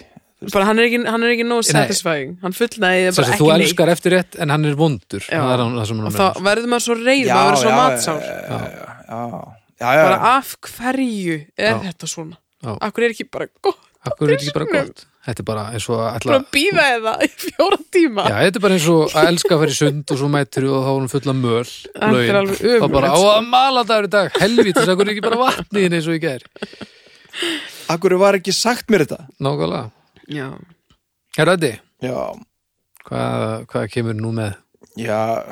Speaker 3: bara hann er ekki, hann er ekki nóg satisfying hann fullnæði
Speaker 1: Sessi,
Speaker 3: bara
Speaker 1: þú
Speaker 3: ekki neitt
Speaker 1: elskar eftir rétt en hann er vondur
Speaker 3: Já.
Speaker 1: það er hann- það sem hann
Speaker 3: og þá
Speaker 1: meinar.
Speaker 3: verður maður svo reyð maður verður svo matsár
Speaker 2: já, e, já, já, já,
Speaker 3: bara
Speaker 2: já.
Speaker 3: af hverju er
Speaker 1: Já.
Speaker 3: þetta svona
Speaker 1: Já.
Speaker 3: af hverju er ekki bara gott
Speaker 1: Akkur er þetta ekki bara
Speaker 3: Dyrunum.
Speaker 1: gott Þetta er bara eins og að ætla
Speaker 3: bara að býða eða í fjóra tíma
Speaker 1: Já, þetta er bara eins og að elska að fara í sund og svo mættur og þá er hún full af möl
Speaker 3: Þetta er
Speaker 1: lögin.
Speaker 3: alveg ömurlegt,
Speaker 1: Þá bara á
Speaker 3: sko.
Speaker 1: að mala dagur í dag Helvítis, akkur er ekki bara vatniðin eins og ég ger
Speaker 2: Akkur var ekki sagt mér þetta
Speaker 1: Nákvæmlega
Speaker 3: já.
Speaker 1: Herra Eddi,
Speaker 2: Já,
Speaker 1: hvað, hvað kemur nú með?
Speaker 2: já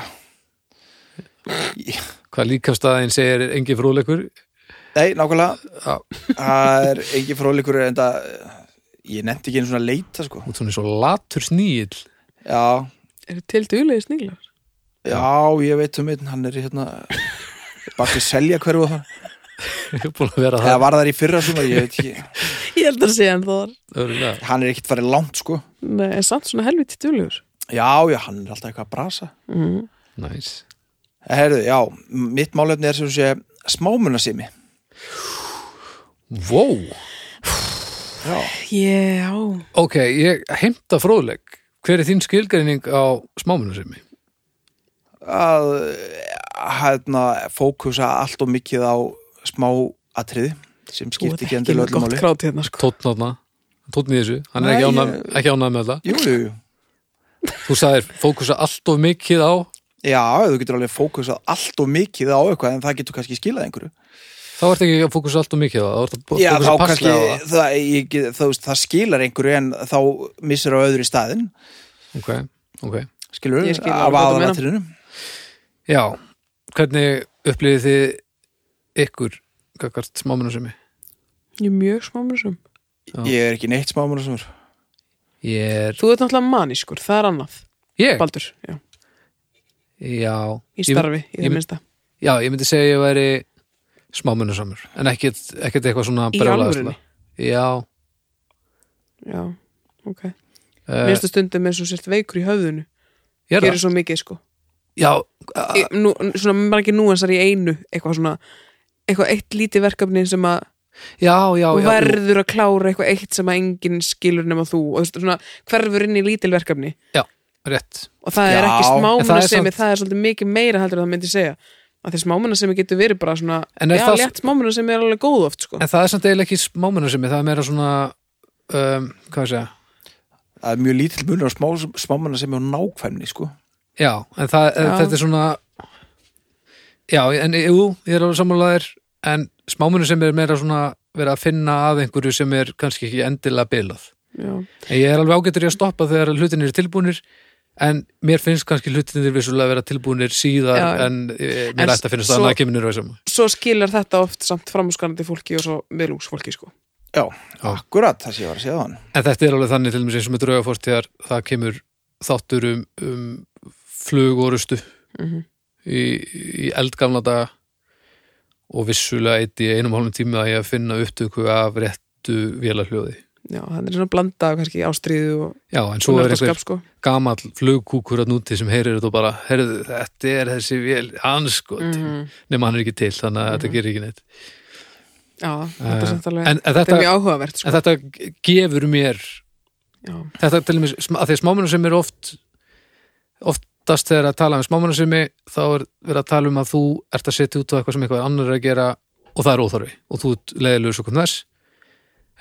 Speaker 1: Hvað líkafstæðin segir er engin fróðleikur?
Speaker 2: Nei, nákvæmlega
Speaker 1: Já.
Speaker 2: Það er engin fróðleikur en það ég nefndi ekki einu svona að leita sko
Speaker 1: Út svona svo latur snýl [laughs]
Speaker 2: Já,
Speaker 3: eru til duglega sniglar
Speaker 2: já, ég veit um einn hann er hérna bakið selja hverfu það
Speaker 1: Búin að vera
Speaker 2: eða
Speaker 1: það
Speaker 2: var það í fyrra svona, ég veit ekki
Speaker 3: ég held að segja hann þar
Speaker 1: örugglega.
Speaker 2: hann er ekkert farið langt sko
Speaker 3: Nei, en samt svona helviti duglegur
Speaker 2: Já, já, hann er alltaf eitthvað að brasa
Speaker 3: mm.
Speaker 1: Næs
Speaker 2: Herðu, já, mitt málefni er sem sé smámunasimi
Speaker 1: Vó,
Speaker 2: Já,
Speaker 3: já,
Speaker 1: ok, ég heimta fróðleik Hver er þín skilgreining á smámunasemi?
Speaker 2: að hérna, fókusa allt og mikið á smá atriði sem
Speaker 3: þú
Speaker 2: skipti
Speaker 3: ert
Speaker 2: ekki
Speaker 3: ekki
Speaker 2: endur
Speaker 3: með
Speaker 2: lögum
Speaker 3: gott
Speaker 2: máli
Speaker 3: krát hérna sko
Speaker 1: Tónn átna, tónn í þessu Hann er
Speaker 2: Nei,
Speaker 1: ekki ánað,
Speaker 2: ég-
Speaker 1: ekki ánað með það
Speaker 2: Jú, jú, jú
Speaker 1: Þú sagðir fókusa allt of mikið á
Speaker 2: Já, þú getur alveg fókusað allt og mikið á eitthvað en það getur kannski skilað einhverju
Speaker 1: Þá ertu ekki að fókusa allt of mikið á það Þá ertu að
Speaker 2: Já, þá
Speaker 1: fókusa
Speaker 2: kannski
Speaker 1: passlega á
Speaker 2: það, ég, get- þú veist, það skilar einhverju en þá missir á öðru í staðinn
Speaker 1: það Ok, ok
Speaker 2: skilur
Speaker 3: Ég skil alveg
Speaker 2: af
Speaker 3: hvað þú meinar.
Speaker 2: aðalatrinu
Speaker 1: Já, hvernig upplýði þið ykkur Gagart smámunasemi?
Speaker 3: ég er mjög smámunisum
Speaker 1: Já.
Speaker 2: Ég er ekki neitt smámunasumur
Speaker 1: Ég er
Speaker 3: þú ert náttúrulega manískur, það er annað
Speaker 1: Ég?
Speaker 3: Baldur, já,
Speaker 1: Já
Speaker 3: í
Speaker 1: Ég-
Speaker 3: starfi í
Speaker 1: ég-
Speaker 3: það minnsta
Speaker 1: Já, ég myndi segja að ég væri smámunasamur en ekkert, ekkert eitthvað svona
Speaker 3: Í
Speaker 1: brjálæðislega.
Speaker 3: alvörunni?
Speaker 1: Já,
Speaker 3: já, ok
Speaker 1: uh,
Speaker 3: minnstu stundum eins og sért veikur í höfðunu
Speaker 1: eh, ég er
Speaker 3: gerir
Speaker 1: það
Speaker 3: svo mikið sko
Speaker 1: Já,
Speaker 3: Í- nú, svona margir núansar í einu eitthvað svona, eitthvað eitt lítið verkefni sem að
Speaker 1: já, já,
Speaker 3: þú
Speaker 1: já jú,
Speaker 3: verður að klára eitthvað eitt sem að enginn skilur nema þú og þú veist, svona hverfur inn í lítil verkefni
Speaker 1: rétt
Speaker 3: og það er
Speaker 2: Já,
Speaker 1: en það er
Speaker 3: ekki smámuna sem
Speaker 1: samt-
Speaker 3: það er svolítið mikið meira heldur en það myndi segja að því smámuna sem getur verið bara svona
Speaker 1: En er
Speaker 3: já,
Speaker 1: það-
Speaker 3: létt smámuna sem er alveg góð oft sko.
Speaker 1: En það er samt eiginlega ekki smámunasemi það er meira svona um, hvað ég segja
Speaker 2: Það er mjög lítill munur á smá, smámunasimi og nákvæmni sko
Speaker 1: Já, en það, já.
Speaker 3: Já.
Speaker 1: þetta er svona Já, en jú, ég er alveg sammálaðir en smámunasemi er meira svona verið að finna að einhverju sem er kannski ekki endilega bilað
Speaker 3: já,
Speaker 1: En ég er alveg ágættur í að stoppa þegar hlutinir er tilbúnir en mér finnst kannski hlutinir vissulega að vera tilbúnir síðar
Speaker 3: Já.
Speaker 1: en eh,
Speaker 3: En
Speaker 1: mér ætti að finnast
Speaker 3: svo-
Speaker 1: það að kemur nýra þessum.
Speaker 3: svo skilur þetta oft samt framúskanandi fólki og svo miðlungs fólki sko.
Speaker 2: Já, akkurat það sem ég var að segja þann
Speaker 1: En þetta er alveg þannig til mér sem er draugafórst þegar það kemur þáttur um, um flugorustu
Speaker 3: Mhm.
Speaker 1: í, í eldgamla daga og vissulega eitt í einum og hálfum tími að ég að finna upptöku af réttu vélahljóði.
Speaker 3: já, það er svona blanda af kannski ástríðu og,
Speaker 1: Já, en svo
Speaker 3: og
Speaker 1: er einhver
Speaker 3: nördaskap sko.
Speaker 1: gamall flugkúkur að núti sem heyrir þetta og bara, heyrðu, þetta er þessi vél, anskot.
Speaker 3: mm
Speaker 1: nema hann er ekki til þannig að þetta gerir ekki neitt
Speaker 3: já, Mhm. þetta er
Speaker 1: Eh,
Speaker 3: samt alveg
Speaker 1: en, en,
Speaker 3: þetta
Speaker 1: þetta,
Speaker 3: er mjög áhugavert sko.
Speaker 1: en þetta ge- gefur mér Eh.
Speaker 3: já,
Speaker 1: þetta til mér, að því að smámunum sem er oft oftast þegar að tala um smámunum sem er, þá er verið að tala um að þú ert að setja út á eitthvað sem eitthvað annar er að gera og það er óþarfi og þú ert leiðilegur svo kom þess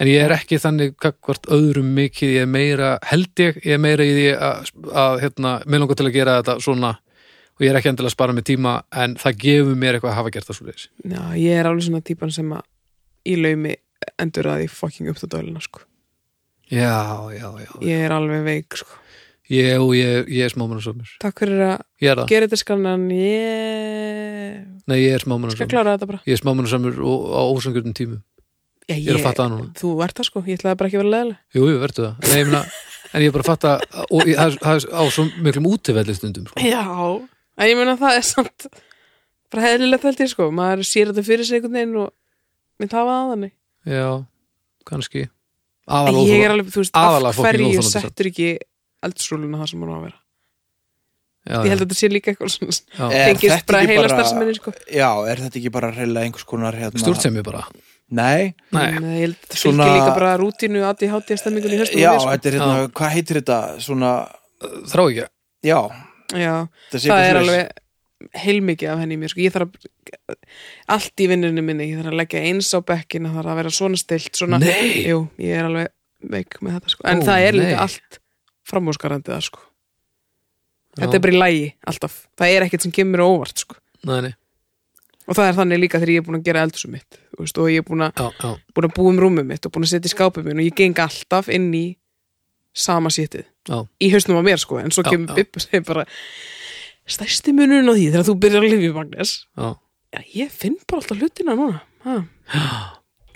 Speaker 1: en ég er ekki þannig hvort öðrum mikið ég er meira, held ég ég er meira í því að, að hérna, mig langar til að gera þetta svona og ég er ekki endilega að spara með tíma en það gefur mér eitthvað að hafa gert það svo leiðis
Speaker 3: já, ég er alveg svona típan sem að í laumi endur að ég fucking upp þetta dælina sko.
Speaker 1: Já, já, já
Speaker 3: ég er alveg veik sko.
Speaker 1: Ég, og ég, ég er smámannarsamur.
Speaker 3: takk fyrir að
Speaker 1: Ég er það.
Speaker 3: gera þetta skannan ég
Speaker 1: Nei, ég er
Speaker 3: skal
Speaker 1: smámannarsamur.
Speaker 3: klára þetta bara
Speaker 1: Ég er smámannarsamur og á ósangjörnum tímum.
Speaker 3: já,
Speaker 1: Ég er að fatta það núna.
Speaker 3: þú ert það sko, ég ætlaði bara ekki að vera leðileg
Speaker 1: Jú, jú, verður það. Nei, ég meina, en ég er bara að fatta, og ég, það, er- það er á svo miklum útivelli stundum, sko.
Speaker 3: já, en ég meina það er samt bara heðlilegt held ég sko maður sér þetta fyrir sig einhvern veginn og mynd hafa það þannig
Speaker 1: Já, kannski.
Speaker 3: en
Speaker 1: Aðal
Speaker 3: ég er
Speaker 1: óþóra.
Speaker 3: alveg, þú veist,
Speaker 1: aðalega
Speaker 3: af
Speaker 1: fucking
Speaker 3: hverju
Speaker 1: óþolandi samt.
Speaker 3: settur ekki eldsrúluna það sem hún á að vera
Speaker 1: Já,
Speaker 3: ég held að þetta sé líka eitthvað svona
Speaker 1: já.
Speaker 2: Er
Speaker 3: tengist
Speaker 2: þetta
Speaker 3: bara
Speaker 2: ekki
Speaker 3: heila
Speaker 2: bara-
Speaker 3: starfseminni sko
Speaker 2: Já, er þetta ekki bara reyla einhvers konar hérna,
Speaker 1: Stjórnsemi bara.
Speaker 2: Nei,
Speaker 1: Nei.
Speaker 3: Nei, ég held að það
Speaker 2: Svona-
Speaker 3: fylgir líka bara rútínu aði hátíða stemmingunni í höstum
Speaker 2: já,
Speaker 3: og mér, sko.
Speaker 2: þetta er hérna, hvað heitir þetta? Svona,
Speaker 1: þrá ekki
Speaker 2: já,
Speaker 3: sko. já,
Speaker 2: þetta sé
Speaker 3: það
Speaker 2: eitthvað
Speaker 3: er
Speaker 2: svoleiðis.
Speaker 3: alveg heilmikið af henni í mér sko. ég þarf að, allt í vinnunni minni ég þarf að leggja eins á bekkin það þarf að vera svona stilt svona,
Speaker 1: Nei.
Speaker 3: jú, ég er alveg veik með þetta sko. en
Speaker 1: Ó,
Speaker 3: það er
Speaker 1: nei.
Speaker 3: líka allt framúskarandi það sko þetta er bara í lægi alltaf, það er ekkert sem kemur á óvart sko.
Speaker 1: Nei, nei,
Speaker 3: og það er þannig líka þegar ég er búin að gera eldursum mitt þú veist, og ég er búin að,
Speaker 1: já, já
Speaker 3: búin að búa um rúmum mitt og búin að setja í skápum minn og ég geng alltaf inn í sama sétið
Speaker 1: Já,
Speaker 3: í hausnum á mér sko, en svo
Speaker 1: Já,
Speaker 3: kemur
Speaker 1: já.
Speaker 3: Bibb og segir bara stærsti munurinn á því þegar þú byrjar að lifa í Magnes
Speaker 1: já,
Speaker 3: já, ég finn bara alltaf hlutina núna ha. þá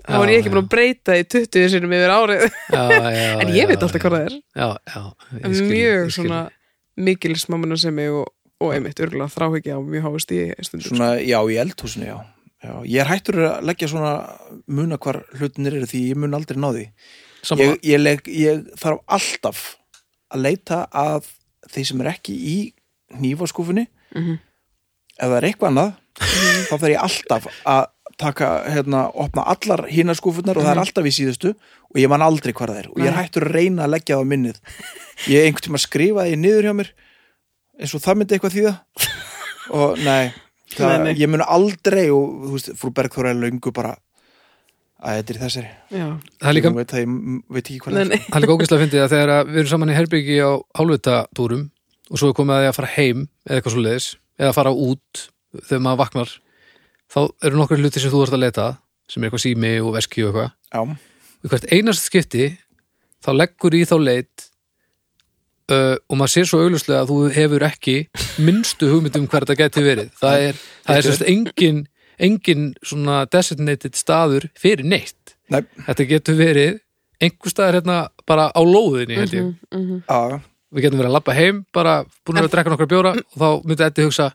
Speaker 1: Já,
Speaker 3: er ég ekki
Speaker 1: já.
Speaker 3: búin að breyta í 20 sinum yfir árið,
Speaker 1: já, já, já
Speaker 3: en ég veit alltaf
Speaker 1: já,
Speaker 3: hvað það er
Speaker 1: Já, já, ég skil, ég
Speaker 3: mjög
Speaker 1: skil.
Speaker 3: svona mikil smáminu sem ég og, og einmitt örgulega þráhyggja á mjög háist í stundum sko.
Speaker 2: svona, já, í eldhúsinu, já. já Ég er hættur að leggja svona muna hvar hlutinir eru því ég mun aldrei ná því
Speaker 1: Sammála.
Speaker 2: ég, ég, leg, ég þarf alltaf að leita að þeir sem er ekki í nýfaskúfunni ef það er eitthvað annað þá þarf ég alltaf að taka, hérna, opna allar hínar skúfunnar og það er alltaf í síðustu og ég man aldrei hvar það er og ég er
Speaker 3: Nei.
Speaker 2: hættur að reyna að leggja það á minnið ég einhvern tímann skrifaði niður hjá mér eins og það myndi eitthvað þýða og nei, það,
Speaker 3: Nei, nei.
Speaker 2: ég mun aldrei og þú veist, frú Bergþóra er löngu bara að þetta er í þessari
Speaker 3: já,
Speaker 1: Það er líka
Speaker 2: Ég veit, það, ég m- veit ekki hvað
Speaker 3: nei, nei,
Speaker 1: Það er líka ógæslega fyndið að þegar að við erum saman í herbyggi á hálfutadúrum og svo er komið að því að fara heim eða eitthvað svo leiðis eða fara út þegar maður vaknar þá eru nokkar hluti sem þú ert að leita að, sem er eitthvað sími og veski og eitthvað
Speaker 2: Já,
Speaker 1: og í hvert einast skipti þá leggur í þá leit uh, og maður sér svo augljóslega að þú hefur ekki minnstu hugmynd um hver þetta geti verið það er, það er sérst engin engin svona designated staður fyrir neitt
Speaker 2: Nei.
Speaker 1: þetta getur verið einhver staðar hérna bara á lóðinni held
Speaker 2: Mhm.
Speaker 1: ég
Speaker 2: já,
Speaker 1: við getum verið að labba heim bara búin að vera að drekka nokkra bjóra og þá myndi Eddi hugsa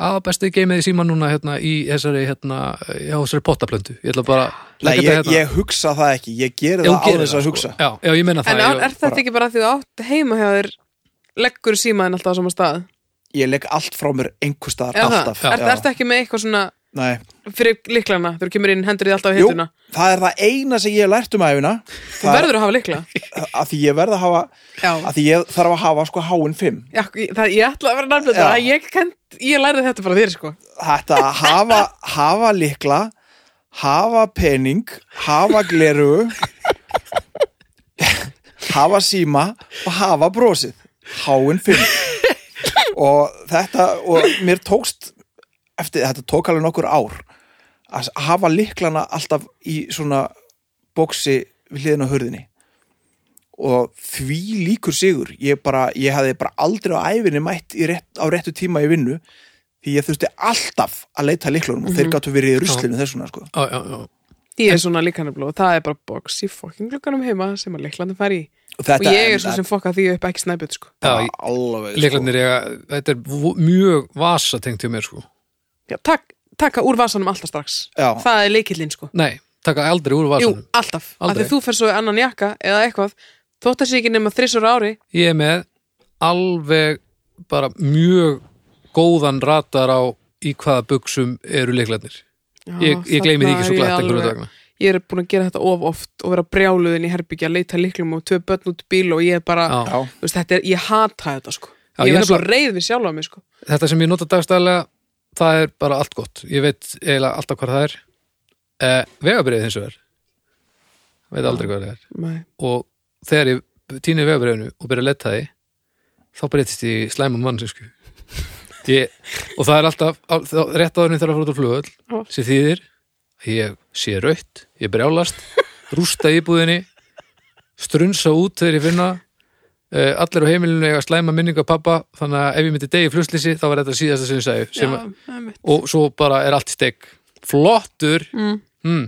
Speaker 1: að besti geimið í síma núna hérna, í þessari, hérna, já, þessari pottaplöndu ég ætla bara að
Speaker 2: Nei,
Speaker 1: leggja
Speaker 2: ég,
Speaker 1: þetta hérna
Speaker 2: ég hugsa það ekki Ég geri
Speaker 1: Já,
Speaker 2: það á
Speaker 1: gerir
Speaker 2: þess
Speaker 1: það,
Speaker 2: að
Speaker 1: sko.
Speaker 2: hugsa
Speaker 1: já, já, ég menna
Speaker 3: en
Speaker 1: það
Speaker 3: er,
Speaker 1: ég,
Speaker 3: er þetta ekki bara því þú átt heima hjá þér leggur símaðin alltaf á sama stað
Speaker 2: Ég legg allt frá mér einhver staðar
Speaker 3: Já,
Speaker 2: alltaf
Speaker 3: það. Er,
Speaker 2: Já.
Speaker 3: ertu ekki með eitthvað svona
Speaker 2: Nei.
Speaker 3: fyrir liklana, þegar þú kemur inn hendur þið alltaf á
Speaker 2: Jú,
Speaker 3: hittuna
Speaker 2: það er það eina sem ég hef lært um æfina
Speaker 3: þú verður að hafa likla
Speaker 2: að því ég verð að hafa
Speaker 3: já,
Speaker 2: að því ég þarf að hafa sko háin 5
Speaker 3: já, það, ég ætla að vera nærmið
Speaker 2: Já.
Speaker 3: þetta að ég, kent, ég lærði þetta bara af þér sko
Speaker 2: Þetta að hafa, hafa likla hafa pening hafa gleru hafa síma og hafa brosið háin 5 og þetta og mér tókst eftir þetta tók alveg nokkur ár að hafa liklana alltaf í svona bóksi við hliðin á hurðinni og því líkur sigur ég, bara, ég hefði bara aldrei á æfinni mætt í rétt, á réttu tíma í vinnu því ég þurfti alltaf að leita liklunum og þeir gáttu verið í ruslinu þess vegna sko.
Speaker 1: já, já, já.
Speaker 3: ég er svona likanablu og það er bara box í fokkin glukkanum heima sem að liklandi fær í
Speaker 2: og, þetta,
Speaker 3: og ég er svo sem fokka því upp ekki snæbjöld sko
Speaker 1: Já,
Speaker 2: Já, alveg,
Speaker 1: Leiklarnir eiga, þetta er vo- mjög vasa tengt hjá mér sko.
Speaker 3: já, tak, taka úr vasanum alltaf strax
Speaker 2: Já.
Speaker 3: það er likillinn sko
Speaker 1: Nei, taka aldrei úr
Speaker 3: Jú,
Speaker 1: vasanum.
Speaker 3: alltaf, af
Speaker 1: Aldrei.
Speaker 3: því þú fer svo í annan jakka eða eitthvað, þótt að sé ekki nema þrissur ári
Speaker 1: Ég er með alveg bara mjög góðan ratar á í hvaða buksum eru leiklarnir.
Speaker 3: já,
Speaker 1: Ég, ég gleymi því
Speaker 3: þarna
Speaker 1: ekki svo
Speaker 3: er ég
Speaker 1: glatt einhverju
Speaker 3: alveg-
Speaker 1: dagna.
Speaker 3: ég er búin að gera þetta of oft og vera brjáluðin í herbyggja að leita liklum og tvö börn út í bíl og ég er bara
Speaker 1: Já.
Speaker 2: Já.
Speaker 3: þú veist, þetta er, ég hata þetta sko
Speaker 1: Já,
Speaker 3: ég
Speaker 1: ég
Speaker 3: er svo
Speaker 1: nefnilega-
Speaker 3: reið við sjálfa mig sko
Speaker 1: Þetta sem ég nota dagstæðlega, það er bara allt gott. Ég veit eiginlega alltaf hvað það er. Eh, vegabrið hins vegar. Veit aldrei hvað það er.
Speaker 3: Nei.
Speaker 1: Og þegar ég týni vegabriðinu og byrja að leta því, þá breytist ég í slæma mannsinsku. Ég, og það er alltaf, á- þá- rétt áðurinn þegar að fara út á flugöld,
Speaker 3: Já.
Speaker 1: sem þýðir að ég sé rautt, ég brjálast rústa íbúðinni strunsa út þegar ég finna uh, allir á heimilinu eiga slæma minninga pappa, þannig að ef ég myndi degi flusslýsi þá var þetta síðasta sem ég sagði sem,
Speaker 3: já, einmitt.
Speaker 1: og svo bara er allt í steg flottur
Speaker 3: mm.
Speaker 1: mm.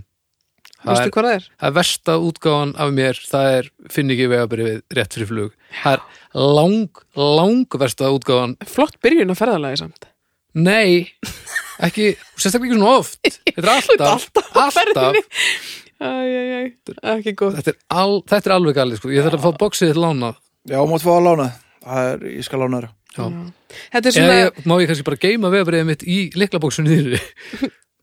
Speaker 1: það,
Speaker 3: veistu
Speaker 1: er,
Speaker 3: hvað það er?
Speaker 1: það er versta útgáfan af mér, það er finn ekki vegabrifið rétt fyrir flug það er lang, lang versta útgáfan
Speaker 3: flott byrjun á ferðalagi samt
Speaker 1: Nei, ekki, sérstaklega ekki svona
Speaker 3: [laughs]
Speaker 1: oft Þetta er alltaf, alltaf
Speaker 3: Æ, æ, æ, ekki góð
Speaker 1: þetta, er al, þetta er alveg galið sko. Ég þarf að fá boxið til lána
Speaker 2: já, mátt fá að lána það er, ég skal lána þér
Speaker 1: Já.
Speaker 3: þetta er
Speaker 1: Eða
Speaker 3: svona
Speaker 1: ég, má ég kannski bara geima vegabriðið mitt í liklabóksunni þínu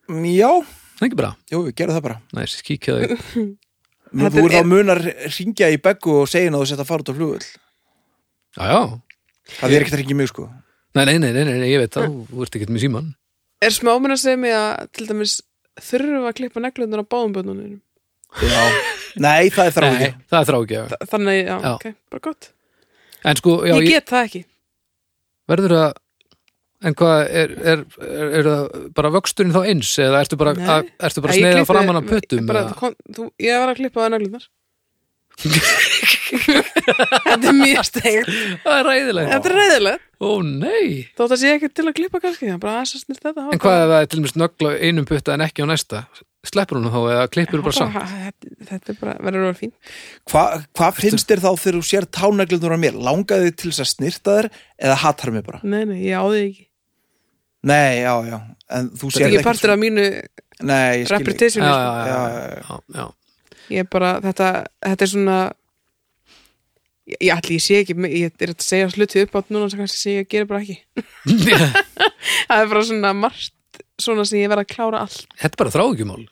Speaker 2: Mm, já,
Speaker 1: [laughs] Það er ekki bara,
Speaker 2: Jú, við gerum það bara
Speaker 1: næs, kíkjaðu
Speaker 2: Nú,
Speaker 3: Þetta
Speaker 2: Þú
Speaker 3: er- e-
Speaker 2: er þá munar ringja í beggu og segja að þú sett að fara út á flugull
Speaker 1: Já, já,
Speaker 2: Það er ekkert að ringja í mig sko
Speaker 1: nei, nei, nei, nei, nei, ég veit það, þú ert ekkert með síman
Speaker 3: Er smáminn að segja mig að til dæmis þurfa að klippa neglunar á báðum bönnunum
Speaker 2: Já. Nei, það er þráð
Speaker 1: Nei, það er þrá ekki
Speaker 3: Þannig, já,
Speaker 1: Já.
Speaker 3: ok, bara gott
Speaker 1: En sko, já,
Speaker 3: Ég
Speaker 1: ég,
Speaker 3: get það ekki
Speaker 1: verður að En hvað, er, er, er, er það bara vöxturinn þá eins eða ertu bara,
Speaker 3: Nei.
Speaker 1: að, ertu bara
Speaker 3: Æ, ég
Speaker 1: sneiða
Speaker 3: klippi-
Speaker 1: framan að pötum
Speaker 3: bara,
Speaker 1: eða?
Speaker 3: kom, þú, Ég var að klippa á neglunar Þetta er mjög stegt
Speaker 1: Það er ræðilega
Speaker 3: Þetta er reyðilegt
Speaker 1: Ó nei
Speaker 3: Þótt að sé ekki til að klippa kannski það er Bara aðeins að snýst þetta
Speaker 1: En hvað ef það er til mér snöggla einum putta en ekki á næsta? Sleppur hún þá eða klippur hún bara samt?
Speaker 3: Þetta, þetta er bara, verður að vera fín
Speaker 2: Hvað finnst þér þá þegar þú sér táneglundur á mér? Langaði þig til þess að snirta þér eða hatar mig bara?
Speaker 3: Nei, nei, ég áði ekki
Speaker 2: Nei, já, já En þú sér
Speaker 3: Þetta
Speaker 2: sko.
Speaker 3: er ekki partur af mínu
Speaker 2: Nei, ég skil ekki
Speaker 1: Já,
Speaker 3: reputationi
Speaker 1: já,
Speaker 3: sko.
Speaker 1: já, já,
Speaker 2: Já, já,
Speaker 1: já, já.
Speaker 3: ég er bara, þetta, þetta er svona ég, ég ætli, ég sé ekki ég er að segja sluti upp átt núna sem kannski sem ég gera bara ekki [laughs] það er bara svona margt svona sem ég verð að klára allt
Speaker 1: [laughs] Þetta er bara þráðugjumál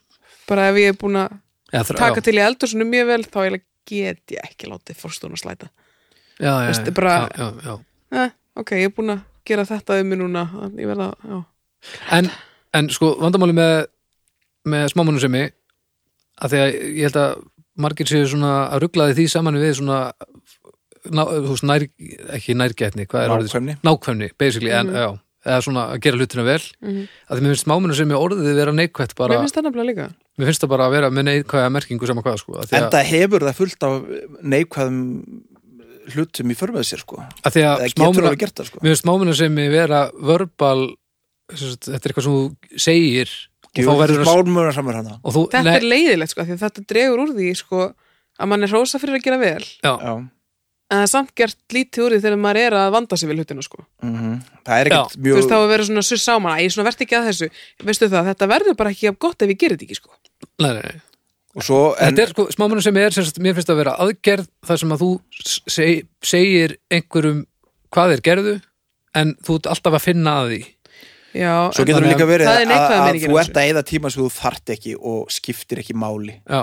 Speaker 3: bara ef ég er búin að
Speaker 1: Eða, þrá-
Speaker 3: taka
Speaker 1: já.
Speaker 3: til í eldur svona mjög vel þá eiginlega get ég ekki látið fórstun að slæta
Speaker 1: já, já,
Speaker 3: Veistu,
Speaker 1: já,
Speaker 3: bara-
Speaker 1: já, já, já.
Speaker 3: eh, ok, ég er búin að gera þetta um mig núna að ég verð að, já,
Speaker 1: En, en sko vandamáli með, með smámanusemi að því að ég held að margir séu svona að rugglaði því saman við svona ná, þú veist, nær, ekki nærgætni hvað er orðið?
Speaker 2: Nákvæmni.
Speaker 1: nákvæmni basically, en, já, eða svona að gera hlutina vel að því mér finnst smámanusemi orðið vera neikvætt bara,
Speaker 3: mér finnst það nefnilega líka
Speaker 1: mér finnst það bara að vera með neikvæða merkingu sama hvað sko, að því
Speaker 2: En
Speaker 1: að,
Speaker 2: það hefur það fullt af neikvæðum hlutum í förmöðu sér sko
Speaker 1: að, því að
Speaker 2: Það getur
Speaker 1: smámuna,
Speaker 2: alveg gert það sko
Speaker 1: mér finnst smámanusemi vera verbal sem sagt, þetta er eitthvað sem þú segir og þá verður að
Speaker 2: Smálmöður samar hana
Speaker 1: og þú,
Speaker 3: þetta
Speaker 1: nei,
Speaker 3: er leiðilegt sko, af því að þetta dregur úr því sko, að mann er rosa fyrir að gera vel
Speaker 1: já,
Speaker 2: Já
Speaker 3: en það er samt gert lítið úr því þegar maður er að vanda sig við hlutina sko.
Speaker 2: mhm. Það er ekkert
Speaker 1: Já.
Speaker 3: þú veist
Speaker 2: mjög
Speaker 3: þá að vera svona suss á mann ég svona verð ekki að þessu, veistu það, þetta verður bara ekki jafn gott ef ég gerir þetta ekki sko.
Speaker 1: nei, nei, nei.
Speaker 2: Og svo, en
Speaker 1: þetta er sko smámunum sem er sem sagt, mér finnst að vera aðgerð þar sem að þú seg, segir einhverjum hvað þeir gerðu en þú ert alltaf að finna að því
Speaker 3: já,
Speaker 2: svo
Speaker 3: en,
Speaker 2: getur
Speaker 1: þannig
Speaker 2: líka
Speaker 1: að-
Speaker 2: verið
Speaker 3: Það er
Speaker 2: að,
Speaker 3: neikvæða
Speaker 2: að þú
Speaker 3: meiningin á
Speaker 2: ert að eða tíma sem þú þart ekki og skiptir ekki máli
Speaker 1: já,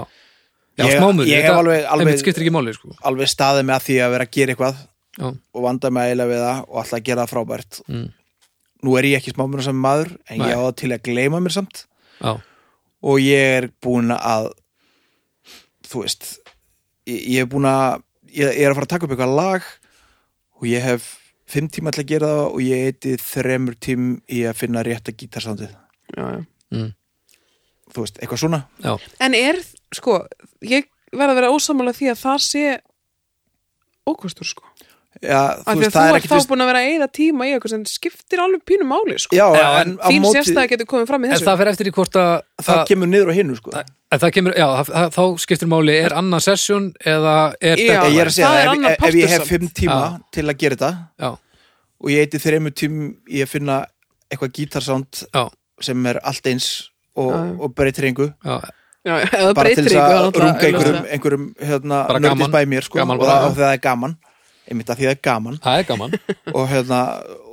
Speaker 1: já
Speaker 2: Ég-
Speaker 1: smámunum
Speaker 2: ég hef alveg- alveg-
Speaker 1: skiptir ekki máli sko.
Speaker 2: Alveg staðið með að því að vera að gera eitthvað
Speaker 1: já,
Speaker 2: og vanda mig eiginlega við það og alltaf að gera það frábært
Speaker 1: Mm.
Speaker 2: nú er ég ekki smámuna saman maður en
Speaker 1: Nei.
Speaker 2: ég á það til að gleyma mér samt
Speaker 1: já,
Speaker 2: og ég er búin að þú veist ég, ég er búin að ég, ég er að fara að taka upp eitthvað lag og ég hef fimm tíma til að gera það og ég heiti þremur tím í að finna rétt að gítarsándið
Speaker 3: já, já.
Speaker 1: mm,
Speaker 2: þú veist, eitthvað svona
Speaker 1: já,
Speaker 3: en er, sko ég verð að vera ósamála því að það sé ókostur sko.
Speaker 2: Já, þú
Speaker 3: af því
Speaker 2: veist,
Speaker 3: að þú
Speaker 2: það er
Speaker 3: ert
Speaker 2: ekki
Speaker 3: þá
Speaker 2: fyrst
Speaker 3: búin að vera að eyða tíma í eitthvað sem skiptir alveg pínu máli sko.
Speaker 2: Já,
Speaker 1: Já,
Speaker 2: en,
Speaker 1: en
Speaker 2: á
Speaker 3: þín
Speaker 2: móti
Speaker 3: sérstæða getur komið fram í
Speaker 1: en
Speaker 3: þessu
Speaker 1: það fer eftir í hvort að
Speaker 2: það
Speaker 1: að-
Speaker 2: kemur niður á hinnu sko
Speaker 1: að það kemur, já, það- það, þá skiptir máli er annað sesjón eða er
Speaker 3: Já.
Speaker 2: Ég er að segja
Speaker 3: það er
Speaker 2: það,
Speaker 3: annar
Speaker 2: ef, ef ég
Speaker 3: partur
Speaker 2: hef
Speaker 3: samt.
Speaker 2: fimm tíma
Speaker 1: Já.
Speaker 2: til að gera þetta
Speaker 1: já,
Speaker 2: og ég heiti þreymur tím í að finna eitthvað gítarsánd
Speaker 1: já,
Speaker 2: sem er allt eins og,
Speaker 3: Já, já.
Speaker 2: og breytir engu
Speaker 1: já,
Speaker 3: já, já, það
Speaker 2: bara til
Speaker 3: breytir
Speaker 2: þess
Speaker 3: ykkur
Speaker 2: að
Speaker 3: náttúrulega,
Speaker 2: runga einhverjum,
Speaker 3: augljóslega.
Speaker 2: einhverjum hérna,
Speaker 1: Bara gaman.
Speaker 2: nördis bæ mér sko,
Speaker 1: Gaman
Speaker 2: og
Speaker 1: bara,
Speaker 2: það,
Speaker 1: já.
Speaker 2: og það er gaman einmitt að því það er gaman
Speaker 1: það er gaman
Speaker 2: og, hérna,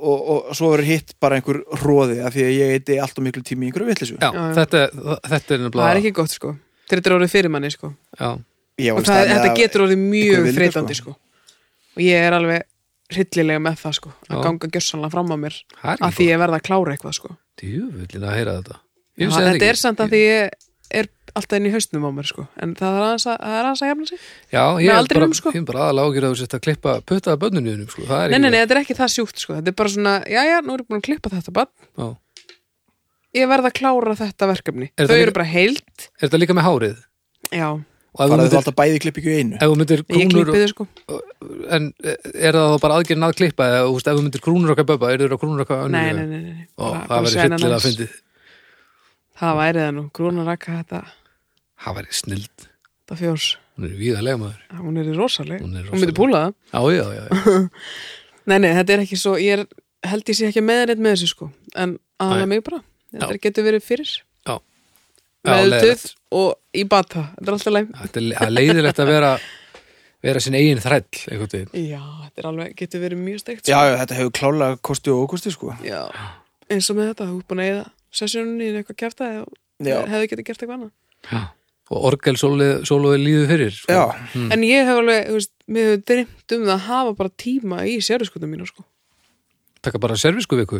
Speaker 2: og, og svo verður hitt bara einhver róði af því að ég heiti allt og miklu tími í einhverju vitleysu
Speaker 1: já,
Speaker 3: já.
Speaker 1: þetta, þetta er nefnilega
Speaker 3: það er ekki gott sko. þetta er orðið fyrir manni sko.
Speaker 1: já,
Speaker 2: Ég var
Speaker 3: og
Speaker 2: um stað
Speaker 3: það,
Speaker 2: með
Speaker 3: þetta
Speaker 2: að-
Speaker 3: getur orðið
Speaker 2: ykkur
Speaker 3: mjög
Speaker 2: vilja,
Speaker 3: þreytandi sko. og ég er alveg hryllilega með það sko, að
Speaker 1: Já.
Speaker 3: ganga gjössanlega fram á mér
Speaker 1: það er
Speaker 3: að því
Speaker 1: ekki
Speaker 3: ég verða að klára eitthvað sko.
Speaker 1: djúvillin að heyra þetta Ég
Speaker 3: Já,
Speaker 1: vissi þetta
Speaker 3: þetta
Speaker 1: ekki.
Speaker 3: er samt að því ég er alltaf inn í haustnum á mér sko. en það er aðeins að, það er aðeins að jafna sig
Speaker 1: Já, ég
Speaker 3: Með
Speaker 1: er
Speaker 3: aldrinum,
Speaker 1: bara,
Speaker 3: sko.
Speaker 1: ég er bara aðalega ágjur að þú sett að klippa putta að bönnunni þínum, sko, það er
Speaker 3: nei, nei, nei, þetta er ekki það sjúkt sko. þetta er bara svona, já, já, nú erum búin að klippa þetta bann
Speaker 1: Já.
Speaker 3: ég verð að klára þetta verkefni
Speaker 1: Er
Speaker 3: þau
Speaker 1: það
Speaker 3: eru
Speaker 1: líka-
Speaker 3: bara heilt
Speaker 1: Er þetta líka með hárið?
Speaker 3: já,
Speaker 1: Og ef
Speaker 2: bara
Speaker 1: þú
Speaker 2: þú
Speaker 1: myndir,
Speaker 2: alltaf bæði klippingu í einu
Speaker 1: ef þú myndir
Speaker 3: ég
Speaker 1: krúnur,
Speaker 3: klippi þau sko
Speaker 1: en e, er það þá bara aðgerinn að klippa, eða, þú veist, ef þú myndir krúnur okkar böbba, eru þú að krúnur okkar
Speaker 3: nei,
Speaker 1: önnur?
Speaker 3: nei, nei, nei, nei.
Speaker 1: Ó,
Speaker 3: Bara- bara
Speaker 1: það verður
Speaker 3: sena
Speaker 1: hryllilega
Speaker 3: hans.
Speaker 1: að fyndið.
Speaker 3: það væri það nú, grúnar rakka þetta
Speaker 1: Það verður snild,
Speaker 3: þetta fjórs,
Speaker 1: hún er víðalega maður.
Speaker 3: Já, hún er rosaleg
Speaker 1: Hún er
Speaker 3: hún myndi
Speaker 1: rosaleg.
Speaker 3: púla það
Speaker 1: Já, já, já, já.
Speaker 3: Nei, nei, þetta er ekki svo, ég er, held ég sé ekki með neitt með þessu sko, en aðalega mig bara, þetta
Speaker 1: Já.
Speaker 3: getur verið fyrir
Speaker 1: Já. Já,
Speaker 3: meðutuð
Speaker 1: leiðilegt.
Speaker 3: og í bata, þetta er alltaf læm
Speaker 1: Þetta er- Það er leiðilegt að vera, vera sin eigin þræll, einhvern veginn.
Speaker 3: Já, þetta er alveg, getur verið mjög
Speaker 2: já,
Speaker 3: steikt sko.
Speaker 2: já, þetta hefur klálega kosti og ókosti sko
Speaker 3: Já, eins og með þetta, þú er búin að eða sessjóninni í eitthvað kjæftaði og
Speaker 2: Já.
Speaker 3: hefði getið gert eitthvað annað
Speaker 1: og orgel sóluði líðu fyrir sko.
Speaker 2: Já,
Speaker 3: en ég hef alveg, þú veist, mér hefur dreymt um það að hafa bara tíma í sérfiskutum mínu sko.
Speaker 1: taka bara servisku viku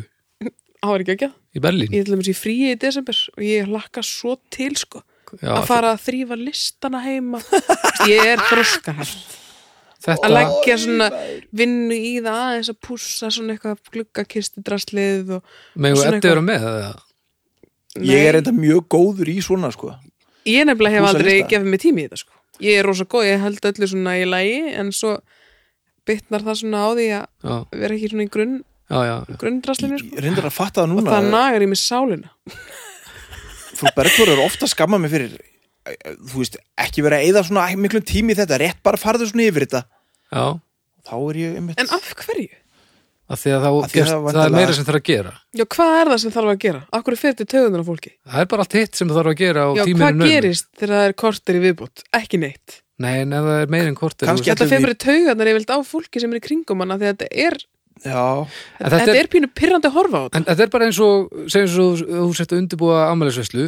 Speaker 3: það var ekki ekki að
Speaker 1: í Berlín
Speaker 3: ég til dæmis í fríi í desember og ég hlakka svo til sko
Speaker 1: Já,
Speaker 3: að fara að þrýfa listana heima Þú veist, ég er þroskahætt
Speaker 1: þetta,
Speaker 3: að leggja svona vinnu í það aðeins að pússa svona eitthvað gluggakistu draslið og
Speaker 1: megum
Speaker 3: svona
Speaker 1: við
Speaker 3: eitthvað-
Speaker 1: vera með eða?
Speaker 2: ég er
Speaker 3: Nei,
Speaker 2: þetta mjög góður í svona sko
Speaker 3: ég nefnilega hef
Speaker 2: Pússa
Speaker 3: aldrei
Speaker 2: lista.
Speaker 3: gefið mig tími í þetta sko ég er rosa góð, ég held öllu svona í lagi en svo bytnar það svona á því að
Speaker 1: Já,
Speaker 3: vera ekki svona í grunn,
Speaker 1: já, já,
Speaker 3: grunndraslinu sko.
Speaker 2: Ég reyndar að fatta það
Speaker 3: og
Speaker 2: núna
Speaker 3: það nagar í mig sálina
Speaker 2: Frú Bergþór er ofta að skamma mig fyrir eh, eh, Þú veist, ekki vera að eyða svona miklum tími í þetta Rétt bara farðu svona yfir þetta
Speaker 1: já.
Speaker 2: Þá er ég einmitt
Speaker 3: en af hverju?
Speaker 1: Að því að, þá,
Speaker 2: Af því að
Speaker 1: gerst,
Speaker 2: það
Speaker 1: það,
Speaker 2: vandalega-
Speaker 1: er meira sem þarf að gera
Speaker 3: Já, hvað er það sem þarf að gera? Akkur er fyrir til töðunar á fólki?
Speaker 1: það er bara allt hitt sem þarf að gera og
Speaker 3: Já,
Speaker 1: tíminn um er
Speaker 3: hvað
Speaker 1: naumur.
Speaker 3: gerist þegar það er kortir í viðbútt? Ekki neitt.
Speaker 1: nei, en ef það er meira en kortir
Speaker 2: Kannski-
Speaker 1: þú veist-
Speaker 3: Þetta
Speaker 2: Getum
Speaker 3: fer
Speaker 2: við-
Speaker 3: bara í taugarnar yfirlt á fólki sem er í kringum hana þegar þetta er,
Speaker 2: Já,
Speaker 1: En
Speaker 3: þetta,
Speaker 1: þetta er,
Speaker 3: er pínu pirrandi að horfa á þetta.
Speaker 1: en þetta er bara eins og segjum svo þú- þú sett að undirbúa afmælisveislu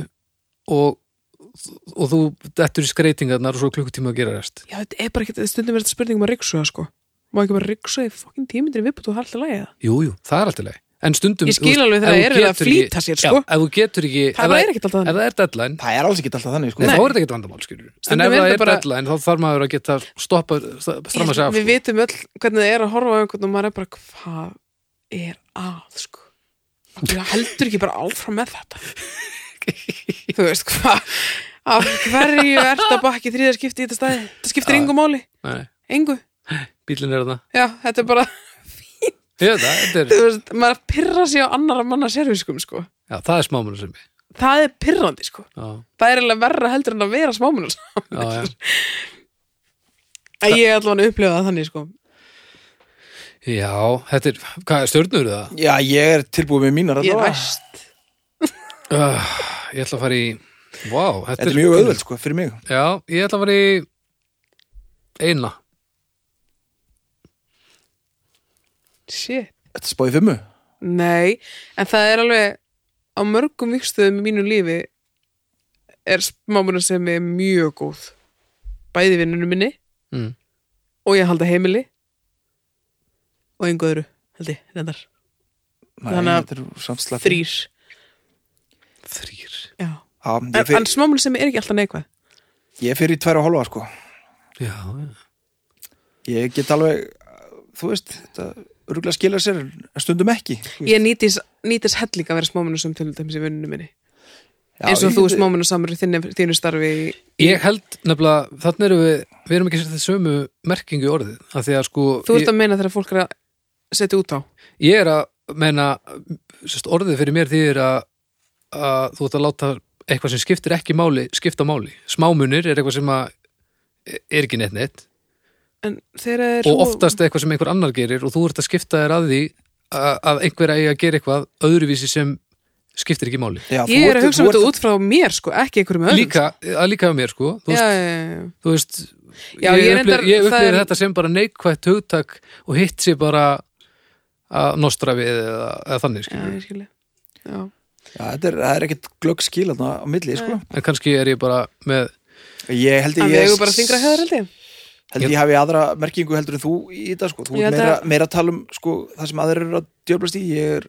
Speaker 1: og, og þú dettur í skreitingarnar og svo er klukkutíma að gera rest
Speaker 3: Já, þetta er bara ekki, stundum er þetta spurning um að riksuða, sko. Má ekki bara riksuða í fokkin tímyndir í viðbútt og halda lagið það.
Speaker 1: Jú, jú, það er alltaf leið En stundum
Speaker 3: Ég skil
Speaker 1: þú veist,
Speaker 3: alveg þegar
Speaker 1: ef þú
Speaker 3: það er verið að
Speaker 1: getur ekki-
Speaker 3: flýta sér, sko.
Speaker 1: Já, ef þú getur ekki
Speaker 3: Það bara er ekkert alltaf
Speaker 1: þannig
Speaker 3: þannig.
Speaker 1: Ef það er deadline,
Speaker 2: það er alls ekki alltaf þannig sko
Speaker 1: nei,
Speaker 3: Nei.
Speaker 1: þá er þetta ekkert vandamál skilur En ef
Speaker 3: Stundum er
Speaker 1: það
Speaker 3: þetta
Speaker 1: er
Speaker 3: bara-
Speaker 1: deadline, þá þarf maður að geta stoppa, stramma sig af
Speaker 3: Við vitum öll hvernig það er að horfa á einhvern og maður er bara, hvað er að, sko? Ég heldur ekki bara áfram með þetta. Þú veist, hvað? Af hverju ert að bakki þriða skipti í þetta staði? Það skiptir engu máli,
Speaker 1: Nei,
Speaker 3: engu.
Speaker 1: bílinn er það
Speaker 3: Já, þetta er bara,
Speaker 1: Ég veit það, þetta
Speaker 3: þú
Speaker 1: er,
Speaker 3: veist, maður pyrra sig á annara manna serviskum, sko.
Speaker 1: já, það er smámanu sem ég
Speaker 3: Það er pyrrandi, sko.
Speaker 1: Já,
Speaker 3: Það er eiginlega verra heldur en að vera smámunar.
Speaker 1: já, já
Speaker 3: Ég er allavega upplifað það þannig, sko.
Speaker 1: Já, þetta er, hvað, stjörnur það?
Speaker 2: Já, ég er tilbúið með mínar
Speaker 3: Ég er
Speaker 2: allavega.
Speaker 3: væst.
Speaker 1: Uh, ég ætla að fara í, wow
Speaker 2: Þetta er mjög auðveld sko, fyrir mig
Speaker 1: Já, ég ætla að fara í eina
Speaker 3: Shit.
Speaker 2: Þetta er spáðið fimmu
Speaker 3: Nei, en það er alveg á mörgum vikstöðum í mínu lífi er smámunar sem er mjög góð. Bæði vinnunum minni
Speaker 1: mm.
Speaker 3: og ég halda heimili og engu öðru, held ég, reyndar. Þannig að
Speaker 2: að
Speaker 3: Þrýr.
Speaker 1: Þrýr
Speaker 3: Já.
Speaker 2: Já, ég
Speaker 3: En,
Speaker 2: fer,
Speaker 3: en smámunar sem er ekki alltaf neikvæð.
Speaker 2: ég fer í tvær og hálfa sko
Speaker 1: Já, já
Speaker 2: Ég get alveg, þú veist Þetta örgulega skilja sér en stundum ekki þú veist.
Speaker 3: Ég nýtis, nýtis helling að vera smámunar sem til dæmis í vinnunum minni.
Speaker 2: Já,
Speaker 3: eins og
Speaker 2: ég
Speaker 3: þú
Speaker 2: get-
Speaker 3: smámunar samur í þinni, þínu starfi í...
Speaker 1: Ég held nefnilega, þannig erum við við erum ekki sér þetta sömu merkingu í orðið af því að sko,
Speaker 3: Þú ert
Speaker 1: ég,
Speaker 3: að meina þegar fólk er að setja út á.
Speaker 1: ég er að meina, sérst, orðið fyrir mér því er að, að þú ert að láta eitthvað sem skiptir ekki máli, skipta máli smámunir er eitthvað sem að er ekki neitt neitt
Speaker 3: En þegar er...
Speaker 1: og oftast eitthvað sem einhver annar gerir og þú ert að skipta þér að því að, að einhver eigi að gera eitthvað öðruvísi sem skiptir ekki máli
Speaker 2: Já, þú
Speaker 3: Ég er
Speaker 2: ert-
Speaker 3: að hugsa
Speaker 2: þú
Speaker 3: um þetta
Speaker 2: ert-
Speaker 3: út frá mér, sko, ekki einhverjum öðrum.
Speaker 1: líka, að líka á mér sko þú
Speaker 3: já,
Speaker 1: veist,
Speaker 3: já, já, já.
Speaker 1: þú veist ég,
Speaker 3: Já, ég
Speaker 1: ég,
Speaker 3: reyndar-
Speaker 1: ég
Speaker 3: það
Speaker 1: upplýðir
Speaker 3: er-
Speaker 1: þetta sem bara neikvætt hugtak og hitt sér bara að nostra við eða, eða þannig
Speaker 3: já,
Speaker 1: skilur.
Speaker 3: ég skilja já.
Speaker 2: Já, þetta er, það er ekkit glögg skil þarna á milli, sko.
Speaker 1: en kannski er ég bara með
Speaker 2: Ég held
Speaker 3: En
Speaker 2: að
Speaker 3: við
Speaker 2: ég,
Speaker 3: eigum bara þingra hefðar held ég
Speaker 2: held ég hafi aðra merkingu heldur en þú í þetta, sko. Þú
Speaker 3: Ég
Speaker 2: ert
Speaker 3: held
Speaker 2: meira,
Speaker 3: að-
Speaker 2: meira að tala um, sko, það sem aðrir eru að djöflast í. Ég er,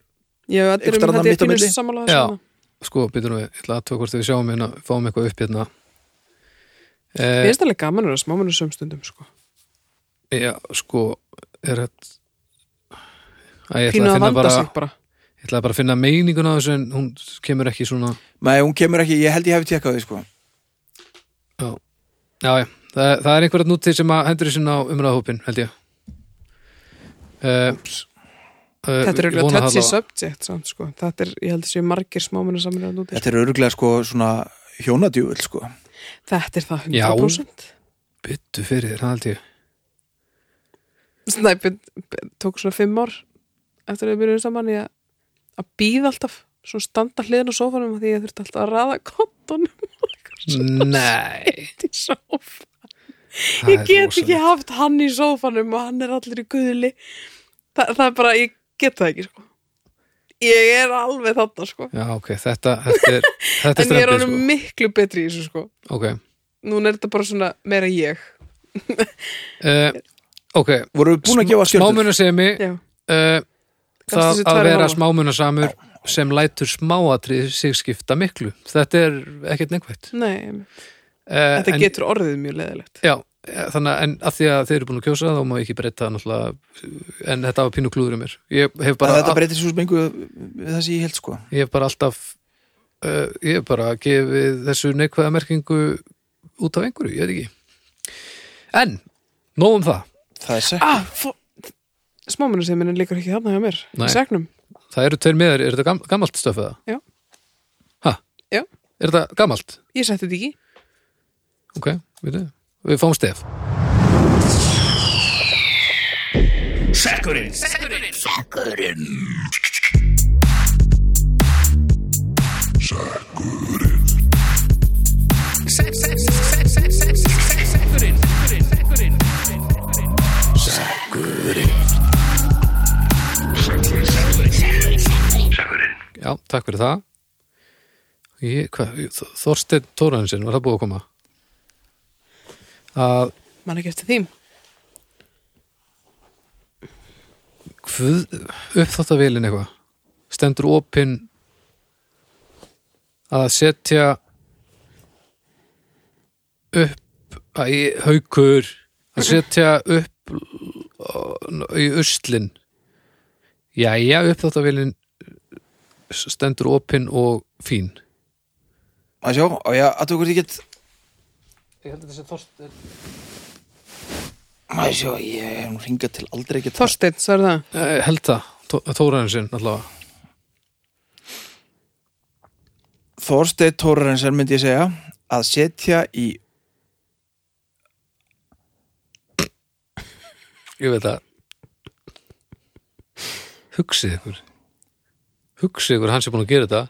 Speaker 3: Ég hef allir
Speaker 2: Einhvers
Speaker 3: um
Speaker 2: staðar
Speaker 3: þetta
Speaker 2: mitt á
Speaker 3: ég
Speaker 2: milli.
Speaker 3: finnur sammála það
Speaker 1: Já.
Speaker 3: svona
Speaker 1: sko, býtum við, ég ætla að tók hvort við sjáum hérna, fáum eitthvað upp hérna
Speaker 3: Ég
Speaker 1: eh,
Speaker 3: finnst alveg gaman að vera smáminu sömstundum sko.
Speaker 1: já, sko er þetta Æ, ég ætla að
Speaker 3: Pínu
Speaker 1: finna
Speaker 3: að vanda
Speaker 1: bara,
Speaker 3: sig bara
Speaker 1: ég ætla bara að finna meininguna á þessu en hún kemur ekki svona
Speaker 2: nei, hún kemur ekki, ég held ég hafi tjekkað því, sko.
Speaker 1: já, já, já það, það er einhverjart núti sem að hendur þessin á umræðahópin, held ég eh, eh,
Speaker 3: Þetta er
Speaker 1: ég
Speaker 3: auðvitað
Speaker 1: vona
Speaker 3: touchy
Speaker 1: allavega-
Speaker 3: subject samt, sko. Þetta er, ég held að séu margir smáminu saminu að núti
Speaker 2: Þetta er öruglega, sko, svona hjónadjúvel, sko.
Speaker 3: Þetta er það
Speaker 1: Já.
Speaker 3: 100%
Speaker 1: Byttu fyrir þér, það held
Speaker 3: [laughs]
Speaker 1: ég
Speaker 3: Snæpin tók svona fimm ár eftir að við byrjuðum saman í að, að býða alltaf svona standa hliðin á sófanum af því ég þurfti alltaf að raða kontunum
Speaker 1: Nei
Speaker 3: í sófanum
Speaker 1: það
Speaker 3: ég
Speaker 1: er
Speaker 3: get
Speaker 1: rosalegt.
Speaker 3: ekki haft hann í sófanum og hann er allir í guðli Þa, það er bara, ég get það ekki sko. ég er alveg þarna sko
Speaker 1: Já, ok, þetta, þetta
Speaker 3: [laughs]
Speaker 1: er, þetta er sko.
Speaker 3: en ég er
Speaker 1: strempið,
Speaker 3: honum miklu betri í þessu sko
Speaker 1: sko. Ok,
Speaker 3: núna er þetta bara svona meira ég
Speaker 1: uh, ok.
Speaker 2: voru við búin að gefa stjörnur
Speaker 1: Smámunasemi,
Speaker 3: já,
Speaker 1: uh, það
Speaker 3: þessu
Speaker 1: að
Speaker 3: tvær
Speaker 1: vera
Speaker 3: hálfa.
Speaker 1: smámunasamur sem lætur smáatrið sig skipta miklu. Þetta er ekkert neikvætt.
Speaker 3: nei, einmitt.
Speaker 1: Uh,
Speaker 3: þetta getur orðið mjög leðilegt
Speaker 1: Já, eh, þannig að, en að því að þeir eru búin að kjósa þá má ég ekki breyta náttúrulega en þetta var pínu klúður um mér ég hef bara,
Speaker 2: bara, þetta breytir svo smengu við það sem ég held sko
Speaker 1: ég hef bara alltaf uh, ég hef bara gefið þessu neikvæða merkingu út af einhverju, ég veit ekki en, nóg um það
Speaker 2: það er sett,
Speaker 3: ah, fó- smámunasemin er líka ekki þarna hjá mér
Speaker 1: Nei.
Speaker 3: í segnum,
Speaker 1: það eru tveir meðar, er þetta gam, gamalt stöfið það?
Speaker 3: Já.
Speaker 1: Ha?
Speaker 3: Já.
Speaker 1: Er þetta gamalt?
Speaker 3: ég setti þetta ekki í.
Speaker 1: Ok, við, við fáum stef Já, takk fyrir það Ég, hvað, Þ- Þorsteinn Tóraðinsson, var það búið að koma? Að
Speaker 3: man ekki eftir þím
Speaker 1: hvað, uppþáttavélin eitthvað stendur opin að setja upp að í haukur að setja upp l- í uslin Jæja, uppþáttavélin stendur opin og fín
Speaker 2: að sjá, á ég að þú hvort ég get
Speaker 1: Ég held að þessi Þorsteinn
Speaker 2: að sjá, ég hef nú hringað til aldrei get
Speaker 3: Þorsteinn, svo er það
Speaker 1: Eh, held það, Tó- Þórarinsson allavega
Speaker 2: Þorsteinn Tórarensen myndi ég segja að setja í
Speaker 1: ég veit að hugsið ykkur hugsið ykkur hann sem búin að gera þetta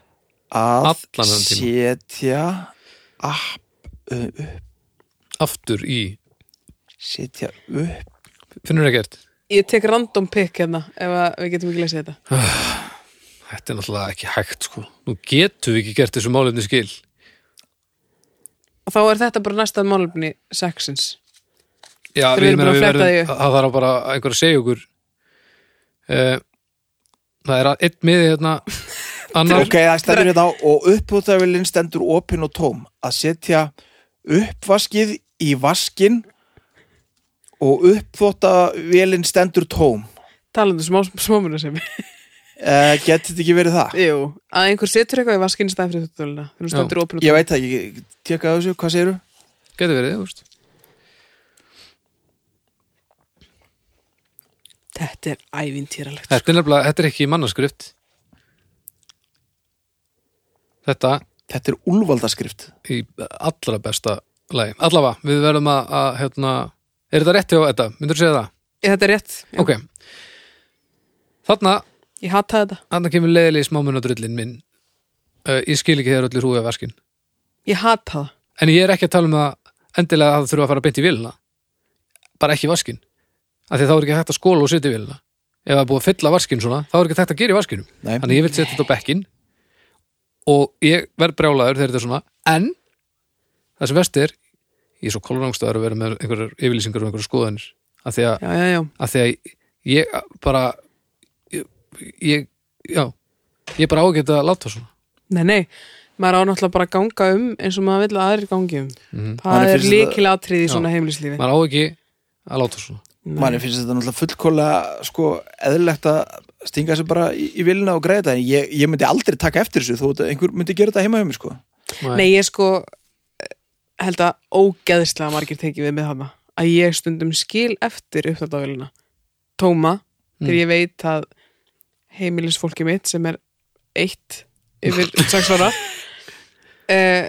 Speaker 2: að
Speaker 1: Allan þennan tíma.
Speaker 2: setja app, uh, upp-
Speaker 1: aftur í,
Speaker 2: setja upp
Speaker 1: finnur það gert
Speaker 3: ég tek random pick hérna ef að við getum ekki lesið þetta
Speaker 1: þetta er náttúrulega ekki hægt sko nú getum við ekki gert þessu málefni skil
Speaker 3: og þá er þetta bara næstað málefni sexins
Speaker 1: já,
Speaker 3: Þeir
Speaker 1: við,
Speaker 3: eru
Speaker 1: meina,
Speaker 3: búin að
Speaker 1: við
Speaker 3: fletta
Speaker 1: verðum
Speaker 3: því
Speaker 1: það þarf bara einhver að segja ykkur uh, það er að- einn miði [laughs] hérna annar,
Speaker 2: ok, það stendur hérna á og uppbútavilinn stendur opin og tóm að setja uppvaskið í vaskin og uppþóttavélinn stendur tóm
Speaker 3: talandi um smá, smámuna sem
Speaker 2: uh, getið þetta ekki verið það?
Speaker 3: Jú, að einhver setur eitthvað í vaskinn í staðan fyrir þúttúluna þegar hún
Speaker 1: Já.
Speaker 3: stendur opin og
Speaker 2: ég veit það ekki, tjekkaðu þessu, hvað segirðu?
Speaker 1: getur verið, þú veist
Speaker 3: Þetta er ævintýralegt
Speaker 1: Þetta er nefnilega, þetta er ekki mannaskrift Þetta
Speaker 2: þetta er úlvaldaskrift
Speaker 1: í allra besta lagi Allavega, við verðum að, að hérna, er þetta rétt hjá þetta? Myndur þú segja það?
Speaker 3: Ég, Þetta er rétt, já,
Speaker 1: Ok Þarna,
Speaker 3: ég hata þetta
Speaker 1: þarna kemur leiðilegi smámunadrullin minn uh, Ég skil ekki þegar öllu rúið af vaskin
Speaker 3: Ég hata það
Speaker 1: En ég er ekki að tala um það endilega að það þurfa að fara beint í vilna Bara ekki í vaskin Af því þá er ekki hægt að skóla og setja í vilna Ef það er búið að fylla vaskin svona, þá er ekki hægt að gera í vaskinum
Speaker 2: Nei.
Speaker 1: Þannig ég vil setja þetta á bekkin og ég verð brjálaður þegar þetta er svona en það sem vest er ég er svo kolorangstöðar að vera með einhverjar yfirlýsingar og einhverjar skoðanir að því að,
Speaker 3: Já, já, já,
Speaker 1: að, því að ég bara ég, ég já, ég bara ágætt að láta svona
Speaker 3: nei, nei Maður á náttúrulega bara að ganga um eins og maður vill að aðrir gangi um Það
Speaker 1: Mhm.
Speaker 2: Manni
Speaker 3: er
Speaker 2: finnst
Speaker 3: líkilega atrið í
Speaker 1: Já.
Speaker 3: svona heimlislífi
Speaker 1: maður á ekki að láta svona
Speaker 2: manni finnst þetta náttúrulega fullkólega sko eðlilegt að stinga sig bara í, í vilna og greiða þetta en ég, ég myndi aldrei taka eftir þessu þó að einhver myndi gera þetta heima hjá mér sko
Speaker 3: Nei, ég sko eh, held að ógeðslega margir tekið við með þarna að ég stundum skil eftir uppþáttavélina tóma
Speaker 1: Mm.
Speaker 3: þegar ég veit að heimilisfólki mitt sem er eitt yfir sex
Speaker 1: [laughs]
Speaker 3: ára eh,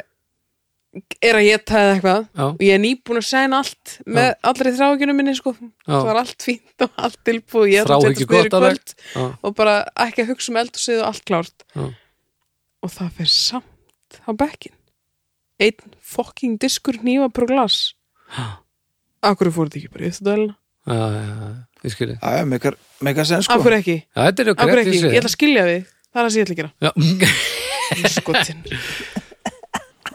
Speaker 3: er að ég taði eitthvað
Speaker 1: Já.
Speaker 3: og ég er nýbúin að segna allt með allri þráhyggjunum minni sko það var allt fínt og allt tilbúið ég ætla að setjast
Speaker 1: Þráhyggju
Speaker 3: niður í
Speaker 1: gott alveg.
Speaker 3: kvöld
Speaker 1: Já.
Speaker 3: og bara ekki að hugsa um eldhúsið og allt klárt
Speaker 1: Já.
Speaker 3: og það fer samt á bekkin einn fokking diskur nýfa pro glas akkur fór þetta ekki bara yfir þetta
Speaker 1: Já, já, já, ég skilji
Speaker 2: aðja, meikar, meikar sen sko
Speaker 3: akkur ekki,
Speaker 1: Já, þetta er
Speaker 3: akkur
Speaker 1: okkur
Speaker 3: ekki, ég ætla að skilja við það er það sem ég ætla
Speaker 1: [laughs]
Speaker 3: að gera
Speaker 1: Já,
Speaker 3: Skotin.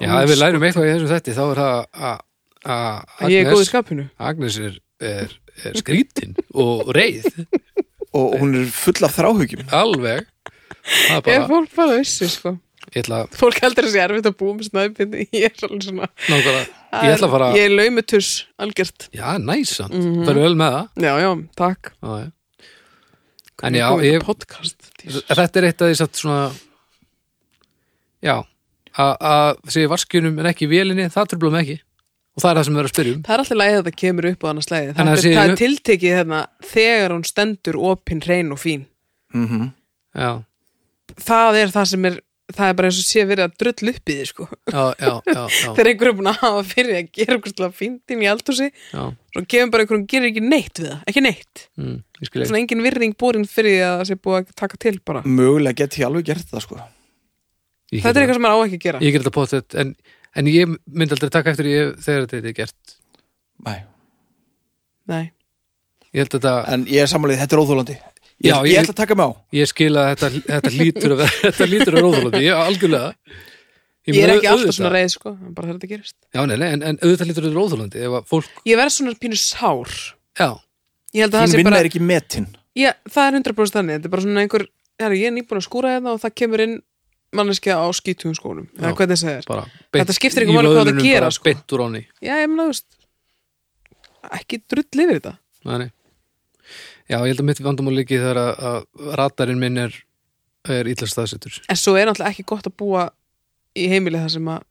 Speaker 1: já ef við lærum eitthvað í þessu þætti þá er það að- að
Speaker 3: Ég er góð í
Speaker 1: Agnes,
Speaker 3: skapinu
Speaker 1: Agnes er, er, er skrítin og reið
Speaker 2: og hún er full af þráhugjum
Speaker 1: alveg það er
Speaker 3: Ef
Speaker 1: bara,
Speaker 3: fólk bara vissi sko
Speaker 1: ég ætla, að-
Speaker 3: Fólk heldur að sé erfitt að búa með snæðbindi [laughs] Ég er svolítið svona
Speaker 1: nákvæmlega, ég ætla að fara
Speaker 3: Ég Mhm. er laumutuss, algjört
Speaker 1: já, næsant, það er vel með það
Speaker 3: Já, já, takk
Speaker 1: Já, já. En já, ég,
Speaker 3: Podcast
Speaker 1: þetta er eitt að því satt svona já að- að segja vaskjunum en ekki vélinni það tröflum ekki og það er það sem við erum að spyrja um
Speaker 3: Það er alltaf lagið að það kemur upp á annars lagið
Speaker 1: En
Speaker 3: Það,
Speaker 1: það
Speaker 3: er-
Speaker 1: sé-
Speaker 3: það er tiltekið hérna þegar hún stendur opin, reyn og fín
Speaker 2: mm -hmm.
Speaker 1: já,
Speaker 3: Það er það sem er Það er bara eins og sé verið að drull upp í því sko
Speaker 1: já, já, já, já,
Speaker 3: Þegar einhver er búin að hafa fyrir að gera einhver slag fíndin í eldhúsi
Speaker 1: já.
Speaker 3: Svo kemur bara einhver hún gerir ekki neitt við það Ekki neitt
Speaker 1: Mm, ég skil ekki
Speaker 3: Svona engin virðing búrin fyrir því að það sé búið að taka til bara
Speaker 2: mögulega get ég alveg gert það sko
Speaker 1: Ég
Speaker 3: Þetta er
Speaker 1: get
Speaker 3: eitthvað sem maður á ekki að gera
Speaker 1: það- ég get þetta pottet en, en ég myndi aldrei taka eftir ég, þegar þetta er gert
Speaker 2: Nei.
Speaker 3: Nei,
Speaker 1: ég held að þetta,
Speaker 2: en ég er samanlega, þetta er óþólandi ég,
Speaker 1: Já,
Speaker 2: ég,
Speaker 1: ég-
Speaker 2: ætla að taka mig á
Speaker 1: ég skil að þetta, þetta lítur að vera- þetta lítur að róðurlóti, ég algjörlega
Speaker 3: ég, er
Speaker 1: meina,
Speaker 3: ekki alltaf
Speaker 1: auðvitað-
Speaker 3: svona reið sko en bara þegar þetta gerist
Speaker 1: já, nei, nei, en, en auðvitað lítur að róðurlóti ef að fólk,
Speaker 3: Ég verð svona pínu sár
Speaker 1: já,
Speaker 3: Ég held að það
Speaker 2: þín
Speaker 3: sé
Speaker 2: vinna
Speaker 3: bara
Speaker 2: er ekki metin
Speaker 3: Já, það er 100% þannig, þetta er bara svona einhver Herra, ég er nýbúin að skúra hérna og það kemur inn manneskja á skítugum skónum eða
Speaker 1: Já.
Speaker 3: hvað það segir
Speaker 1: bara
Speaker 3: Þetta skiptir
Speaker 1: í
Speaker 3: ekki máli hvað það
Speaker 1: vöðlunum
Speaker 3: gera,
Speaker 1: bara
Speaker 3: sko.
Speaker 1: beint úr áni
Speaker 3: Já, ég meina, þú veist ekki drull yfir þetta
Speaker 1: Nei, nei. Já, ég held að mitt vandamál líki þegar að, að ratarinn minn er, er illa staðsettur.
Speaker 3: En svo er náttúrulega ekki gott að búa í heimili þar sem að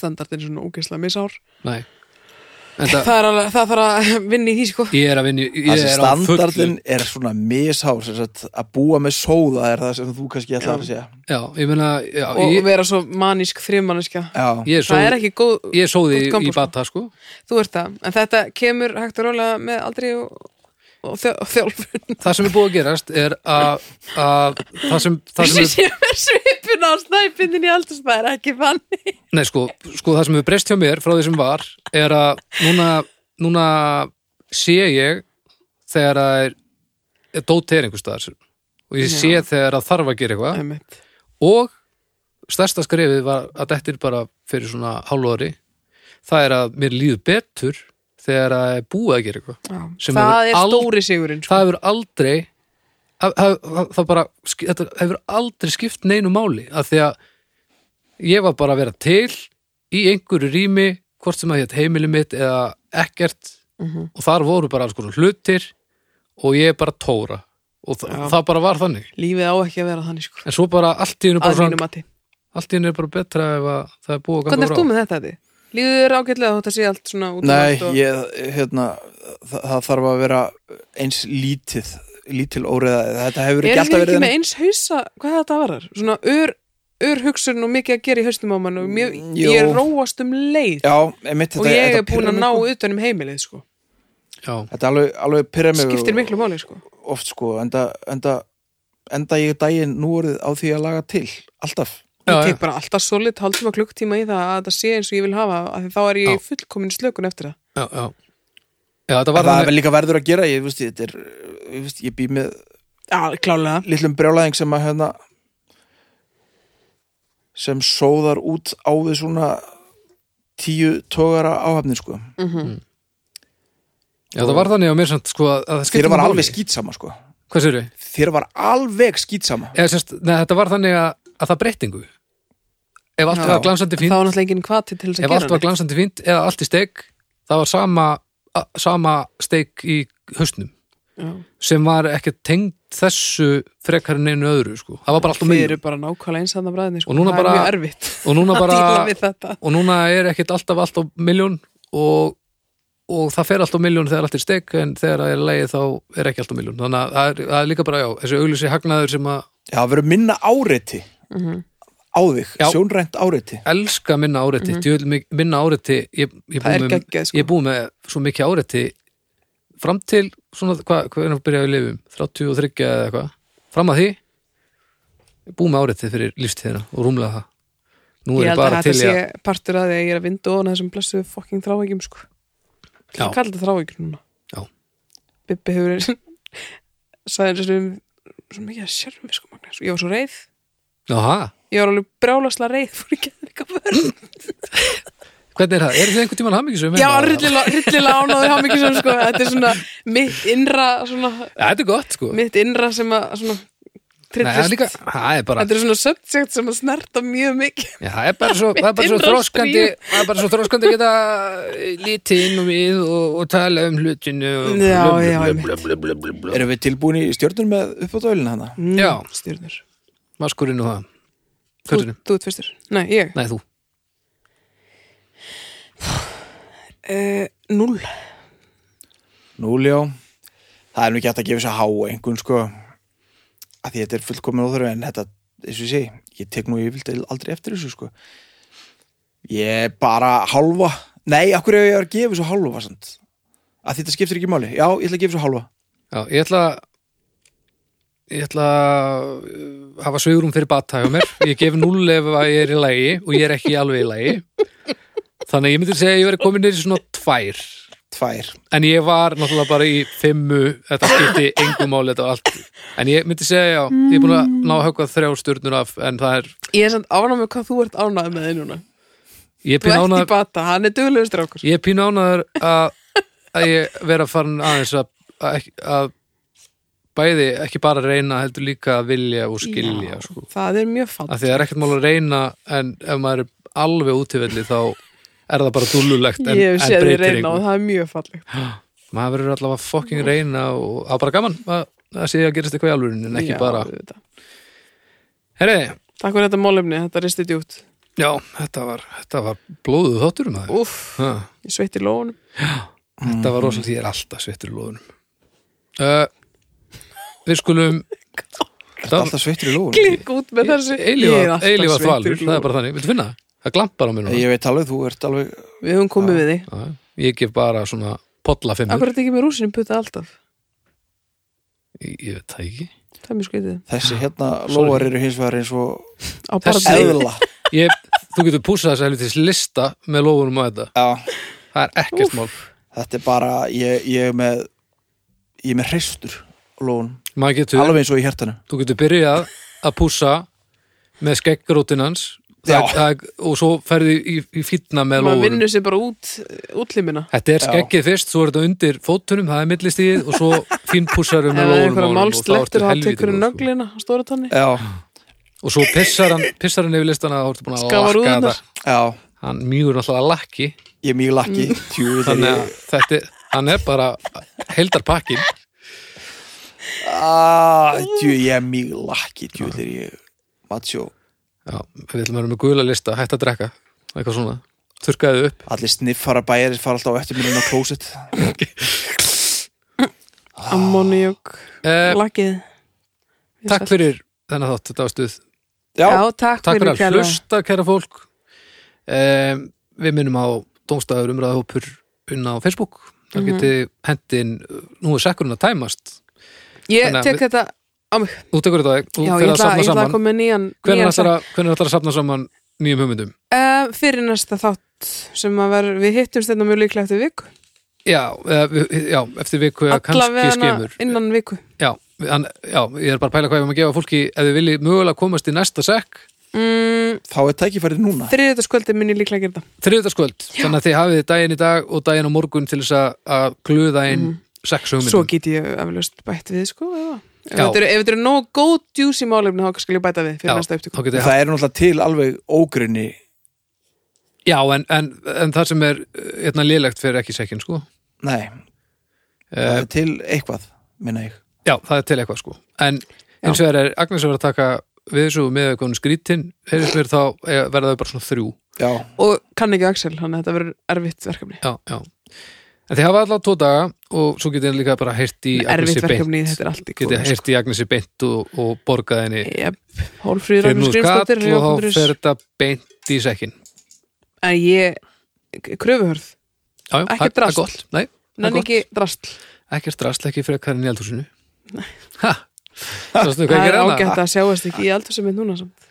Speaker 3: standardin er svona ógeðslega misár
Speaker 1: Nei. En það,
Speaker 3: það, er alveg, það þarf að [laughs] vinna í því sko
Speaker 1: ég er að vinni,
Speaker 2: það
Speaker 1: ég
Speaker 2: sem
Speaker 1: er á fullu.
Speaker 2: standardin er svona mishár sem sagt, að búa með sóða er það sem þú kannski ætlar að segja
Speaker 1: Já, ég meina, já,
Speaker 3: og
Speaker 1: ég,
Speaker 3: vera svo manísk frimanniska
Speaker 2: já,
Speaker 1: ég er
Speaker 3: Það er
Speaker 1: sóði,
Speaker 3: ekki góð,
Speaker 1: ég er sóði í,
Speaker 3: gott kombo,
Speaker 1: í bata, sko.
Speaker 3: þú ert það en þetta kemur hægt og rólega með aldrei og, og, þjó, og þjálfun
Speaker 1: Það sem er búið að gerast er að, að það sem, það sem,
Speaker 3: [laughs] sem sé með svipun á snæpindin í aldurs það er ekki þannig
Speaker 1: er, nei, sko, sko, það sem er breyst hjá mér frá því sem var er að núna, núna sé ég þegar að er, er dót er einhver staðar og ég sé
Speaker 3: Já.
Speaker 1: þegar að þarf að gera eitthvað.
Speaker 3: Einmitt.
Speaker 1: og stærsta skrefið var að dettir bara fyrir svona hálfóri það er að mér líður betur þegar að er búið að gera eitthvað
Speaker 3: Já,
Speaker 1: Sem
Speaker 3: það
Speaker 1: hefur
Speaker 3: er
Speaker 1: ald-
Speaker 3: stóri sigurinn sko.
Speaker 1: það hefur aldrei það, það, það- það bara, sk- þetta hefur aldrei skipt neinu máli að því að ég var bara að vera til í einhverju rými hvort sem að hétt heimili mitt eða ekkert
Speaker 3: Mhm.
Speaker 1: og þar voru bara alls konar hlutir og ég bara tóra og það,
Speaker 3: Já.
Speaker 1: það bara var þannig
Speaker 3: lífið á ekki að vera þannig sko.
Speaker 1: en svo bara allt í hennu bara
Speaker 3: að
Speaker 1: svona
Speaker 3: mínu mati
Speaker 1: allt í henni er bara betra ef að það er búið að ganga
Speaker 3: hvernig ert þú með þetta því? lífið er ágætlega þótt að sé allt svona út um
Speaker 2: Nei,
Speaker 3: allt og...
Speaker 2: ég, hérna, það, það þarf að vera eins lítið, lítil óreða, þetta hefur
Speaker 3: er
Speaker 2: ekki
Speaker 3: ekki,
Speaker 2: alltaf verið um-
Speaker 3: ekki með
Speaker 2: þannig.
Speaker 3: eins hausa hvað þetta varar? svona ör, ör hugsun og mikið að gera í haustum á mann og mjög,
Speaker 2: Jó.
Speaker 3: ég róast um leið
Speaker 2: Mm, Já, einmitt,
Speaker 3: og
Speaker 2: þetta,
Speaker 3: ég
Speaker 2: þetta
Speaker 3: er búin að
Speaker 2: pirrar
Speaker 3: ná
Speaker 2: mig, sko.
Speaker 3: utan um heimilið sko.
Speaker 1: Já,
Speaker 2: Þetta er alveg, alveg pyrrað mig
Speaker 3: skiptir miklu máli sko.
Speaker 2: oft sko, enda, enda, enda ég daginn nú orðið á því að laga til, alltaf.
Speaker 1: Já, já.
Speaker 3: ég tek bara alltaf solid hálftíma klukktíma í það að það sé eins og ég vil hafa af því þá er ég
Speaker 1: Já.
Speaker 3: í fullkomin slökun eftir það
Speaker 1: já, já Já, þetta
Speaker 2: Það
Speaker 1: var
Speaker 2: er
Speaker 1: þannig
Speaker 2: vel líka verður að gera, ég veist, þetta er, ég veist, ég býð með
Speaker 3: Já, klálega
Speaker 2: litlum brjálæðing sem að, hérna, sem sóðar út á við svona tíu tógara áhafnir sko.
Speaker 1: Já, það var þannig á mér samt, sko að að það
Speaker 2: Þér
Speaker 1: skiptir
Speaker 2: var
Speaker 1: máli.
Speaker 2: alveg skýtsama sko.
Speaker 1: Hvað sér við?
Speaker 2: þér var alveg skýtsama
Speaker 1: Eða, sérst, neða, þetta var þannig að, að það breytingu Ef allt
Speaker 3: Já.
Speaker 1: var glansandi
Speaker 3: Það
Speaker 1: fínt
Speaker 3: var náttúrulega enginn kvati til þess að
Speaker 1: Ef allt var
Speaker 3: gera
Speaker 1: glansandi fínt eða allt í steik það var sama, a, sama steik í haustnum
Speaker 3: neitt.
Speaker 1: sem var ekki tengd þessu frekar en einu öðru, sko Það var bara allt
Speaker 3: Já.
Speaker 1: um
Speaker 3: Við
Speaker 1: mig
Speaker 3: erum bara nákvæmlega eins þarna bræðinni sko.
Speaker 1: Og núna
Speaker 3: Það
Speaker 1: bara-
Speaker 3: er mjög erfitt
Speaker 1: og núna
Speaker 3: að díla
Speaker 1: bara
Speaker 3: við þetta
Speaker 1: og núna er ekkit alltaf allt á miljón og, og það fer allt á miljón þegar allt er steik en þegar það er leið þá er ekki allt á miljón þannig að það er, það er líka bara já, þessi auglýsi hagnaður sem að
Speaker 2: Já, það verður minna áreiti á þig,
Speaker 1: Mhm. Já.
Speaker 2: sjónrænt áreiti
Speaker 1: elska minna áreiti mm minna áreiti, ég, ég
Speaker 3: Mhm. Það er
Speaker 1: búið með,
Speaker 3: geggjað, sko.
Speaker 1: ég búið með svo mikið áreiti fram til svona, hvað, hvernig byrjaði við lifum 33 eða eitthvað, fram að því ég búið með áreiti fyrir lífstíðina og rúmlega það nú er
Speaker 3: Ég
Speaker 1: ég
Speaker 3: held að
Speaker 1: bara til í
Speaker 3: þetta sé
Speaker 1: að
Speaker 3: partur að því að ég er að vinda ofan þessum blessu fucking þrávægjum sko.
Speaker 1: Já.
Speaker 3: Ég kalla þetta þrávægjum núna
Speaker 1: Já.
Speaker 3: Bibbi hefur [laughs] sagði þessum svo mikið að sjálfum sko Magnús. Ég var svo reið,
Speaker 1: Jaha,
Speaker 3: ég var alveg brjálasla reið [laughs] fyrir ekki að eitthvað vörn.
Speaker 1: hvernig er það? Er þið einhvern tímann hamingisum?
Speaker 3: Já, rillilega ánáður hafði mikið sem sko, þetta er svona mitt innra, svona,
Speaker 1: Þetta er gott, sko. Nei,
Speaker 3: mitt innra sem að svona
Speaker 1: það er
Speaker 3: trillist.
Speaker 1: líka, það er bara,
Speaker 3: Þetta er svona subject sem að snerta mjög mikið.
Speaker 1: já, það er bara svo, það er bara svo
Speaker 3: Innra
Speaker 1: þróskandi,
Speaker 3: stríð.
Speaker 1: það er bara svo þróskandi að geta eh, litið inn og við og, og tala um hlutinu. og-
Speaker 3: Já,
Speaker 1: blub, blub,
Speaker 3: já,
Speaker 1: blub,
Speaker 3: einmitt.
Speaker 1: blub, blub, blub, blub, blub.
Speaker 2: Erum við tilbúin í stjörnur með uppátölin hana?
Speaker 3: Mm,
Speaker 1: Já.
Speaker 3: Stjörnur.
Speaker 1: Maskurinn og það.
Speaker 3: Þú,
Speaker 1: Hvernig?
Speaker 3: þú ert fyrstur. Nei, ég.
Speaker 1: Nei, þú.
Speaker 3: Uh, null.
Speaker 2: Núljó Það er nú ekki hægt að gefa þess að há einhvern sko að því þetta er fullkomin óþörf en þetta, eins og ég segi, ég tek nú yfirlt aldrei eftir þessu sko Ég bara hálfa Nei, akkur ef ég er að gefa þessu hálfa sant? að þetta skiptir ekki máli Já, ég ætla að gefa þessu hálfa
Speaker 1: Já, ég ætla að ég ætla að uh, hafa sveigurum fyrir bata hjá mér ég gef 0 ef að ég er í lagi og ég er ekki alveg í lagi þannig að ég myndi segja að ég verið komin nýr í svona tvær
Speaker 2: Tvær
Speaker 1: en ég var náttúrulega bara í fimmu þetta skipti engum máli þetta var allt en ég myndi segja já, ég er búin að ná að höggva þrjá stjörnur af en það er,
Speaker 3: Ég er samt ánægð með hvað þú ert ánægð með þið núna.
Speaker 1: ég er
Speaker 3: Þú
Speaker 1: pín
Speaker 3: ert í
Speaker 1: ánaður
Speaker 3: bata, hann er duglegur strákur.
Speaker 1: ég er pín ánaður að, að ég vera farin aðeins að, að, ekki- að bæði ekki bara reyna heldur líka að vilja og skilja
Speaker 3: Já,
Speaker 1: sko.
Speaker 3: Það er mjög
Speaker 1: að
Speaker 3: fatt.
Speaker 1: því það er ekkert mál að reyna en ef maður er alveg útivillig þá er það bara dúllulegt en,
Speaker 3: Ég hef
Speaker 1: en
Speaker 3: séð þið
Speaker 1: breytir
Speaker 3: reyna og
Speaker 1: ykkur
Speaker 3: það er mjög fallegt.
Speaker 1: [gasps] maður verður allavega að fucking reyna og það er bara gaman að, að sé að gerast eitthvað í alvörinu en ekki
Speaker 3: Já,
Speaker 1: bara
Speaker 3: auðvitað.
Speaker 1: herri,
Speaker 3: Takk fyrir þetta málefni, þetta risti djúpt.
Speaker 1: já, þetta var, þetta var blóðuð þáttur um það
Speaker 3: Úff, ég sveitti lónum.
Speaker 1: þetta
Speaker 3: Mhm.
Speaker 1: var rosalega, ég er alltaf sveittur í lóðunum uh, við skulum
Speaker 2: Þetta er alltaf sveittur í lóðun
Speaker 3: Klikk út með þessu. Ég er
Speaker 1: eilífa,
Speaker 3: alltaf
Speaker 1: eilífa
Speaker 3: sveittur í
Speaker 1: þvalur, það
Speaker 3: lónum.
Speaker 1: er bara þannig viltu finna það? Það glampar á mér núna
Speaker 2: Ég veit alveg, þú ert alveg
Speaker 3: Við höfum komið við því.
Speaker 1: Já, ég gef bara svona polla fimmur,
Speaker 3: Akkur er þetta ekki með rúsinu putta alltaf?
Speaker 1: ég, ég veit það ekki
Speaker 3: Það er mjög skritið.
Speaker 2: Þessi hérna lóar eru hins vegar eins og
Speaker 3: Á
Speaker 1: Þessi-
Speaker 3: barnum.
Speaker 2: eðla
Speaker 1: ég, þú getur pússað þess að helvitis lista með lóðunum á þetta,
Speaker 2: Já,
Speaker 1: það er ekkert
Speaker 2: þetta er bara ég, ég er með ég er með hreistur lóðun
Speaker 1: mál maður getur,
Speaker 2: Alveg eins og í hjertanu
Speaker 1: þú getur byrjað að pússa með skeggrótin hans
Speaker 2: Já.
Speaker 1: það, það, og svo ferði í, í fýtna með
Speaker 3: Maður
Speaker 1: lóðunum
Speaker 3: vinnur sér bara út, útlimina.
Speaker 1: þetta er skeggið fyrst, svo er þetta undir fótunum það er millistíð og svo fínpússarum
Speaker 3: [laughs] Ef
Speaker 1: með lóðunum
Speaker 3: það er
Speaker 1: á
Speaker 3: einhverja
Speaker 1: honum og þá
Speaker 3: málslettur,
Speaker 1: ertu
Speaker 3: þá tekur
Speaker 1: helvítið góð,
Speaker 3: hann
Speaker 1: sko.
Speaker 3: nöglina á stóra tanni.
Speaker 2: Já,
Speaker 1: og svo pissar hann, pissar hann yfir listana og þá ertu búin að
Speaker 3: Skafar
Speaker 1: lakka
Speaker 3: úðunar.
Speaker 1: þetta
Speaker 2: já
Speaker 1: hann mjúur náttúrulega lakki
Speaker 2: Ég er mjög lakki Tjú, þannig
Speaker 1: þannig að þetta er, hann er bara heldarpakkin
Speaker 2: að Tjú, Ah, ég er mjög lakki Tjú, þegar ég Matsjó,
Speaker 1: Já, við ætlum að vera með gula lista, hætt að drekka eitthvað svona, þurrkaðu upp
Speaker 2: allir sniffara bæjarir fara alltaf á eftir mér inn á klósett
Speaker 1: Ah.
Speaker 3: Ammoniak,
Speaker 1: eh,
Speaker 3: lakið.
Speaker 1: Takk fyrir þennan þátt, þetta var stuð
Speaker 2: Já,
Speaker 3: Já, takk,
Speaker 1: Takk fyrir
Speaker 3: fyrir
Speaker 1: að hlusta, kæra fólk eh, Við minnum á Dómstæður umræðahópur unna á Facebook þá
Speaker 3: Mhm.
Speaker 1: geti hendin nú er sekkurinn að tæmast
Speaker 3: Ég
Speaker 1: Þannig að
Speaker 3: tek
Speaker 1: við-
Speaker 3: þetta á mig.
Speaker 1: út ekkur þetta og
Speaker 3: Já,
Speaker 1: fyrir
Speaker 3: ég
Speaker 1: að
Speaker 3: ætla,
Speaker 1: safna
Speaker 3: ég ætla að
Speaker 1: saman
Speaker 3: koma með nýjan,
Speaker 1: hvernig
Speaker 3: nýjan
Speaker 1: ætlar að, hvenær ætlarðu að safna saman nýjum hugmyndum
Speaker 3: Uh, fyrir næsta þátt sem að ver, við hittumst þetta mjög líklega eftir viku
Speaker 1: Já, eh, við- já eftir viku eða kannski skemur
Speaker 3: innan viku
Speaker 1: já, við- hann, já, ég er bara að pæla hvað ég maður að gefa fólki ef þið viljið mögulega komast í næsta sekk
Speaker 3: mm,
Speaker 2: þá er tækifærið núna
Speaker 3: þriðutaskvöldi minni líklega gerða
Speaker 1: þriðutaskvöld, þannig að þið hafið daginn í dag og daginn á morgun til þess að- að gluða inn sex hugmyndum
Speaker 3: Mhm. svo get ég eflaust bætt við sko já. ef
Speaker 1: Já.
Speaker 3: þetta eru- ef þetta eru nóg góð djús í málefni þá skal ég bæta við fyrir
Speaker 1: Já,
Speaker 3: næsta
Speaker 1: þá
Speaker 3: upptöku
Speaker 1: getið
Speaker 2: Það er náttúrulega til alveg ógrunni
Speaker 1: Já, en, en, en það sem er eh, hérna lélegt fyrir ekki sekkin, sko
Speaker 2: Nei, það
Speaker 1: uh,
Speaker 2: er til eitthvað, minna ég
Speaker 1: Já, það er til eitthvað, sko En eins og það er Agnes að vera að taka við þessu með eitthvað skrítin heyrðist mér þá eh, verða þau bara svona þrjú
Speaker 2: Já,
Speaker 3: og kann ekki Axel, hann þetta verður erfitt verkefni
Speaker 1: Já, já En þið hafa allavega tvo daga og svo getið þið líka bara heyrt í Agnesi
Speaker 3: erfitt verkefni, sko.
Speaker 1: beint
Speaker 3: þetta er allt í
Speaker 1: Getið
Speaker 3: góðu
Speaker 1: þið heyrt í Agnesi beint og, og borgað henni
Speaker 3: yep. hólfrýður
Speaker 1: fyrir
Speaker 3: Agnes
Speaker 1: nú skall
Speaker 3: Grímsdóttir
Speaker 1: og þá
Speaker 3: Jóhannes-
Speaker 1: fer þetta beint í sekkin
Speaker 3: en ég, kröfuhörð
Speaker 1: Já, já,
Speaker 3: Ekkert
Speaker 1: það- það er
Speaker 3: drasl.
Speaker 1: gott. Nei, það er
Speaker 3: nann
Speaker 1: gott.
Speaker 3: ekki drastl
Speaker 1: ekkert drast ekki fyrir hverjum í eldhúsinu ha, sástu hvað
Speaker 3: það
Speaker 1: ég
Speaker 3: er
Speaker 1: er annað
Speaker 3: ágætt að sjáast ekki í aldur sem er núna samt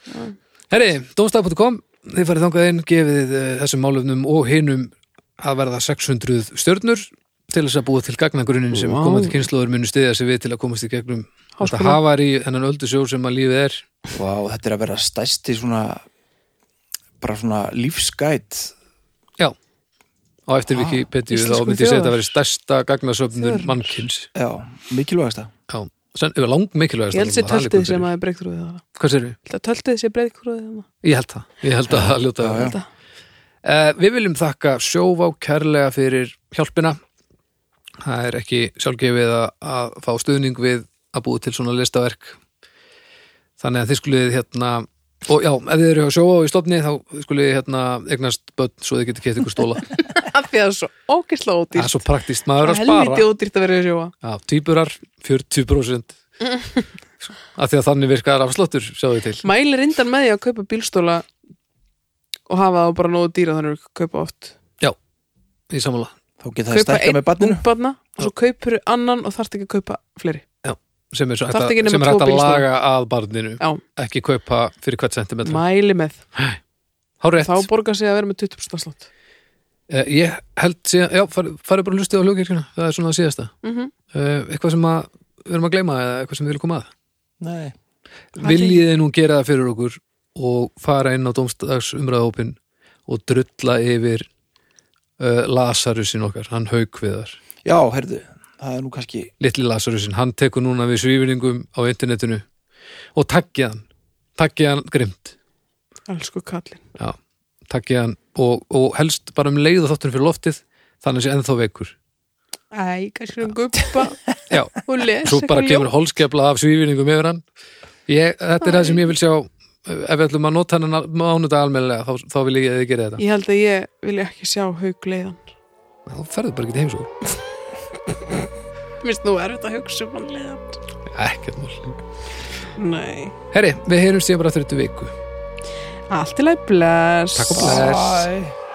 Speaker 1: herri, domstaf.com, þið farið þangað inn gefið uh, þessum málefnum og hinum að verða 600 stjörnur til þess að búa til gagnagrunin sem
Speaker 3: Vá.
Speaker 1: komandi kynnslóður munu stiðja sig við til að komast í gegnum Þetta
Speaker 3: háskóla
Speaker 1: hafar í hennan öldu sjó sem að lífið er
Speaker 2: Vá, þetta er að vera stæsti svona bara svona lífsgæt
Speaker 1: Já Á eftir
Speaker 2: Vá.
Speaker 1: Wikipedia þá
Speaker 3: Íslensku
Speaker 1: myndi ég segja þetta
Speaker 3: þjóðar.
Speaker 1: að vera stærsta gagnasöfnun
Speaker 3: Þjóðarinnar.
Speaker 1: mannkins
Speaker 2: Já, mikilvægast það
Speaker 1: Já, sen, yfir lang mikilvægast
Speaker 3: Ég held sér töltið sem að er breyktrúið það.
Speaker 1: Hvað sér við?
Speaker 3: Ég held að töltið sé breyktrúið það.
Speaker 1: [laughs] Ég held það, ég held að það ljóta
Speaker 2: Já, já.
Speaker 3: Þetta.
Speaker 1: Uh, við viljum þakka sjóvá kærlega fyrir hjálpina. Það er ekki sjálfgefið að, að fá stuðning við að búi til svona listaverk. Þannig að þið skulið hérna, og já, ef þið eru hjá sjóvá í stofni þá skulið hérna eignast börn svo þið getur keitt ykkur
Speaker 3: [laughs]
Speaker 1: stóla.
Speaker 3: Af því að það er svo ógeðslega
Speaker 1: Það
Speaker 3: ódýrt.
Speaker 1: er svo praktist, maður er að
Speaker 3: Helviti
Speaker 1: spara.
Speaker 3: ódýrt að vera í sjóa.
Speaker 1: Já, týpurar,
Speaker 3: [laughs]
Speaker 1: 40%. Af því að þannig virkar afsláttur, sjáðu til.
Speaker 3: Mæli rindan með því að kaupa bílstóla og hafa það bara nógu dýra þannig að kaupa oft.
Speaker 1: Í sammála,
Speaker 2: Þá geta það stækka með barninu
Speaker 3: ungbarna og svo kaupur annan og þarft ekki að kaupa fleiri.
Speaker 1: sem er, svo hægt
Speaker 3: Þarftu ekki
Speaker 1: að,
Speaker 3: nema
Speaker 1: sem er
Speaker 3: tvo
Speaker 1: hægt að
Speaker 3: bílstóla.
Speaker 1: laga að barninu,
Speaker 3: Já,
Speaker 1: ekki kaupa fyrir hvert sentimetra.
Speaker 3: mæli með.
Speaker 1: Hárrétt.
Speaker 3: Þá borgar sig að vera með 20% slott.
Speaker 1: Eh, Ég held síðan, já, farið fari bara að hlusta á hljókirkjuna, það er svona það síðasta. Uh, eitthvað sem að, við erum að gleyma eða eitthvað sem við viljum koma að.
Speaker 2: Nei,
Speaker 3: Hvað
Speaker 1: Viljið þið nú gera það fyrir okkur og fara inn á domstagsumræðahópin og drulla yfir uh, Lasarusin okkar, hann haukviðar.
Speaker 2: já, heyrðu Það er nú kannski
Speaker 1: Litli Lasarusin, hann tekur núna við svífinningum á internetinu og taggið hann, taggið hann grimt.
Speaker 3: Elsku kallinn.
Speaker 1: Já, taggið hann og, og helst bara um leið og þáttunum fyrir loftið, þannig að sé ennþá veikur.
Speaker 3: Æ, kannski
Speaker 1: [laughs]
Speaker 3: um guppa
Speaker 1: Já.
Speaker 3: og les
Speaker 1: svo bara kemur holskefla af svífinningum yfir hann ég, þetta er það sem ég vil sjá ef við ætlum að nota hann mánudag almennilega þá, þá vil ég að þið gera þetta
Speaker 3: Ég held að ég vilja ekki sjá haugleiðan.
Speaker 1: þá ferðu bara ekki til heimsók
Speaker 3: Mér finnst nú erfitt að hugsa um hann leiðan.
Speaker 1: ekkert mál
Speaker 3: Nei.
Speaker 1: herri, við heyrum síðan bara 30 viku
Speaker 3: Allt í lagi bless.
Speaker 1: Takk og bless.
Speaker 2: Æ.